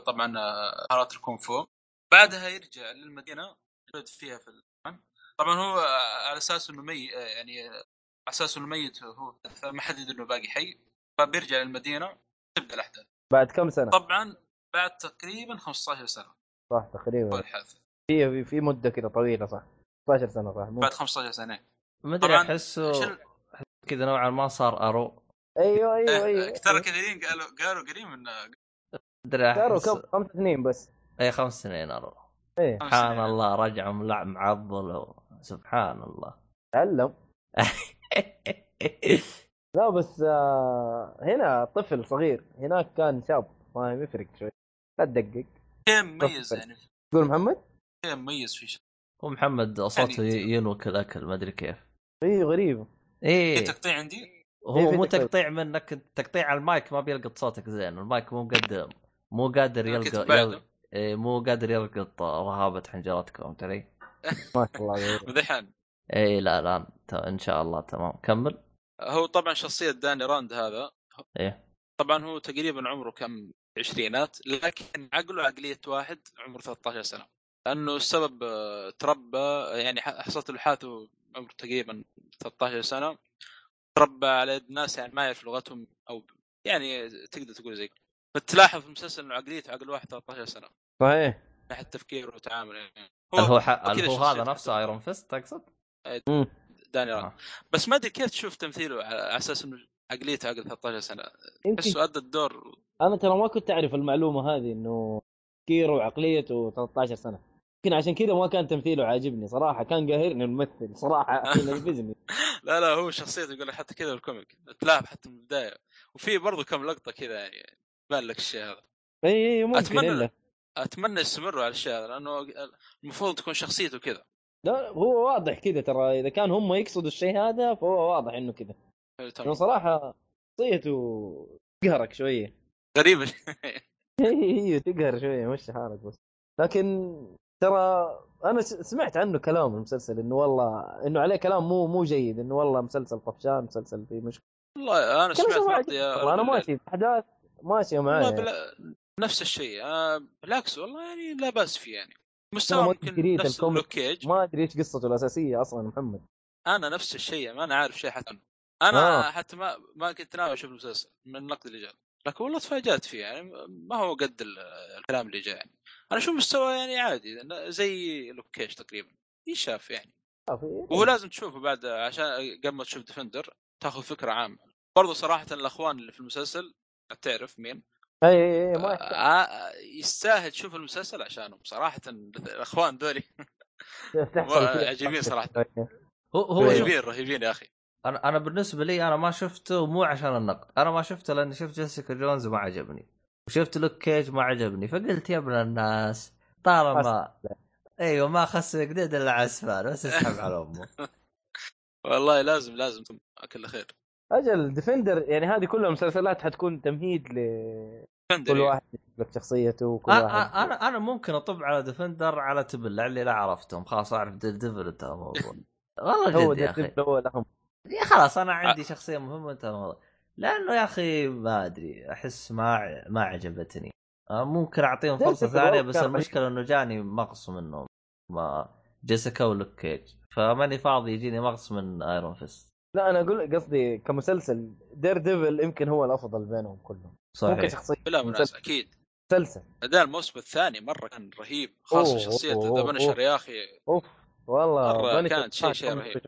[SPEAKER 2] طبعا آه، مهارات الكونغ فو بعدها يرجع للمدينه يولد فيها في العالم. طبعا هو آه، على اساس انه ميت يعني آه، على اساس انه ميت هو فما حد يدري انه باقي حي فبيرجع للمدينه تبدا الاحداث
[SPEAKER 3] بعد كم سنه
[SPEAKER 2] طبعا بعد تقريبا 15 سنه
[SPEAKER 3] صح تقريبا
[SPEAKER 2] طيب. هو الحادث
[SPEAKER 3] في في مده كذا طويله صح 15 سنه صح مو
[SPEAKER 2] بعد 15 سنه
[SPEAKER 1] ما ادري
[SPEAKER 2] طبعاً،
[SPEAKER 1] احسه
[SPEAKER 2] عشان-
[SPEAKER 1] كذا نوعا ما صار ارو
[SPEAKER 3] ايوه
[SPEAKER 2] إيه،
[SPEAKER 3] ايوه ايوه
[SPEAKER 2] ترى كثيرين قالوا قالوا قريب من
[SPEAKER 1] ادري
[SPEAKER 3] صاروا
[SPEAKER 1] احس
[SPEAKER 3] كم خمس سنين بس
[SPEAKER 1] اي إيه، خمس سنين ارو
[SPEAKER 3] ايه
[SPEAKER 2] خمس
[SPEAKER 1] سبحان
[SPEAKER 2] سنين.
[SPEAKER 1] الله رجع ملع معضل سبحان
[SPEAKER 2] [laughs]
[SPEAKER 1] الله
[SPEAKER 3] تعلم لا بس آه هنا طفل صغير هناك كان شاب فاهم يفرق شوي لا تدقق
[SPEAKER 2] شيء مميز يعني
[SPEAKER 3] تقول محمد؟
[SPEAKER 2] شيء مميز في شيء
[SPEAKER 1] هو محمد صوته
[SPEAKER 2] يعني-
[SPEAKER 1] ي- ينوك الاكل ما ادري كيف
[SPEAKER 3] اي إيه، غريب
[SPEAKER 2] في
[SPEAKER 1] ايه
[SPEAKER 2] تقطيع عندي
[SPEAKER 1] هو
[SPEAKER 3] إيه، في
[SPEAKER 1] مو
[SPEAKER 3] تقطيع.
[SPEAKER 1] تقطيع منك تقطيع على المايك ما بيلقط صوتك زين المايك مو مقدم مو قادر
[SPEAKER 2] كنت
[SPEAKER 1] يلقط
[SPEAKER 2] بعده.
[SPEAKER 1] يل... إيه، مو قادر يلقط رهابه حنجرتكم ترى
[SPEAKER 3] ما شاء الله غريب.
[SPEAKER 2] مدحان
[SPEAKER 1] اي لا الان ت- ان شاء الله تمام كمل
[SPEAKER 2] هو طبعا شخصيه داني راند هذا
[SPEAKER 1] ايه
[SPEAKER 2] طبعا هو تقريبا عمره كم عشرينات لكن عقله عقليه واحد عمره 13 سنه لانه السبب آه، تربى يعني ح- حصلت له حادثه عمره تقريبا 13 سنه تربى على يد ناس يعني ما يعرف لغتهم او يعني تقدر تقول زي كده. فتلاحظ في المسلسل انه عقليته عقل واحد 13 سنه من
[SPEAKER 3] صحيح
[SPEAKER 2] ناحيه تفكيره وتعامله يعني.
[SPEAKER 1] هل هو ح... هل
[SPEAKER 2] وكذا
[SPEAKER 1] هو هذا
[SPEAKER 2] شخصية
[SPEAKER 1] نفسه ايرون فيست تقصد؟
[SPEAKER 2] داني راند.
[SPEAKER 1] آه.
[SPEAKER 2] بس ما ادري كيف تشوف تمثيله على على اساس انه عقليته عقل 13 سنه
[SPEAKER 3] يمكن
[SPEAKER 2] احسه ادى الدور
[SPEAKER 3] انا ترى ما كنت اعرف المعلومه هذه انه كيرو عقليته 13 سنه يمكن عشان كذا ما كان تمثيله عاجبني صراحه كان قاهرني الممثل صراحه ينرفزني
[SPEAKER 2] لا لا هو شخصيته يقول حتى كذا الكوميك تلاعب حتى من البدايه وفي برضه كم لقطه كذا يعني يبان لك الشيء هذا
[SPEAKER 3] اي اي إيه، ممكن
[SPEAKER 2] أتمنى-
[SPEAKER 3] إلا.
[SPEAKER 2] اتمنى يستمروا على الشيء هذا لانه المفروض تكون شخصيته كذا
[SPEAKER 3] لا هو واضح كذا ترى اذا كان هم يقصدوا الشيء هذا فهو واضح انه كذا لانه صراحه شخصيته تقهرك شويه
[SPEAKER 2] غريبه
[SPEAKER 3] هي هي إيه، تقهر شويه مش حالك بس لكن ترى انا س- سمعت عنه كلام المسلسل انه والله انه عليه كلام مو مو جيد انه والله مسلسل طفشان مسلسل فيه مشكله
[SPEAKER 2] والله انا
[SPEAKER 3] كلام
[SPEAKER 2] سمعت
[SPEAKER 3] شو
[SPEAKER 2] لقطه
[SPEAKER 3] ما عجبني
[SPEAKER 2] يا
[SPEAKER 3] والله انا ماشي الاحداث ماشيه
[SPEAKER 2] والله
[SPEAKER 3] معايا
[SPEAKER 2] بلا... نفس الشيء آه، بالعكس والله يعني لا باس فيه يعني مستوى
[SPEAKER 3] أنا ما
[SPEAKER 2] ممكن
[SPEAKER 3] قريت
[SPEAKER 2] نفس
[SPEAKER 3] الكوميك.
[SPEAKER 2] لوكيج
[SPEAKER 3] ما ادري ايش قصته الاساسيه اصلا محمد
[SPEAKER 2] انا نفس الشيء ما انا عارف شيء حتى عنه. انا
[SPEAKER 3] آه.
[SPEAKER 2] حتى ما ما كنت ناوي اشوف المسلسل من النقد اللي جاء لكن والله تفاجات فيه يعني ما هو قد ال- الكلام اللي جاء يعني انا اشوف مستوى يعني عادي زي لوكيش تقريبا يشاف يعني
[SPEAKER 3] آه، في-
[SPEAKER 2] وهو لازم تشوفه بعد عشان قبل ما تشوف ديفندر تاخذ فكره عامه برضو صراحه الاخوان اللي في المسلسل تعرف مين
[SPEAKER 3] اي اي اي إيه، ما يحتاج.
[SPEAKER 2] آه، يستاهل تشوف المسلسل عشانهم صراحه الاخوان ذولي
[SPEAKER 3] [laughs] تحصل كذا.
[SPEAKER 2] عجيبين صراحة.
[SPEAKER 1] هو
[SPEAKER 3] أيوه.
[SPEAKER 1] هو
[SPEAKER 3] طيب.
[SPEAKER 1] شوف،
[SPEAKER 2] رهيبين رهيبين يا اخي
[SPEAKER 1] انا انا بالنسبه لي انا ما شفته مو عشان النقد انا ما شفته لاني شفت جيسيكا جونز وما عجبني وشفت لوك كيج ما عجبني فقلت يا ابن الناس طالما ايوه ما خس قديد الا على اسفل بس اسحب على
[SPEAKER 3] [laughs]
[SPEAKER 1] امه
[SPEAKER 2] والله لازم لازم اكل خير
[SPEAKER 3] اجل ديفندر يعني هذه كلها مسلسلات حتكون تمهيد لكل
[SPEAKER 2] ديفندر يعني.
[SPEAKER 3] واحد يجيب لك شخصيته وكل
[SPEAKER 1] أ-
[SPEAKER 2] آه،
[SPEAKER 1] أ-
[SPEAKER 3] واحد
[SPEAKER 1] انا انا ممكن اطب على ديفندر على تبلع اللي لا عرفتهم خلاص اعرف دير ديفل انتهى الموضوع
[SPEAKER 3] [laughs]
[SPEAKER 1] والله
[SPEAKER 3] هو
[SPEAKER 1] جد يا
[SPEAKER 3] ديفندر
[SPEAKER 1] اخي
[SPEAKER 3] هو الاهم
[SPEAKER 1] يا يعني خلاص انا عندي شخصيه مهمه انتهى الموضوع لانه يا اخي ما ادري احس ما ما عجبتني آه، ممكن اعطيهم
[SPEAKER 3] جيسيكا
[SPEAKER 1] فرصه ثانيه
[SPEAKER 3] برضه
[SPEAKER 1] بس
[SPEAKER 3] كان
[SPEAKER 1] المشكله انه جاني مغص منهم ما جيسيكا ولوك كيج فماني فاضي يجيني مغص من ايرون فيست
[SPEAKER 3] لا انا اقول قصدي كمسلسل دير ديفل يمكن هو الافضل بينهم كلهم ممكن
[SPEAKER 1] صحيح
[SPEAKER 3] شخصيه
[SPEAKER 2] بلا منازع
[SPEAKER 3] مسلسل
[SPEAKER 2] اكيد
[SPEAKER 3] مسلسل
[SPEAKER 2] اداء الموسم الثاني مره كان رهيب خاصه
[SPEAKER 3] أوه،
[SPEAKER 2] شخصيه
[SPEAKER 3] أوه،
[SPEAKER 2] ذا
[SPEAKER 3] أوه،
[SPEAKER 2] بنشر يا اخي
[SPEAKER 3] اوف والله
[SPEAKER 2] مرة
[SPEAKER 3] Punisher
[SPEAKER 2] كانت شيء- شيء
[SPEAKER 3] كان-
[SPEAKER 2] رهيب.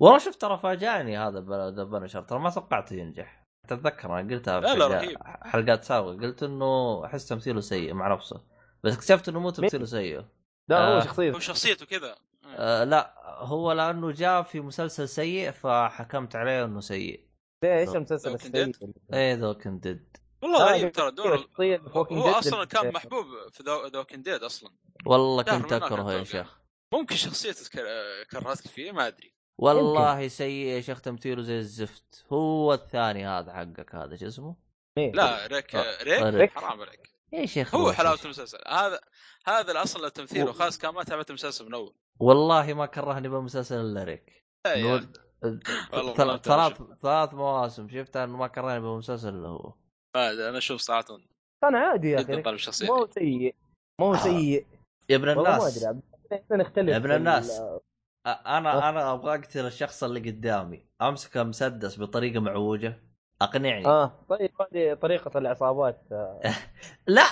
[SPEAKER 1] والله شوف ترى فاجأني هذا ب- ذا بنشر ترى ما توقعته ينجح تتذكر انا قلتها في
[SPEAKER 2] لا لا،
[SPEAKER 1] حلقة-
[SPEAKER 2] رهيب.
[SPEAKER 1] حلقات سابقه قلت انه احس تمثيله سيء مع نفسه بس اكتشفت انه مو تمثيله سيء
[SPEAKER 3] لا
[SPEAKER 1] آه.
[SPEAKER 3] هو شخصيه
[SPEAKER 2] هو شخصيته كذا
[SPEAKER 1] آه لا هو لانه جاء في مسلسل سيء فحكمت عليه انه سيء
[SPEAKER 3] ليش المسلسل
[SPEAKER 2] Walking
[SPEAKER 3] السيء اللي-
[SPEAKER 1] ايه ذا كنت ديد
[SPEAKER 2] والله
[SPEAKER 3] آه،
[SPEAKER 2] رهيب ترى دور
[SPEAKER 3] شخصية في Walking
[SPEAKER 2] هو
[SPEAKER 3] Dead إيه.
[SPEAKER 2] اصلا
[SPEAKER 3] اللي-
[SPEAKER 2] كان محبوب في ذا ووكينج ديد اصلا
[SPEAKER 1] والله
[SPEAKER 2] شهر
[SPEAKER 1] كنت
[SPEAKER 2] من هناك
[SPEAKER 1] اكرهه يا
[SPEAKER 2] أتوقع.
[SPEAKER 1] شيخ
[SPEAKER 2] ممكن شخصيته تك- كرهتك فيه ما ادري
[SPEAKER 3] إيه.
[SPEAKER 1] والله سيء يا شيخ تمثيله زي الزفت هو الثاني هذا حقك هذا شو اسمه؟
[SPEAKER 3] إيه.
[SPEAKER 2] لا ريك
[SPEAKER 1] آه،
[SPEAKER 2] ريك
[SPEAKER 1] ريك.
[SPEAKER 2] حرام عليك
[SPEAKER 1] يا شيخ
[SPEAKER 2] إيه؟ هو
[SPEAKER 1] روح.
[SPEAKER 2] حلاوه المسلسل هذا هذا الاصل تمثيله
[SPEAKER 1] و-
[SPEAKER 2] خاص كان ما تابعت المسلسل من اول
[SPEAKER 1] والله ما كرهني بالمسلسل الا ريك
[SPEAKER 2] لا يا
[SPEAKER 1] نود-
[SPEAKER 2] والله ما
[SPEAKER 1] ثلاث
[SPEAKER 2] أنت
[SPEAKER 1] ثلاث ثلاث مواسم شفتها انه ما كرهني بالمسلسل الا هو
[SPEAKER 2] ما أدري، انا اشوف صراحه
[SPEAKER 3] كان عادي يا
[SPEAKER 2] جدا
[SPEAKER 3] اخي
[SPEAKER 2] طالب شخصيه
[SPEAKER 3] ما هو سيء ما هو
[SPEAKER 1] آه.
[SPEAKER 3] سيء
[SPEAKER 1] يا ابن
[SPEAKER 3] والله ما ادري
[SPEAKER 1] الناس
[SPEAKER 3] عبد احنا نختلف
[SPEAKER 1] يا ابن
[SPEAKER 3] في
[SPEAKER 1] الناس.
[SPEAKER 3] ال- أه.
[SPEAKER 1] أ- انا انا ابغى اقتل الشخص اللي قدامي امسك مسدس بطريقه معوجه اقنعني
[SPEAKER 3] اه طيب هذه طريقه العصابات آه.
[SPEAKER 1] لا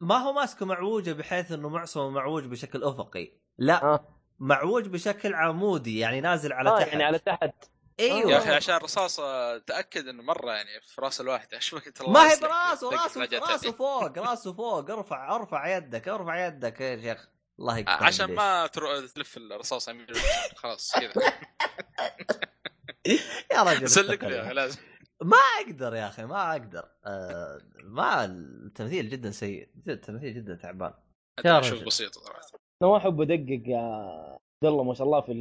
[SPEAKER 1] ما هو ماسكه معوجه بحيث انه معصمه معوج بشكل افقي لا
[SPEAKER 3] آه.
[SPEAKER 1] معوج بشكل عمودي يعني نازل على
[SPEAKER 3] آه
[SPEAKER 1] تحت
[SPEAKER 3] يعني على آه. تحت
[SPEAKER 1] ايوه
[SPEAKER 2] يا اخي عشان آه، الرصاصه تاكد انه مره يعني في راس الواحد [laughs] عشان ما كنت الله
[SPEAKER 1] ما هي
[SPEAKER 2] يصلحك
[SPEAKER 1] براسه
[SPEAKER 2] تدقق
[SPEAKER 1] راسه
[SPEAKER 2] حاجات
[SPEAKER 1] راسه
[SPEAKER 2] يعني.
[SPEAKER 1] فوق راسه فوق ارفع ارفع يدك ارفع يدك يا شيخ الله يقطع
[SPEAKER 2] آه، عشان
[SPEAKER 1] ليش.
[SPEAKER 2] ما ترو... تلف الرصاصه يمين ويمين. [laughs] خلاص كذا
[SPEAKER 1] يا رجل
[SPEAKER 2] سلك
[SPEAKER 1] اتقل.
[SPEAKER 2] لي لازم
[SPEAKER 1] ما اقدر يا اخي ما اقدر آه ما التمثيل جدا سيء جد- التمثيل جدا تعبان يا
[SPEAKER 2] اشوف
[SPEAKER 1] رجل.
[SPEAKER 2] بسيطه صراحه
[SPEAKER 3] انا ما احب ادقق يا عبد الله ما شاء الله في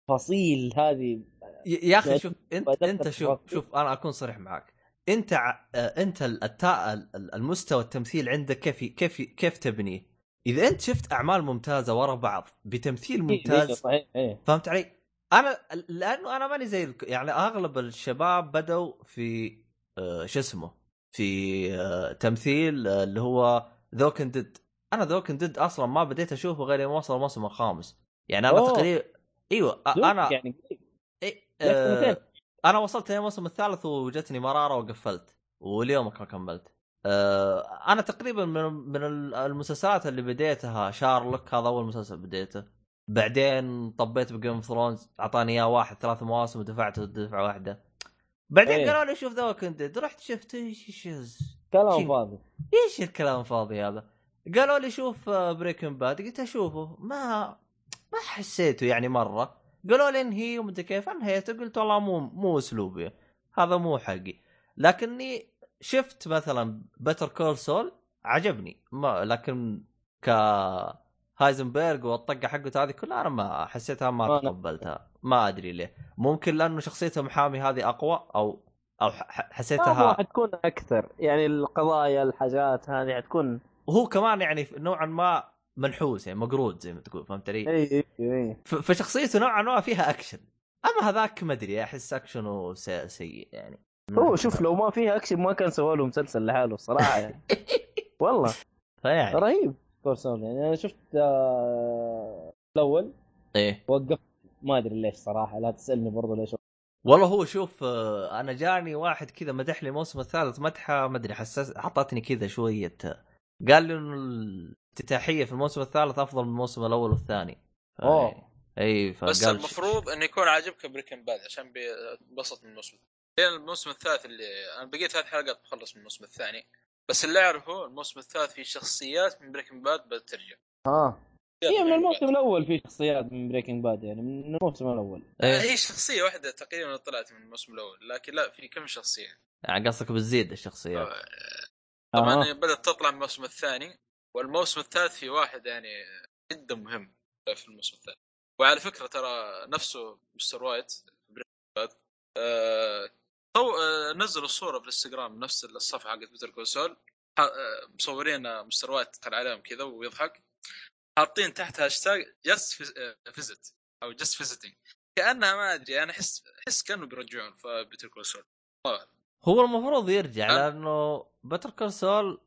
[SPEAKER 3] التفاصيل هذه
[SPEAKER 1] ي- يا اخي
[SPEAKER 3] لا
[SPEAKER 1] شوف انت
[SPEAKER 3] بدقق
[SPEAKER 1] انت شوف
[SPEAKER 3] بالتفاصيل.
[SPEAKER 1] شوف انا اكون صريح معك انت ع- آه، انت ال- التا- ال- ال- المستوى التمثيل عندك كيف ي- كيف ي- كيف تبنيه؟ اذا انت شفت اعمال ممتازه ورا بعض بتمثيل
[SPEAKER 3] إيه،
[SPEAKER 1] ممتاز
[SPEAKER 3] صحيح ايه
[SPEAKER 1] فهمت علي؟ انا لانه انا ماني زي الك- يعني اغلب الشباب بدوا في آه، شو اسمه؟ في آه، تمثيل آه، اللي هو ذوكن ديد انا ذوكن ديد اصلا ما بديت اشوفه غير يوم وصل الموسم الخامس يعني انا
[SPEAKER 3] أوه.
[SPEAKER 1] تقريبا ايوه آ-
[SPEAKER 3] دوك
[SPEAKER 1] انا
[SPEAKER 3] يعني قريب.
[SPEAKER 1] إيه
[SPEAKER 3] لك
[SPEAKER 1] آه
[SPEAKER 3] سنتين.
[SPEAKER 1] انا وصلت للموسم الثالث وجتني مراره وقفلت وليومك ما كملت آه انا تقريبا من من ال- المسلسلات اللي بديتها شارلوك هذا اول مسلسل بديته بعدين طبيت بجيم اوف ثرونز اعطاني اياه واحد ثلاث مواسم ودفعته دفعه واحده بعدين
[SPEAKER 3] إيه.
[SPEAKER 1] قالوا لي شوف ذا كنت رحت شفت ايش ايش
[SPEAKER 3] كلام
[SPEAKER 1] شيء.
[SPEAKER 3] فاضي
[SPEAKER 1] ايش الكلام الفاضي هذا قالوا لي شوف بريكن باد قلت اشوفه ما ما حسيته يعني مره قالوا لي انهي ومدري كيف انهيته قلت والله مو مو اسلوبي هذا مو حقي لكني شفت مثلا بتر كول سول عجبني ما لكن ك هايزنبرغ والطقه حقته هذه كلها انا ما حسيتها ما
[SPEAKER 3] ما أنا-
[SPEAKER 1] تقبلتها ما ادري ليه ممكن لانه شخصيه المحامي هذه اقوى او او ح- ح- حسيتها
[SPEAKER 3] ما حتكون اكثر يعني القضايا الحاجات هذه حتكون
[SPEAKER 1] وهو كمان يعني نوعا ما منحوس يعني مقرود زي ما تقول فهمت علي؟
[SPEAKER 3] اي اي اي
[SPEAKER 1] ف- فشخصيته نوعا ما فيها اكشن اما هذاك ما ادري احس اكشنه سي- سيء يعني [laughs]
[SPEAKER 3] هو شوف لو ما فيها اكشن ما كان سوى له مسلسل لحاله الصراحه [laughs] يعني والله
[SPEAKER 1] فيعني
[SPEAKER 3] رهيب كورسون يعني انا شفت آه، الاول
[SPEAKER 1] ايه
[SPEAKER 3] وقفت ما ادري ليش صراحه لا تسالني برضو ليش
[SPEAKER 1] والله هو شوف آه، انا جاني واحد كذا مدح لي الموسم الثالث مدحه ما ادري حسس حطتني كذا شويه آه، قال لي انه الافتتاحيه في الموسم الثالث افضل من الموسم الاول والثاني
[SPEAKER 3] أوه.
[SPEAKER 1] فيعني- اي فقال
[SPEAKER 2] بس المفروض انه يكون عاجبك بريكن باد عشان بينبسط من الموسم لين الموسم الثالث اللي انا بقيت ثلاث حلقات بخلص من الموسم الثاني بس اللي اعرفه الموسم الثالث فيه شخصيات من بريكن باد بترجع
[SPEAKER 3] ها هي من الموسم الاول في شخصيات من بريكنج باد يعني من الموسم الاول
[SPEAKER 1] إيه.
[SPEAKER 2] هي شخصيه واحده تقريبا طلعت من الموسم الاول لكن لا في كم آه، شخصيه
[SPEAKER 1] يعني قصدك بتزيد الشخصيات
[SPEAKER 2] طبعا
[SPEAKER 3] آه.
[SPEAKER 2] هي بدات تطلع من الموسم الثاني والموسم الثالث في واحد يعني جدا مهم في الموسم الثاني وعلى فكره ترى نفسه مستر وايت بريكنج باد آه، تو آه، نزلوا صوره في الانستغرام نفس الصفحه حقت بيتر كونسول آه، مصورين مستر وايت كان عليهم كذا ويضحك حاطين تحت هاشتاج جاست فيزت او جاست فيزيتنج كانها ما ادري انا احس احس كانه بيرجعون في بيتر كونسول
[SPEAKER 1] هو المفروض يرجع
[SPEAKER 2] أه.
[SPEAKER 1] لانه بتر كونسول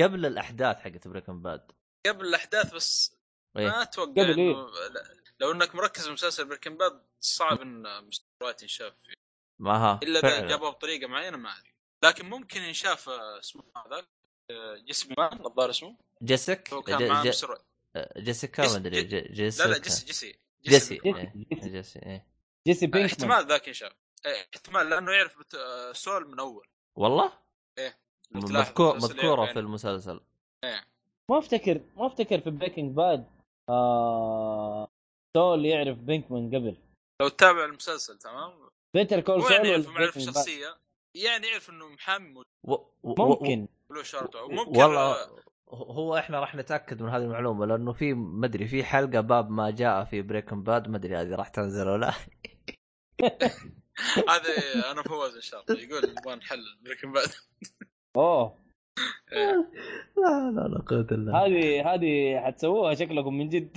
[SPEAKER 1] قبل الاحداث حقت بريكن باد
[SPEAKER 2] قبل الاحداث بس ما
[SPEAKER 1] إيه.
[SPEAKER 2] اتوقع
[SPEAKER 3] قبل إيه؟
[SPEAKER 2] انه لا- لو انك مركز بمسلسل بريكن باد صعب ان مستويات ينشاف فيه
[SPEAKER 1] ما ها
[SPEAKER 2] الا اذا
[SPEAKER 1] فعلاً.
[SPEAKER 2] جابوه بطريقه معينه ما ادري لكن ممكن ينشاف آه، اسمه هذا آه، جيسيكا مان الظاهر اسمه
[SPEAKER 1] جيسك
[SPEAKER 2] هو
[SPEAKER 1] ج-
[SPEAKER 2] كان مع
[SPEAKER 1] ج-
[SPEAKER 2] مستر وايت.
[SPEAKER 1] آه، جيسيكا
[SPEAKER 2] جيس-
[SPEAKER 1] ما ادري
[SPEAKER 2] جي-
[SPEAKER 1] ج- جيسيكا
[SPEAKER 2] لا لا جيسي جيسي
[SPEAKER 1] جيسي
[SPEAKER 2] بينكمان.
[SPEAKER 1] إيه.
[SPEAKER 3] جيسي-
[SPEAKER 1] جيسي إيه.
[SPEAKER 3] جيسي
[SPEAKER 2] آه،
[SPEAKER 3] بينكمان
[SPEAKER 2] احتمال ذاك ينشاف آه، احتمال لانه يعرف بت- آه، سول من اول
[SPEAKER 1] والله
[SPEAKER 2] لو
[SPEAKER 1] م-
[SPEAKER 2] تلاحظ
[SPEAKER 1] مذكور
[SPEAKER 2] المسلسل
[SPEAKER 1] مذكوره
[SPEAKER 2] يعني.
[SPEAKER 1] في المسلسل
[SPEAKER 3] ما افتكر ما افتكر في بريكنج باد آه... سول يعرف بينكمان قبل
[SPEAKER 2] لو تتابع المسلسل تمام
[SPEAKER 3] بيتر كول
[SPEAKER 2] مو
[SPEAKER 3] سول
[SPEAKER 2] يعني يعرف
[SPEAKER 3] ولا
[SPEAKER 2] معرفه
[SPEAKER 3] بريكنج باد
[SPEAKER 2] شخصيه يعني يعرف انه محامي موجود
[SPEAKER 1] و... و... و-
[SPEAKER 3] ممكن
[SPEAKER 2] له
[SPEAKER 1] و-
[SPEAKER 2] شرطه
[SPEAKER 1] و-
[SPEAKER 2] وممكن
[SPEAKER 1] إيه، والله
[SPEAKER 2] آه،
[SPEAKER 1] هو احنا راح نتاكد من هذه المعلومه لانه في ما ادري في حلقه باب ما جاء في بريكن باد ما ادري هذه راح تنزل ولا لا. [laughs]
[SPEAKER 2] هذا انا فواز ان شاء الله يقول نبغى نحل بريكن باد
[SPEAKER 3] اوه
[SPEAKER 2] إيه.
[SPEAKER 1] آه. لا لا لا قوه الا بالله.
[SPEAKER 3] هذه هذه حتسووها شكلكم من جد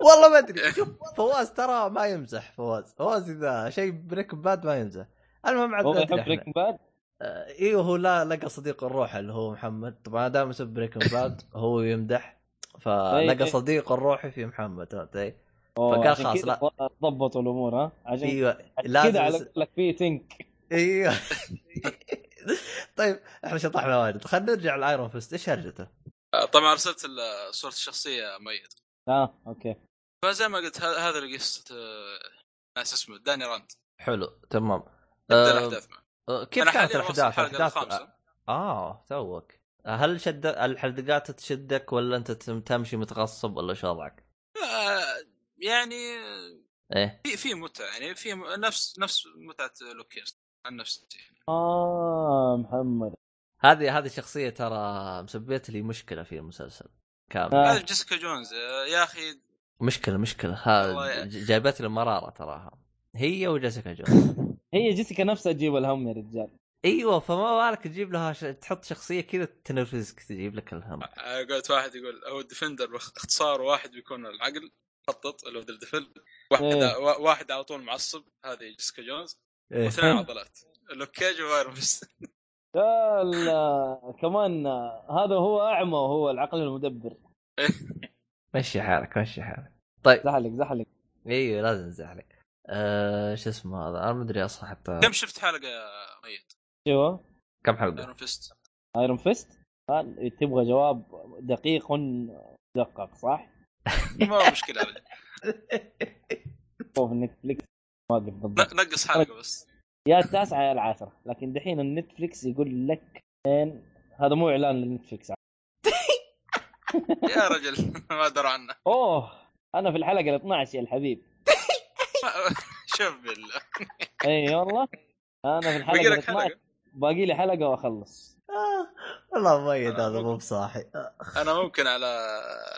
[SPEAKER 1] والله ما
[SPEAKER 3] [laughs]
[SPEAKER 1] ادري شوف فواز ترى ما يمزح فواز فواز اذا شيء بريك باد ما يمزح المهم عاد
[SPEAKER 3] هو
[SPEAKER 1] ما أدري
[SPEAKER 3] يحب
[SPEAKER 1] إحنا.
[SPEAKER 3] بريكنج باد
[SPEAKER 1] آه، ايوه هو لا لقى صديق الروح اللي هو محمد طبعا دام اسم بريكن
[SPEAKER 3] [laughs]
[SPEAKER 1] باد هو يمدح فلقى
[SPEAKER 3] طيب.
[SPEAKER 1] صديق الروح في محمد فهمت علي؟
[SPEAKER 3] أوه،
[SPEAKER 1] فقال
[SPEAKER 3] عشان
[SPEAKER 1] خلاص،
[SPEAKER 3] كذا ضبطوا الامور ها عشان
[SPEAKER 1] ايوه
[SPEAKER 3] عشان
[SPEAKER 1] لازم
[SPEAKER 3] كذا على
[SPEAKER 1] يصير-
[SPEAKER 3] لك في تنك
[SPEAKER 1] ايوه [laughs] طيب احنا شطحنا واجد خلينا نرجع لايرون فيست ايش هرجته؟
[SPEAKER 2] آه، طبعا ارسلت ال- صوره الشخصيه ميت
[SPEAKER 3] اه اوكي
[SPEAKER 2] فزي ما قلت ه- هذا اللي قصه آه، ناس اسمه داني راند
[SPEAKER 1] حلو تمام
[SPEAKER 2] ابدا
[SPEAKER 1] آه،
[SPEAKER 2] الاحداث معه
[SPEAKER 1] آه، كيف
[SPEAKER 2] انا
[SPEAKER 1] كانت
[SPEAKER 2] حاليا واصل
[SPEAKER 1] الاحداث؟
[SPEAKER 2] الحلقه
[SPEAKER 1] الاحداث
[SPEAKER 2] الخامسه
[SPEAKER 1] اه توك هل شد الحلقات تشدك ولا انت تم- تمشي متغصب ولا شو وضعك؟
[SPEAKER 2] آه، يعني آه،
[SPEAKER 1] ايه
[SPEAKER 2] في في متعه يعني في م- نفس نفس متعه لوكيرز عن نفسي
[SPEAKER 3] اه محمد
[SPEAKER 1] هذه هذه شخصيه ترى مسبيت لي مشكله في المسلسل كامل
[SPEAKER 3] آه.
[SPEAKER 2] هذا جيسيكا جونز آه، يا اخي
[SPEAKER 1] مشكله مشكله
[SPEAKER 2] والله
[SPEAKER 1] ها
[SPEAKER 2] يا-
[SPEAKER 1] ج- جايبت لي مراره تراها هي وجيسيكا [laughs] جونز
[SPEAKER 3] هي جيسيكا نفسها تجيب الهم يا رجال
[SPEAKER 1] ايوه فما بالك تجيب لها ش... تحط شخصيه كذا تنرفزك تجيب لك الهم
[SPEAKER 2] آه، قلت واحد يقول هو الديفندر باخ- اختصار واحد بيكون العقل مخطط اللي هو الدفل واحد
[SPEAKER 3] إيه.
[SPEAKER 2] وا- واحد على طول معصب هذه جيسيكا جونز
[SPEAKER 1] إيه.
[SPEAKER 2] واثنين عضلات لوك كيج وفاير فيست.
[SPEAKER 3] يا ال- كمان آه، هذا هو اعمى وهو العقل المدبر
[SPEAKER 1] [laughs] مشي حالك مشي حالك طيب
[SPEAKER 3] زحلق زحلق
[SPEAKER 1] ايوه لازم نزعلك أه... شو اسمه هذا انا ما ادري اصلا حتى
[SPEAKER 2] كم شفت حلقه ميت
[SPEAKER 3] شو
[SPEAKER 1] كم حلقه
[SPEAKER 2] ايرون فيست
[SPEAKER 3] ايرون فيست قال تبغى جواب دقيق دقق صح؟
[SPEAKER 2] ما
[SPEAKER 1] [laughs]
[SPEAKER 2] مشكله ابدا
[SPEAKER 3] هو في نتفلكس ما ادري بالضبط
[SPEAKER 2] ن- نقص حلقه
[SPEAKER 1] طيب.
[SPEAKER 2] بس
[SPEAKER 3] يا التاسعه يا العاشره لكن دحين النتفلكس يقول لك إن هذا مو اعلان للنتفلكس
[SPEAKER 2] يا رجل [laughs] ما ادري عنه
[SPEAKER 3] اوه انا في الحلقه ال 12 يا الحبيب
[SPEAKER 2] ما- شوف بالله
[SPEAKER 3] اي والله انا إيه، في الحلقه
[SPEAKER 2] باقي
[SPEAKER 3] ال
[SPEAKER 2] لك
[SPEAKER 3] 12
[SPEAKER 2] حلقه
[SPEAKER 3] باقي لي حلقه واخلص
[SPEAKER 1] آه، والله ميت هذا
[SPEAKER 2] ممكن.
[SPEAKER 1] مو بصاحي آه.
[SPEAKER 2] انا ممكن على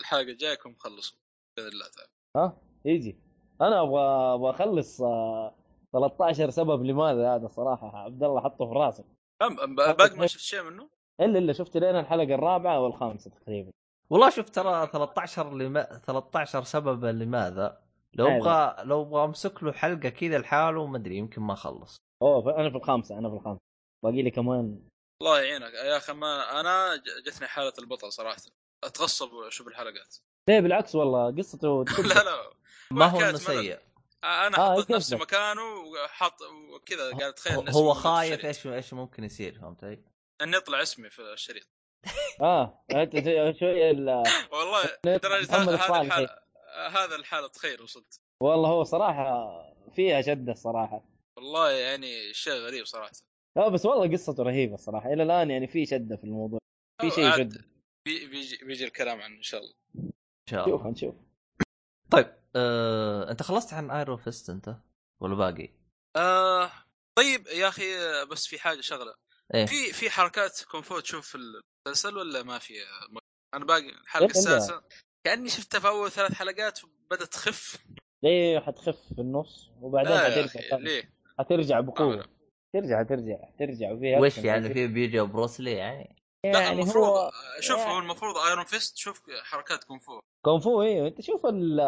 [SPEAKER 2] الحلقه الجايه اكون مخلصه باذن الله تعالى
[SPEAKER 3] ها يجي انا ابغى ابغى اخلص آه، 13 سبب لماذا هذا صراحه عبد الله حطه في راسك
[SPEAKER 2] أم- أم- باقي ما شفت شيء منه
[SPEAKER 3] الا الا شفت لين الحلقه الرابعه والخامسه تقريبا
[SPEAKER 1] والله شوف ترى 13 لما 13 سببا لماذا لو
[SPEAKER 3] أيوة.
[SPEAKER 1] ابغى لو ابغى امسك له حلقه كذا لحاله ما ادري يمكن ما اخلص
[SPEAKER 3] اوه ف- انا في الخامسه انا في الخامسه باقي لي كمان
[SPEAKER 2] الله يعينك يا اخي ما انا ج- جتني حاله البطل صراحه اتغصب واشوف الحلقات [laughs]
[SPEAKER 3] ليه إيه، بالعكس والله قصته
[SPEAKER 2] لا لا
[SPEAKER 1] ما هو
[SPEAKER 2] حكاية
[SPEAKER 1] انه
[SPEAKER 2] ملل.
[SPEAKER 1] سيء
[SPEAKER 2] انا
[SPEAKER 3] آه،
[SPEAKER 2] حطيت
[SPEAKER 3] كيف
[SPEAKER 2] نفسي
[SPEAKER 3] ده؟
[SPEAKER 2] مكانه وحط وكذا قاعد اتخيل إن اسمي
[SPEAKER 1] هو
[SPEAKER 2] في
[SPEAKER 1] خايف
[SPEAKER 2] الشريط.
[SPEAKER 1] ايش ايش ممكن يصير فهمت علي؟
[SPEAKER 2] اني اطلع اسمي في الشريط [laughs]
[SPEAKER 3] اه أنت زي- شوي ال-
[SPEAKER 2] والله لدرجه
[SPEAKER 3] محمد
[SPEAKER 2] هذا هذا
[SPEAKER 3] الصالحي.
[SPEAKER 2] الحال هذا الحاله تخيل وصلت
[SPEAKER 3] والله هو صراحه فيها شده الصراحه
[SPEAKER 2] والله يعني شيء غريب صراحه
[SPEAKER 3] لا بس والله قصته رهيبه الصراحه الى الان يعني في شده في الموضوع في شيء
[SPEAKER 2] عاد
[SPEAKER 3] يشد
[SPEAKER 2] بي بيجي, بيجي الكلام عنه ان شاء الله
[SPEAKER 1] ان شاء
[SPEAKER 3] شوف
[SPEAKER 1] الله
[SPEAKER 3] نشوف
[SPEAKER 1] طيب آه، انت خلصت عن ايرون فيست انت ولا باقي؟
[SPEAKER 2] آه طيب يا اخي آه، بس في حاجه شغله
[SPEAKER 1] إيه.
[SPEAKER 2] في في حركات كونفو تشوف في المسلسل ولا ما في آه، م- انا باقي الحلقه
[SPEAKER 3] إيه إلا.
[SPEAKER 2] السادسه كاني شفتها في اول ثلاث حلقات بدات تخف
[SPEAKER 3] ليه حتخف في النص وبعدين
[SPEAKER 2] لا يا
[SPEAKER 3] حترجع
[SPEAKER 2] اخي ليه؟
[SPEAKER 3] حترجع
[SPEAKER 2] آه،
[SPEAKER 3] بقوه ترجع ترجع ترجع وفيها
[SPEAKER 1] وش
[SPEAKER 3] أكشن.
[SPEAKER 1] يعني في بيجي بروسلي يعني؟
[SPEAKER 2] لا
[SPEAKER 3] يعني
[SPEAKER 2] المفروض
[SPEAKER 3] هو
[SPEAKER 2] هو... شوف
[SPEAKER 3] يعني-
[SPEAKER 2] هو المفروض ايرون فيست شوف حركات كونفو
[SPEAKER 3] كونفو ايوه انت شوف ال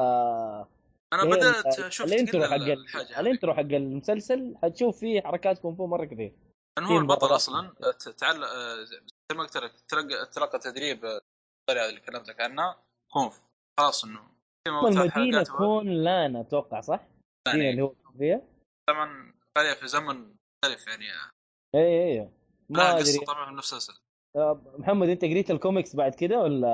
[SPEAKER 2] انا
[SPEAKER 3] إيه،
[SPEAKER 2] بدات شفت
[SPEAKER 3] الانترو
[SPEAKER 2] كذا
[SPEAKER 3] حق ال-
[SPEAKER 2] الحاجه هذه.
[SPEAKER 3] الانترو حق المسلسل حتشوف فيه حركات كونفو مره كثير
[SPEAKER 2] لان هو
[SPEAKER 3] كثير
[SPEAKER 2] البطل
[SPEAKER 3] مرات.
[SPEAKER 2] اصلا ت- تعلق آه، زي ما قلت لك تلقى تلقى تدريب آه، الطريقه اللي كلمتك عنها كونف خلاص انه في موضوع
[SPEAKER 3] المدينه
[SPEAKER 2] الحلقات هو-
[SPEAKER 3] كون لان اتوقع صح؟ المدينه
[SPEAKER 2] يعني
[SPEAKER 3] اللي هو فيها
[SPEAKER 2] طبعا قريه في زمن مختلف يعني
[SPEAKER 3] اي اي إيه، ما
[SPEAKER 2] لها
[SPEAKER 3] ادري
[SPEAKER 2] قصه طبعا في نفس السلسله
[SPEAKER 3] آه، محمد انت قريت الكوميكس بعد كده ولا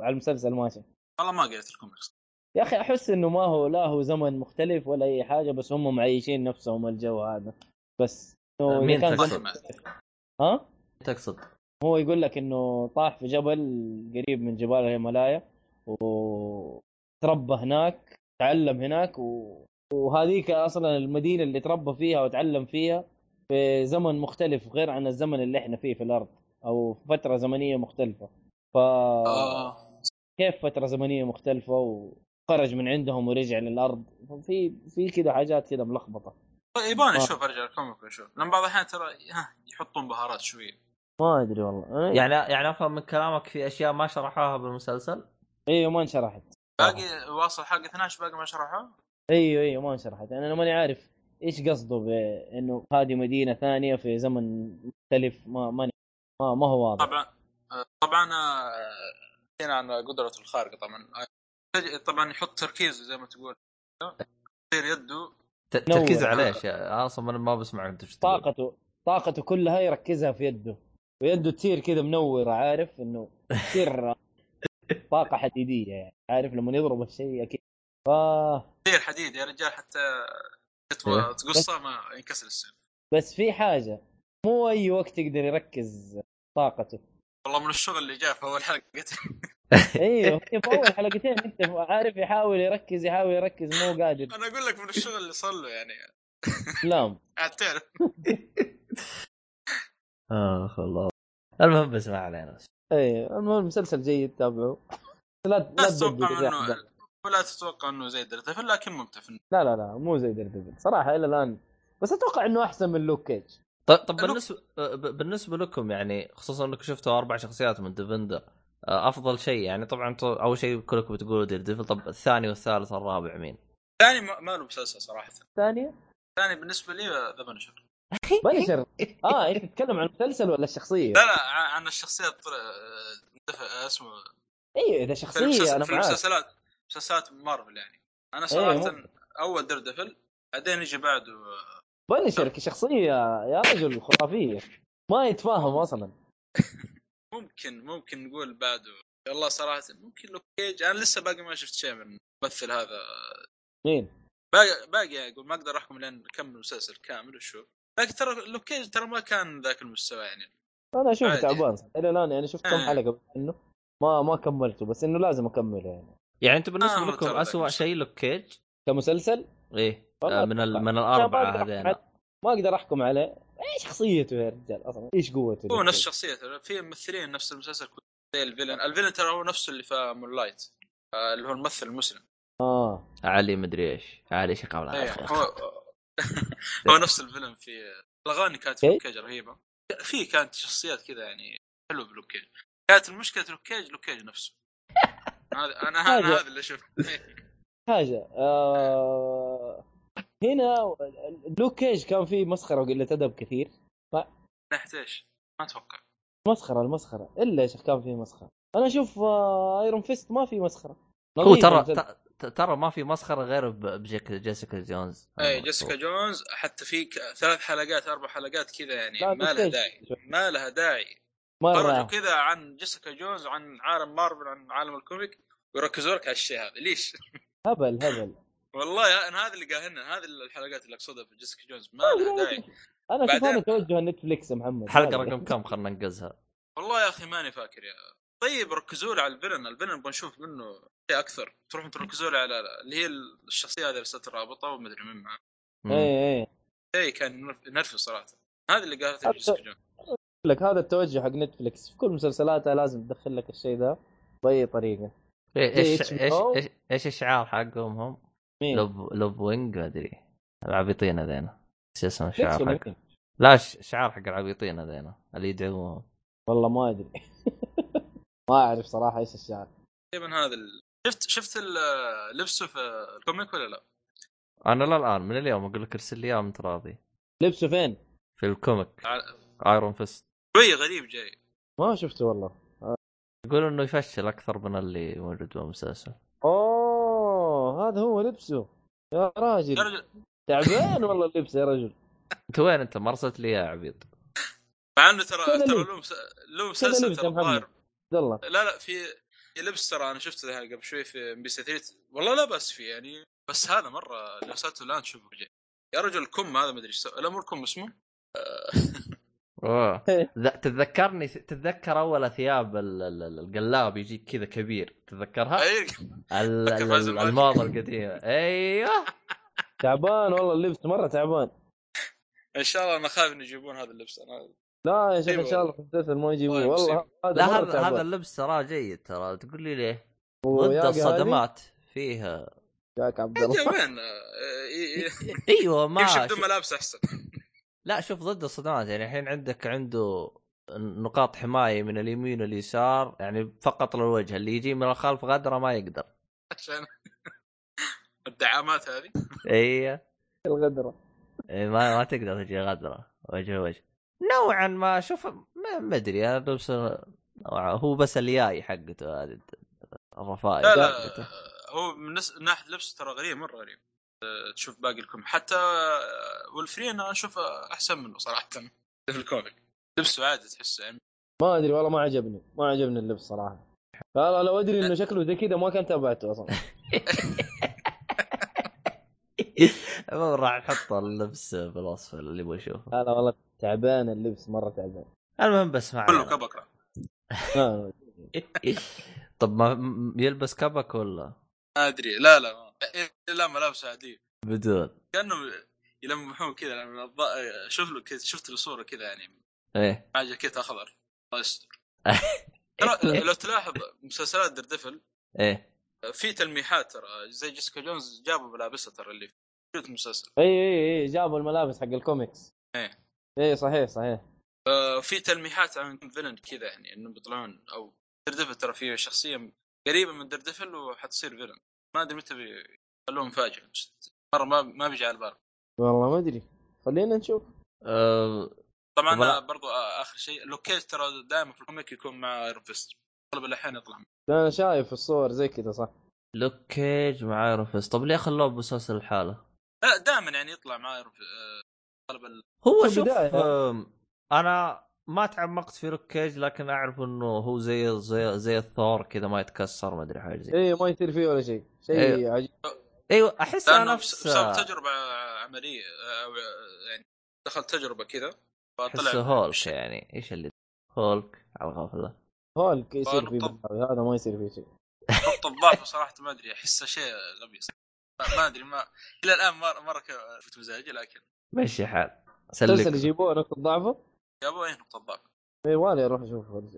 [SPEAKER 3] على المسلسل ماشي؟
[SPEAKER 2] والله ما قريت الكوميكس
[SPEAKER 3] يا اخي احس انه ما هو لا هو زمن مختلف ولا اي حاجه بس هم معيشين نفسهم الجو هذا بس إنه إذا
[SPEAKER 1] مين
[SPEAKER 3] كان
[SPEAKER 1] تقصد؟
[SPEAKER 3] زمن-
[SPEAKER 2] ما-
[SPEAKER 3] ها؟
[SPEAKER 1] تقصد
[SPEAKER 3] هو يقول لك انه طاح في جبل قريب من جبال الهيمالايا وتربى هناك تعلم هناك و... وهذيك اصلا المدينه اللي تربى فيها وتعلم فيها في زمن مختلف غير عن الزمن اللي احنا فيه في الارض او في فتره زمنيه مختلفه ف
[SPEAKER 2] آه.
[SPEAKER 3] كيف فتره زمنيه مختلفه وخرج من عندهم ورجع للارض في في كذا حاجات كذا ملخبطه
[SPEAKER 2] يبغى
[SPEAKER 3] آه.
[SPEAKER 2] نشوف ارجع الكوميك ونشوف لان بعض الاحيان ترى ها يحطون بهارات شويه
[SPEAKER 3] ما ادري والله يعني
[SPEAKER 1] يعني يعني افهم من كلامك في اشياء ما شرحوها بالمسلسل؟
[SPEAKER 3] ايوه ما انشرحت آه.
[SPEAKER 2] باقي واصل حلقه 12 باقي ما شرحها
[SPEAKER 3] ايوه ايوه ما انشرحت انا ماني عارف ايش قصده بانه هذه مدينه ثانيه في زمن مختلف ما ماني ما, ما هو واضح
[SPEAKER 2] طبعا آه، طبعا آه، هنا عن قدرته الخارقه طبعا آه، طبعا يحط تركيزه زي ما تقول يصير يده
[SPEAKER 1] ت- تركيز
[SPEAKER 3] نور.
[SPEAKER 1] على ايش؟ أنا اصلا أنا ما بسمع انت ايش تقول.
[SPEAKER 3] طاقته طاقته كلها يركزها في يده ويده تصير كذا منوره عارف انه تصير طاقه حديديه يعني عارف لما يضرب الشيء اكيد ف
[SPEAKER 2] زي الحديد يا رجال حتى
[SPEAKER 1] إيه.
[SPEAKER 2] تتو- تقصه ما ينكسر السيف
[SPEAKER 3] بس في حاجه مو اي وقت يقدر يركز طاقته
[SPEAKER 2] والله من الشغل اللي جاء في اول حلقه [laughs]
[SPEAKER 3] ايوه في اول حلقتين انت عارف يحاول يركز يحاول يركز مو قادر
[SPEAKER 2] انا اقول لك من الشغل اللي صار له يعني
[SPEAKER 3] لام
[SPEAKER 2] عاد تعرف
[SPEAKER 1] اخ والله آه، المهم بس ما علينا
[SPEAKER 3] ايوه المهم مسلسل جيد تابعه لا لا
[SPEAKER 2] [laughs] لا تتوقع
[SPEAKER 3] تدقق زي أحد
[SPEAKER 2] منه ولا تتوقع انه زي دردفل لكن ممتع في النهاية.
[SPEAKER 3] لا لا لا مو زي ديرديفل صراحه الى الان بس اتوقع انه احسن من لوك كيج
[SPEAKER 1] طب, طيب، طب
[SPEAKER 2] لو-
[SPEAKER 1] بالنسبه ب- بالنسبه لكم يعني خصوصا انكم شفتوا اربع شخصيات من ديفندر آه، افضل شيء يعني طبعا انتوا اول شيء كلكم بتقولوا دير ديفل طب الثاني والثالث والرابع مين؟
[SPEAKER 2] ثاني ما ما له مسلسل صراحه
[SPEAKER 3] الثانيه
[SPEAKER 2] ثاني بالنسبه لي آه، ذا بنشر [laughs]
[SPEAKER 3] بنشر اه انت تتكلم عن المسلسل ولا الشخصيه؟
[SPEAKER 2] لا لا ع- عن الشخصيات طلع آه، دف- آه، اسمه
[SPEAKER 3] ايوه اذا
[SPEAKER 2] في
[SPEAKER 3] شخصيه
[SPEAKER 2] المسلسل-
[SPEAKER 3] انا
[SPEAKER 2] في
[SPEAKER 3] معاك
[SPEAKER 2] المسلسلات مسلسلات مارفل يعني انا
[SPEAKER 3] إيه،
[SPEAKER 2] صراحه
[SPEAKER 3] ممكن.
[SPEAKER 2] اول دردفل بعدين يجي بعده آه،
[SPEAKER 3] بنشر كشخصيه يا رجل خرافيه ما يتفاهم اصلا
[SPEAKER 2] ممكن ممكن نقول بعده والله صراحه ممكن لوك كيج انا لسه باقي ما شفت شيء من الممثل هذا
[SPEAKER 3] مين؟
[SPEAKER 2] باقي باقي اقول ما اقدر احكم لان كمل المسلسل كامل وشو لكن ترى لوك كيج ترى ما كان ذاك المستوى يعني
[SPEAKER 3] انا اشوفه
[SPEAKER 2] عادي.
[SPEAKER 3] تعبان صراحة. الى الان يعني شفت كم
[SPEAKER 2] آه.
[SPEAKER 3] حلقه منه ما ما كملته بس انه لازم اكمله يعني
[SPEAKER 1] يعني انتم بالنسبه
[SPEAKER 2] آه،
[SPEAKER 1] لكم
[SPEAKER 2] ترى ذاك
[SPEAKER 1] اسوء
[SPEAKER 2] نفسه.
[SPEAKER 1] شيء لوك كيج
[SPEAKER 3] كمسلسل
[SPEAKER 1] ايه
[SPEAKER 3] والله
[SPEAKER 1] آه، من ال...
[SPEAKER 3] أتوقع.
[SPEAKER 1] من
[SPEAKER 3] أنا ما
[SPEAKER 1] الاربعه
[SPEAKER 3] أقدر أحكم
[SPEAKER 1] هذين
[SPEAKER 3] عليه- ما اقدر احكم عليه ايه شخصيته يا رجال اصلا ايش قوته
[SPEAKER 2] هو نفس شخصيته في ممثلين نفس المسلسل كله، زي الفيلن الفيلن ترى هو نفسه اللي في مون لايت آه، اللي هو الممثل المسلم
[SPEAKER 3] اه
[SPEAKER 1] علي مدري ايش علي شقه ولا
[SPEAKER 2] إيه،
[SPEAKER 1] عارف.
[SPEAKER 2] هو [laughs] هو نفس الفيلن في الاغاني كانت في
[SPEAKER 3] إيه؟
[SPEAKER 2] لوك كيج رهيبه في كانت شخصيات كذا يعني حلوه بلوك كيج كانت المشكله لوك كيج لوك كيج نفسه هذا انا
[SPEAKER 3] حاجة.
[SPEAKER 2] انا هذا اللي إيه، شفته
[SPEAKER 3] حاجه آه هنا لوك كيج كان فيه مسخره وقله ادب كثير
[SPEAKER 2] ناحيه ايش؟ ما اتوقع
[SPEAKER 3] مسخره المسخره الا يا شيخ كان فيه مسخره انا اشوف آه ايرون فيست ما في مسخره
[SPEAKER 1] هو
[SPEAKER 3] نظيف
[SPEAKER 1] ترى
[SPEAKER 3] المسلسل.
[SPEAKER 1] ت- ترى ما في مسخره غير ب- بجيك جيسيكا جونز
[SPEAKER 2] اي إيه، جيسيكا جونز حتى في ك- ثلاث حلقات اربع حلقات كذا يعني
[SPEAKER 3] لا،
[SPEAKER 2] ما
[SPEAKER 3] بس
[SPEAKER 2] لها
[SPEAKER 3] إيش؟
[SPEAKER 2] داعي ما لها داعي خرجوا
[SPEAKER 3] مره
[SPEAKER 2] كذا عن جيسيكا جونز عن عالم مارفل عن عالم الكوميك ويركزوا لك على الشيء هذا ليش؟
[SPEAKER 3] هبل هبل
[SPEAKER 2] والله انا هذا اللي قاهرنا هذه الحلقات اللي اقصدها في جيسيكا جونز ما لها داعي
[SPEAKER 3] انا اشوف
[SPEAKER 2] بعدين-
[SPEAKER 3] هذا توجه نتفليكس يا محمد
[SPEAKER 1] حلقه
[SPEAKER 3] هذا.
[SPEAKER 1] رقم كم خلنا ننقزها
[SPEAKER 2] والله يا اخي ماني فاكر يا طيب ركزوا لي على الفيلن الفيلن نبغى نشوف منه شيء اكثر تروحوا تركزوا لي على اللي هي الشخصيه هذه اللي صارت رابطه ومدري مين معاه
[SPEAKER 1] مم.
[SPEAKER 3] اي اي
[SPEAKER 2] شيء كان نرف- نرفز صراحه هذا اللي قاهرتني في
[SPEAKER 3] أبدأ.
[SPEAKER 2] جيسيكا جونز
[SPEAKER 3] أقول لك هذا التوجه حق نتفلكس في كل مسلسلاتها لازم تدخل لك الشيء ذا باي طريقه
[SPEAKER 1] إيه،
[SPEAKER 3] زي
[SPEAKER 1] ايش ايش
[SPEAKER 3] HBO.
[SPEAKER 1] ايش ايش الشعار حقهم هم؟
[SPEAKER 3] مين؟
[SPEAKER 1] لوب لوب وينج ما ادري العبيطين هذين ايش اسم
[SPEAKER 3] نتفلكس
[SPEAKER 1] الشعار
[SPEAKER 3] ولا
[SPEAKER 1] حق
[SPEAKER 3] مين؟
[SPEAKER 1] لا ش- شعار حق العبيطين هذين اللي يدعموهم
[SPEAKER 3] والله ما ادري [laughs] ما اعرف صراحه ايش الشعر
[SPEAKER 2] تقريبا هذا ال... شفت شفت ال- لبسه في الكوميك ولا لا؟
[SPEAKER 1] انا لا الان من اليوم اقول لك ارسل لي اياه وانت راضي
[SPEAKER 3] لبسه فين؟
[SPEAKER 1] في الكوميك
[SPEAKER 2] على-
[SPEAKER 1] ايرون فيست
[SPEAKER 2] شوي غريب جاي
[SPEAKER 3] ما شفته والله
[SPEAKER 1] يقول انه يفشل اكثر من اللي موجود بالمسلسل
[SPEAKER 3] اوه هذا هو لبسه يا
[SPEAKER 2] يا
[SPEAKER 3] راجل
[SPEAKER 2] رجل
[SPEAKER 3] تعبان والله اللبس يا رجل
[SPEAKER 1] انت وين انت ما ارسلت لي يا عبيط
[SPEAKER 2] مع انه ترى
[SPEAKER 3] كذا
[SPEAKER 2] ترى
[SPEAKER 3] لبس.
[SPEAKER 2] له مس... له مسلسل
[SPEAKER 3] لبس
[SPEAKER 2] ترى
[SPEAKER 3] يا محمد.
[SPEAKER 2] الظاهر
[SPEAKER 3] عبد الله
[SPEAKER 2] لا لا في في لبس ترى انا شفته ذا قبل شوي في ام بي سي 3 والله لا باس فيه يعني بس هذا مره لبساته الان تشوفه جاي يا رجل كم هذا ما ادري ايش سوى. الامر كم اسمه؟
[SPEAKER 1] اوه ذا- تتذكرني تتذكر اول ثياب ال- ال- ال- القلاب يجيك كذا كبير تتذكرها؟
[SPEAKER 2] اي
[SPEAKER 1] ال-
[SPEAKER 2] فكر
[SPEAKER 1] ال-
[SPEAKER 2] فايز
[SPEAKER 1] ال-
[SPEAKER 2] الماجد.
[SPEAKER 1] الماضي القديمه ايوه
[SPEAKER 3] تعبان والله اللبس مره تعبان
[SPEAKER 2] ان شاء الله انا خايف ان يجيبون هذا اللبس انا
[SPEAKER 3] لا يا شيخ ان
[SPEAKER 2] أيوة.
[SPEAKER 3] شاء الله في المسلسل ما يجيبوه
[SPEAKER 2] والله
[SPEAKER 3] والله
[SPEAKER 2] مصيبة.
[SPEAKER 3] هذا
[SPEAKER 1] طيب، لا
[SPEAKER 3] مرة
[SPEAKER 1] هذا
[SPEAKER 3] تعبان.
[SPEAKER 1] هذا اللبس ترى جيد ترى تقول لي ليه؟ ضد
[SPEAKER 3] وياقة هذه،
[SPEAKER 1] الصدمات فيها [laughs]
[SPEAKER 3] جاك عبد
[SPEAKER 2] يا
[SPEAKER 3] الله
[SPEAKER 2] وين آه، ي- ي-
[SPEAKER 1] ايوه [laughs] ما
[SPEAKER 2] يمشي بدون
[SPEAKER 1] شوف-
[SPEAKER 2] ملابس احسن
[SPEAKER 1] لا شوف ضد الصدمات يعني الحين عندك عنده نقاط حمايه من اليمين واليسار يعني فقط للوجه اللي يجي من الخلف غدره ما يقدر [laughs]
[SPEAKER 2] [laughs] عشان [laughs] الدعامات هذه
[SPEAKER 1] اي
[SPEAKER 3] الغدره
[SPEAKER 1] إي، ما ما تقدر تجي غدره وجه وجه نوعا ما شوف ما ما ادري انا بس هو بس الياي حقته هذه الرفائع
[SPEAKER 2] لا لا
[SPEAKER 1] [laughs]
[SPEAKER 2] آه،
[SPEAKER 1] حقته.
[SPEAKER 2] هو من نس- من ناحيه لبسه ترى غريب مره غريب أه، تشوف باقي الكوميك حتى آه، والفري انا اشوفه احسن منه صراحه [laughs] في الكوميك لبسه عادي تحسه يعني
[SPEAKER 3] ما ادري والله ما عجبني ما
[SPEAKER 1] [laughs]
[SPEAKER 3] عجبني اللبس صراحه لا لا لو ادري انه شكله زي كذا ما كان تابعته اصلا
[SPEAKER 1] عموما راح نحط اللبس بالوصف اللي يبغى يشوفه
[SPEAKER 3] لا لا والله تعبان اللبس مره تعبان
[SPEAKER 1] المهم بس ما
[SPEAKER 2] كله
[SPEAKER 1] علينا. إيه،
[SPEAKER 2] كبكره
[SPEAKER 3] آه،
[SPEAKER 1] طب ما م- يلبس كبك ولا
[SPEAKER 2] ما ادري لا لا ما. إيه، لا ملابس عاديه
[SPEAKER 1] بدون
[SPEAKER 2] كانه يلمحون كذا يعني من الض- شوف له كذا شفت له صوره كذا يعني
[SPEAKER 1] ايه
[SPEAKER 2] مع جاكيت اخضر الله يستر ترى
[SPEAKER 1] إيه.
[SPEAKER 2] لو تلاحظ مسلسلات دردفل
[SPEAKER 1] ايه
[SPEAKER 2] في تلميحات ترى زي جيسيكا جونز جابوا ملابسها ترى اللي في المسلسل
[SPEAKER 3] اي اي اي جابوا الملابس حق الكوميكس
[SPEAKER 2] إيه.
[SPEAKER 3] اي صحيح صحيح
[SPEAKER 2] آه، في تلميحات عن فيلن كذا يعني انه بيطلعون او دردفل ترى في شخصيه قريبه من دردفل وحتصير فيلن ما ادري متى بيخلوه مفاجئ مره ما ما بيجي على البال
[SPEAKER 3] والله ما ادري خلينا نشوف
[SPEAKER 1] أه
[SPEAKER 2] طبعا
[SPEAKER 1] طب لا.
[SPEAKER 2] برضو آه، اخر شيء لوكيت ترى دائما في الكوميك يكون مع ايرون فيست اغلب الاحيان يطلع معه.
[SPEAKER 3] انا شايف الصور زي كذا صح
[SPEAKER 1] لوك كيج مع ايرون فيست طب ليه خلوه بمسلسل الحالة
[SPEAKER 2] لا دائما يعني يطلع مع ايرون في- آه، اغلب ال-
[SPEAKER 1] هو
[SPEAKER 3] في
[SPEAKER 1] شوف
[SPEAKER 3] البداية.
[SPEAKER 1] أم، انا ما تعمقت في لوك كيج لكن اعرف انه هو زي زي زي الثور كذا ما يتكسر ما ادري حاجه زي
[SPEAKER 3] اي إيه، ما يصير فيه ولا شيء شيء
[SPEAKER 1] إيه.
[SPEAKER 3] عجيب
[SPEAKER 1] ايوه احس
[SPEAKER 2] لانه
[SPEAKER 1] نفس
[SPEAKER 2] بس- بسبب تجربه عمليه آه، أو، آه، يعني دخل تجربه كذا
[SPEAKER 1] احس
[SPEAKER 2] فطلع
[SPEAKER 1] هولك [laughs] يعني ايش اللي هولك على الغفله
[SPEAKER 3] هولك يصير
[SPEAKER 2] فنطب.
[SPEAKER 3] فيه بالضبط، هذا ما يصير فيه شيء
[SPEAKER 2] خط الضعف صراحه ما ادري احسه شيء غبي ما- ما ادري ما الى الان ما مره ك- شفت مزاجي لكن
[SPEAKER 1] ماشي حال
[SPEAKER 3] المسلسل
[SPEAKER 1] سلك
[SPEAKER 3] يجيبوه نقطة ضعفه
[SPEAKER 2] يا ابوي ايه نقطه ضعف
[SPEAKER 3] اي والله اروح اشوفه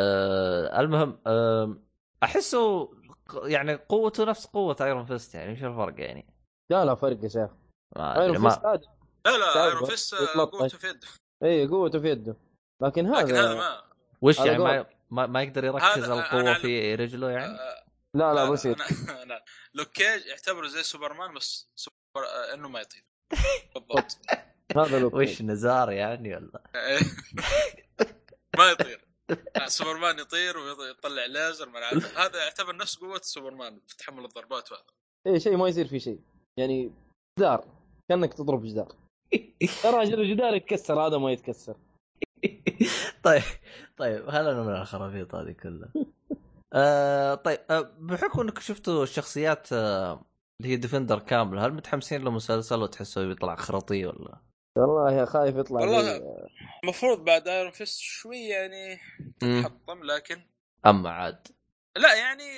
[SPEAKER 1] أه المهم أه احسه ق- يعني قوته نفس قوه ايرون فيست يعني ايش الفرق يعني
[SPEAKER 3] لا لا فرق يا شيخ
[SPEAKER 1] آه، ما
[SPEAKER 3] ايرون
[SPEAKER 1] ادري
[SPEAKER 3] فيست
[SPEAKER 1] ما
[SPEAKER 3] عادي
[SPEAKER 2] لا لا
[SPEAKER 3] تعرف
[SPEAKER 2] ايرون فيست
[SPEAKER 3] يتلطش.
[SPEAKER 2] قوته في يده
[SPEAKER 3] اي إيه، قوته في يده لكن هذا
[SPEAKER 2] لكن هذا ما
[SPEAKER 1] وش
[SPEAKER 3] هذا
[SPEAKER 1] يعني ما
[SPEAKER 3] قوة.
[SPEAKER 1] ما, ما يقدر يركز
[SPEAKER 2] هذا-
[SPEAKER 1] القوه
[SPEAKER 2] أنا-
[SPEAKER 1] في رجله يعني
[SPEAKER 2] آه،
[SPEAKER 3] لا لا
[SPEAKER 2] آه،
[SPEAKER 3] بصير
[SPEAKER 2] أنا- لا لوك كيج يعتبره زي سوبرمان بس سوبر آه، انه ما يطير بالضبط
[SPEAKER 3] هذا لو
[SPEAKER 1] وش نزار يعني ولا [laughs]
[SPEAKER 2] [laughs] ما يطير آه، سوبرمان يطير ويطلع ليزر ما أنا عارف. هذا يعتبر نفس قوه سوبرمان في تحمل الضربات وهذا
[SPEAKER 3] اي إيه، شيء ما يصير فيه شيء يعني جدار كانك تضرب جدار يا راجل الجدار يتكسر هذا ما يتكسر
[SPEAKER 1] طيب طيب هلا من الخرابيط هذه كلها آه طيب آه بحكم انك شفتوا الشخصيات آه اللي هي ديفندر كامله هل متحمسين لمسلسل وتحسوا بيطلع خرطي ولا؟
[SPEAKER 3] والله خايف يطلع
[SPEAKER 2] والله.
[SPEAKER 3] لي-
[SPEAKER 2] المفروض بعد ايرون فيست شوي يعني حطم لكن
[SPEAKER 1] اما عاد
[SPEAKER 2] لا يعني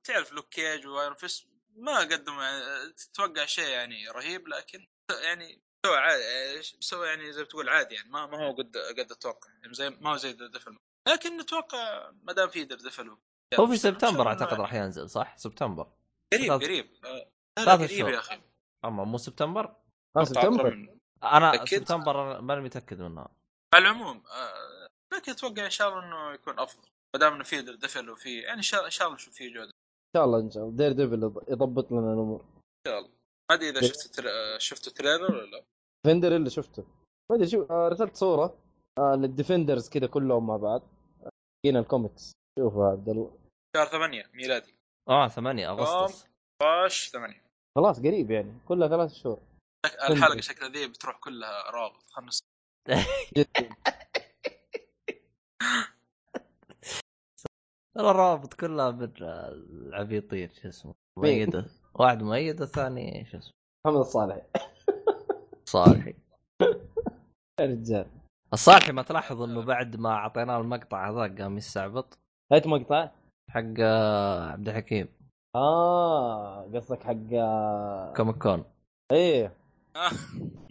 [SPEAKER 2] بتعرف لوك كيج وايرون فيست ما قدموا يعني تتوقع شيء يعني رهيب لكن يعني سوى عادي سوى يعني زي ما تقول عادي يعني ما ما هو قد قد اتوقع يعني زي ما هو زي دردفل لكن نتوقع ما دام في دردفل
[SPEAKER 1] هو في سبتمبر اعتقد راح ينزل صح؟ سبتمبر
[SPEAKER 2] قريب
[SPEAKER 1] ثلاث-
[SPEAKER 2] قريب آه، لا، لا،
[SPEAKER 1] ثلاث
[SPEAKER 2] قريب
[SPEAKER 1] شهور.
[SPEAKER 2] يا اخي
[SPEAKER 1] اما مو سبتمبر
[SPEAKER 3] آه،
[SPEAKER 2] أتوقع أقرب
[SPEAKER 3] سبتمبر
[SPEAKER 2] من-
[SPEAKER 1] انا
[SPEAKER 2] أكيد.
[SPEAKER 1] سبتمبر أنا ماني متاكد منها
[SPEAKER 2] على العموم آه، لكن اتوقع ان شاء الله انه يكون افضل ما دام انه في دردفل وفي يعني ان شاء ان شاء الله نشوف فيه جوده
[SPEAKER 3] ان شاء الله ان شاء الله دير ديفل يض- يضبط لنا الامور
[SPEAKER 2] ان شاء الله ما ادري
[SPEAKER 3] إيه.
[SPEAKER 2] اذا شفت تر... آه، شفت تريلر ولا لا
[SPEAKER 3] ديفندر اللي شفته ما ادري شو آه، ارسلت صوره آه، للديفندرز كذا كلهم مع بعض هنا الكوميكس شوف يا عبد الله
[SPEAKER 2] شهر 8 ميلادي
[SPEAKER 1] اه 8 اغسطس
[SPEAKER 2] 16 8
[SPEAKER 3] خلاص قريب يعني كلها ثلاث شهور إيه.
[SPEAKER 2] الحلقه شكلها ذي بتروح كلها روابط خلنا نس-
[SPEAKER 3] جدا
[SPEAKER 1] ترى الروابط كلها من العبيطين شو اسمه
[SPEAKER 3] مين؟
[SPEAKER 1] مؤيده واحد مؤيد والثاني شو اسمه
[SPEAKER 3] محمد الصالح [laughs]
[SPEAKER 1] صالحي
[SPEAKER 3] يا رجال
[SPEAKER 1] الصالحي ما تلاحظ انه بعد ما اعطيناه المقطع هذا قام يستعبط
[SPEAKER 3] هات مقطع
[SPEAKER 1] حق آه، عبد الحكيم
[SPEAKER 3] اه قصدك حق آه،
[SPEAKER 1] كوميك كون
[SPEAKER 3] ايه
[SPEAKER 2] آه،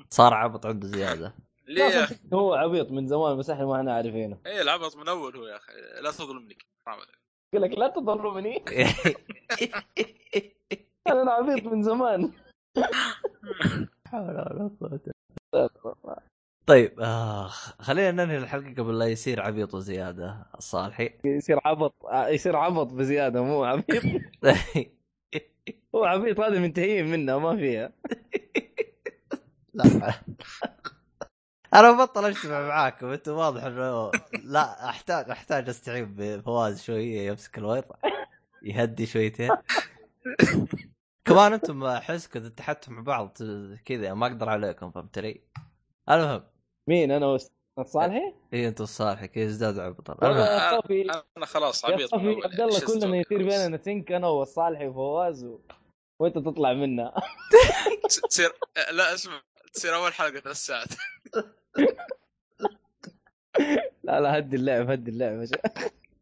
[SPEAKER 1] صار عبط عنده زياده
[SPEAKER 2] ليه يا اخي
[SPEAKER 3] هو عبيط من زمان بس احنا ما احنا عارفينه
[SPEAKER 2] اي العبط من اول هو يا اخي لا تظلمني حرام عليك.
[SPEAKER 3] يقول لك لا [laughs] تظلمني انا عبيط من زمان [laughs]
[SPEAKER 1] حول ولا قوة طيب اخ خلينا ننهي الحلقه قبل لا يصير عبيط وزياده الصالحي [laughs]
[SPEAKER 3] يصير عبط آه، يصير عبط بزياده
[SPEAKER 2] [laughs]
[SPEAKER 3] مو عبيط هو عبيط هذا منتهيين منه ما فيها
[SPEAKER 1] لا انا بطل اجتمع معاكم انتم واضح انه لا احتاج احتاج استعين بفواز شويه يمسك الوضع يهدي شويتين كمان انتم احس كذا اتحدتم مع بعض كذا ما اقدر عليكم فهمت علي؟ المهم إيه
[SPEAKER 3] مين انا وس- صالحي؟
[SPEAKER 1] اي انتوا الصالحي كذا ازداد عبطا
[SPEAKER 3] والله
[SPEAKER 1] المهم.
[SPEAKER 3] يا صوفي
[SPEAKER 2] انا خلاص
[SPEAKER 3] إيه. يا
[SPEAKER 2] عبيط من
[SPEAKER 3] صفي
[SPEAKER 2] اول
[SPEAKER 3] عبد الله
[SPEAKER 2] إيش
[SPEAKER 3] كلنا
[SPEAKER 2] أسوي؟
[SPEAKER 3] يصير بيننا سنك انا والصالحي وفواز و... وانت تطلع منها
[SPEAKER 2] تصير آه، لا اسمع تصير اول حلقه ثلاث ساعات
[SPEAKER 3] [laughs]
[SPEAKER 2] [laughs]
[SPEAKER 3] لا لا هدي اللعب هدي اللعب [laughs] يا شيخ.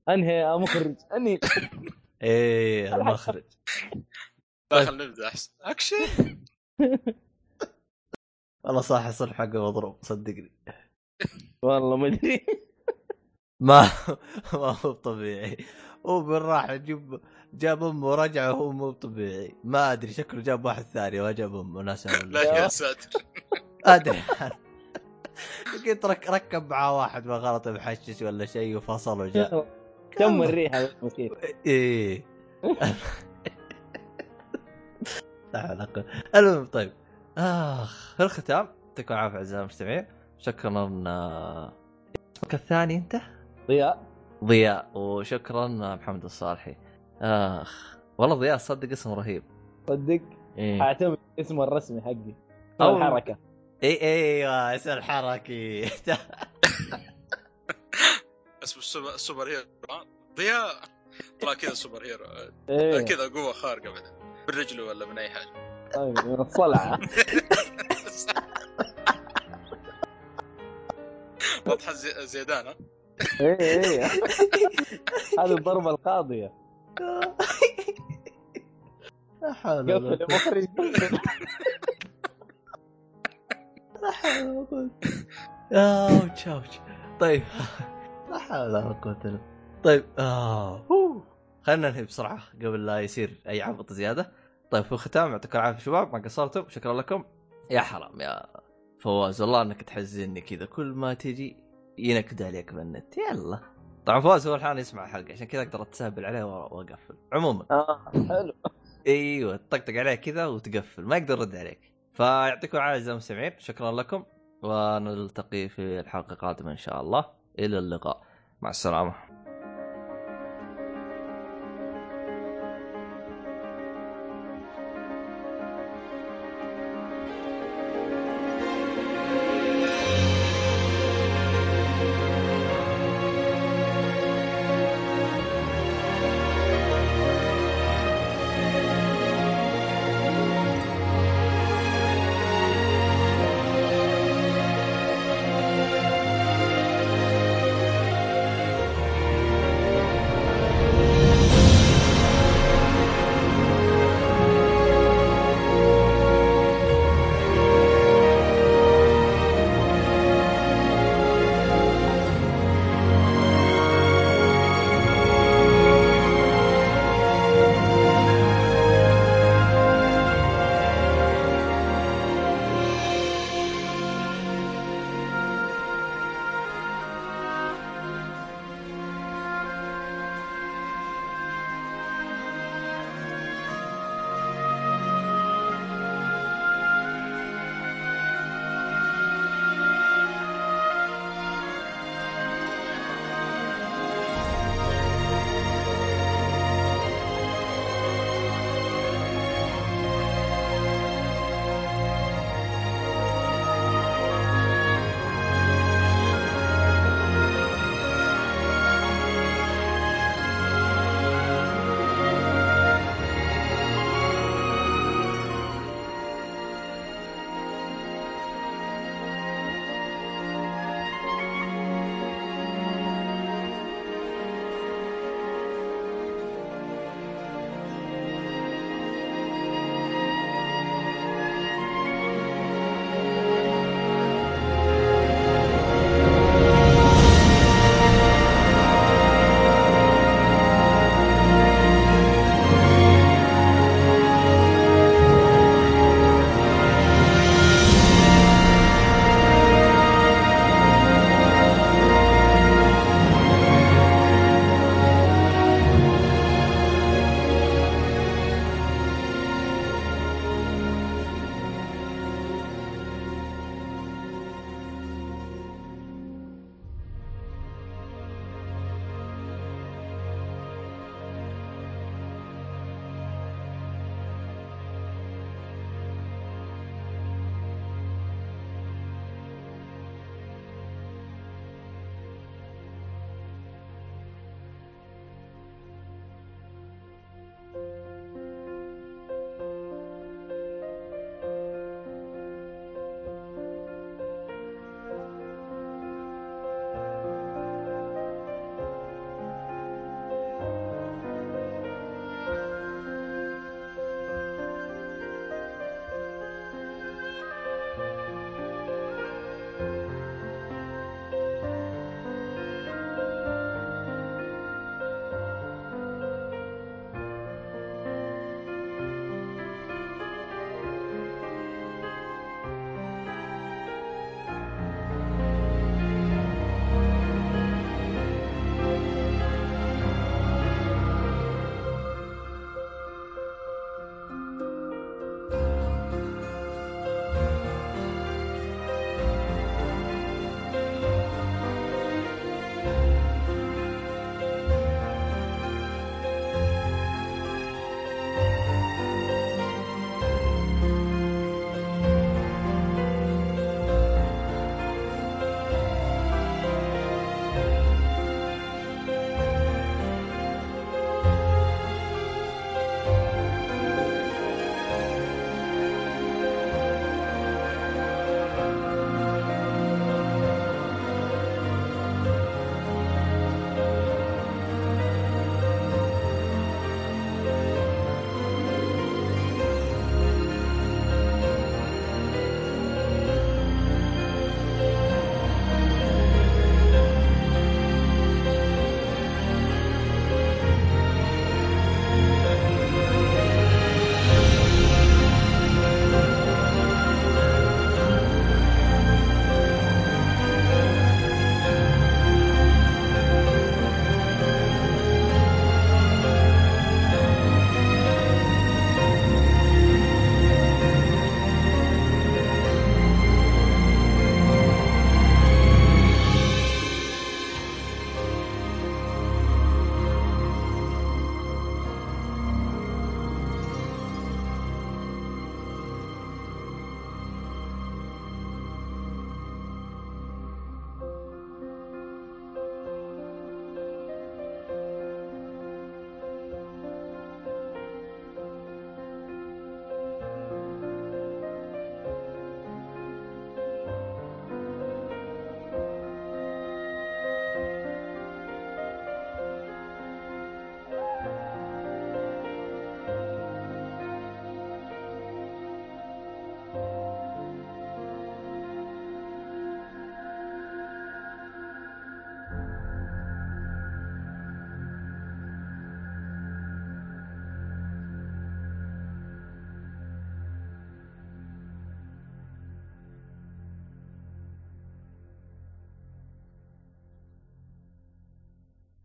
[SPEAKER 3] انهي يا مخرج انهي
[SPEAKER 1] ايه المخرج
[SPEAKER 3] طيب.
[SPEAKER 2] لا خلينا نبدا احسن اكشن
[SPEAKER 1] والله صح الصلح حقه مضروب صدقني
[SPEAKER 3] والله ما ادري
[SPEAKER 1] ما ما هو طبيعي هو بالراحه جيب جاب امه ورجع وهو مو طبيعي ما ادري شكله جاب واحد ثاني ما جاب امه ناس
[SPEAKER 2] لا يا ساتر
[SPEAKER 1] ادري لقيت رك ركب معاه واحد ما غلط محشش ولا شيء وفصل وجاء
[SPEAKER 3] [laughs] كم الريحه بس مسكين
[SPEAKER 1] ايه لا حول ولا قوة. المهم طيب اخ في الختام يعطيكم العافيه اعزائي المستمعين شكرا آه، اسمك الثاني انت
[SPEAKER 3] ضياء
[SPEAKER 1] ضياء وشكرا محمد الصالحي اخ والله ضياء صدق اسم رهيب
[SPEAKER 3] صدق
[SPEAKER 1] ايه
[SPEAKER 3] اعتمد اسمه الرسمي حقي طيب،
[SPEAKER 1] أو-
[SPEAKER 3] او الحركه
[SPEAKER 1] اي ايوه اسم الحركي
[SPEAKER 2] اسمه السوبر- السوبر هيرو ها؟ ضياء طلع كذا سوبر هيرو
[SPEAKER 3] ايه
[SPEAKER 2] كذا قوه خارقه بعدين بالرجل ولا من اي حاجه
[SPEAKER 3] طيب من الصلعه
[SPEAKER 2] واضحه زي- زيدان ها؟
[SPEAKER 3] ايه ايه هذه الضربه القاضيه
[SPEAKER 1] لا حول ولا
[SPEAKER 3] قفل
[SPEAKER 1] قوة.
[SPEAKER 3] المخرج [laughs] قفل.
[SPEAKER 1] [laughs] اوتش اوتش آه، طيب [laughs] لا حول ولا قوة الا طيب اه خلينا ننهي بسرعة قبل لا يصير أي عبط زيادة طيب في الختام يعطيكم العافية شباب ما قصرتم شكرا لكم يا حرام يا فواز والله انك تحزني كذا كل ما تجي ينكد عليك بالنت يلا طبعا فواز هو الحين يسمع الحلقة عشان كذا اقدر اتسابل عليه وأ- واقفل عموما
[SPEAKER 3] آه، حلو
[SPEAKER 1] ايوه تطقطق عليه كذا وتقفل ما يقدر يرد عليك فيعطيكم العافيه اعزائي المستمعين شكرا لكم ونلتقي في الحلقه القادمه ان شاء الله الى اللقاء مع السلامه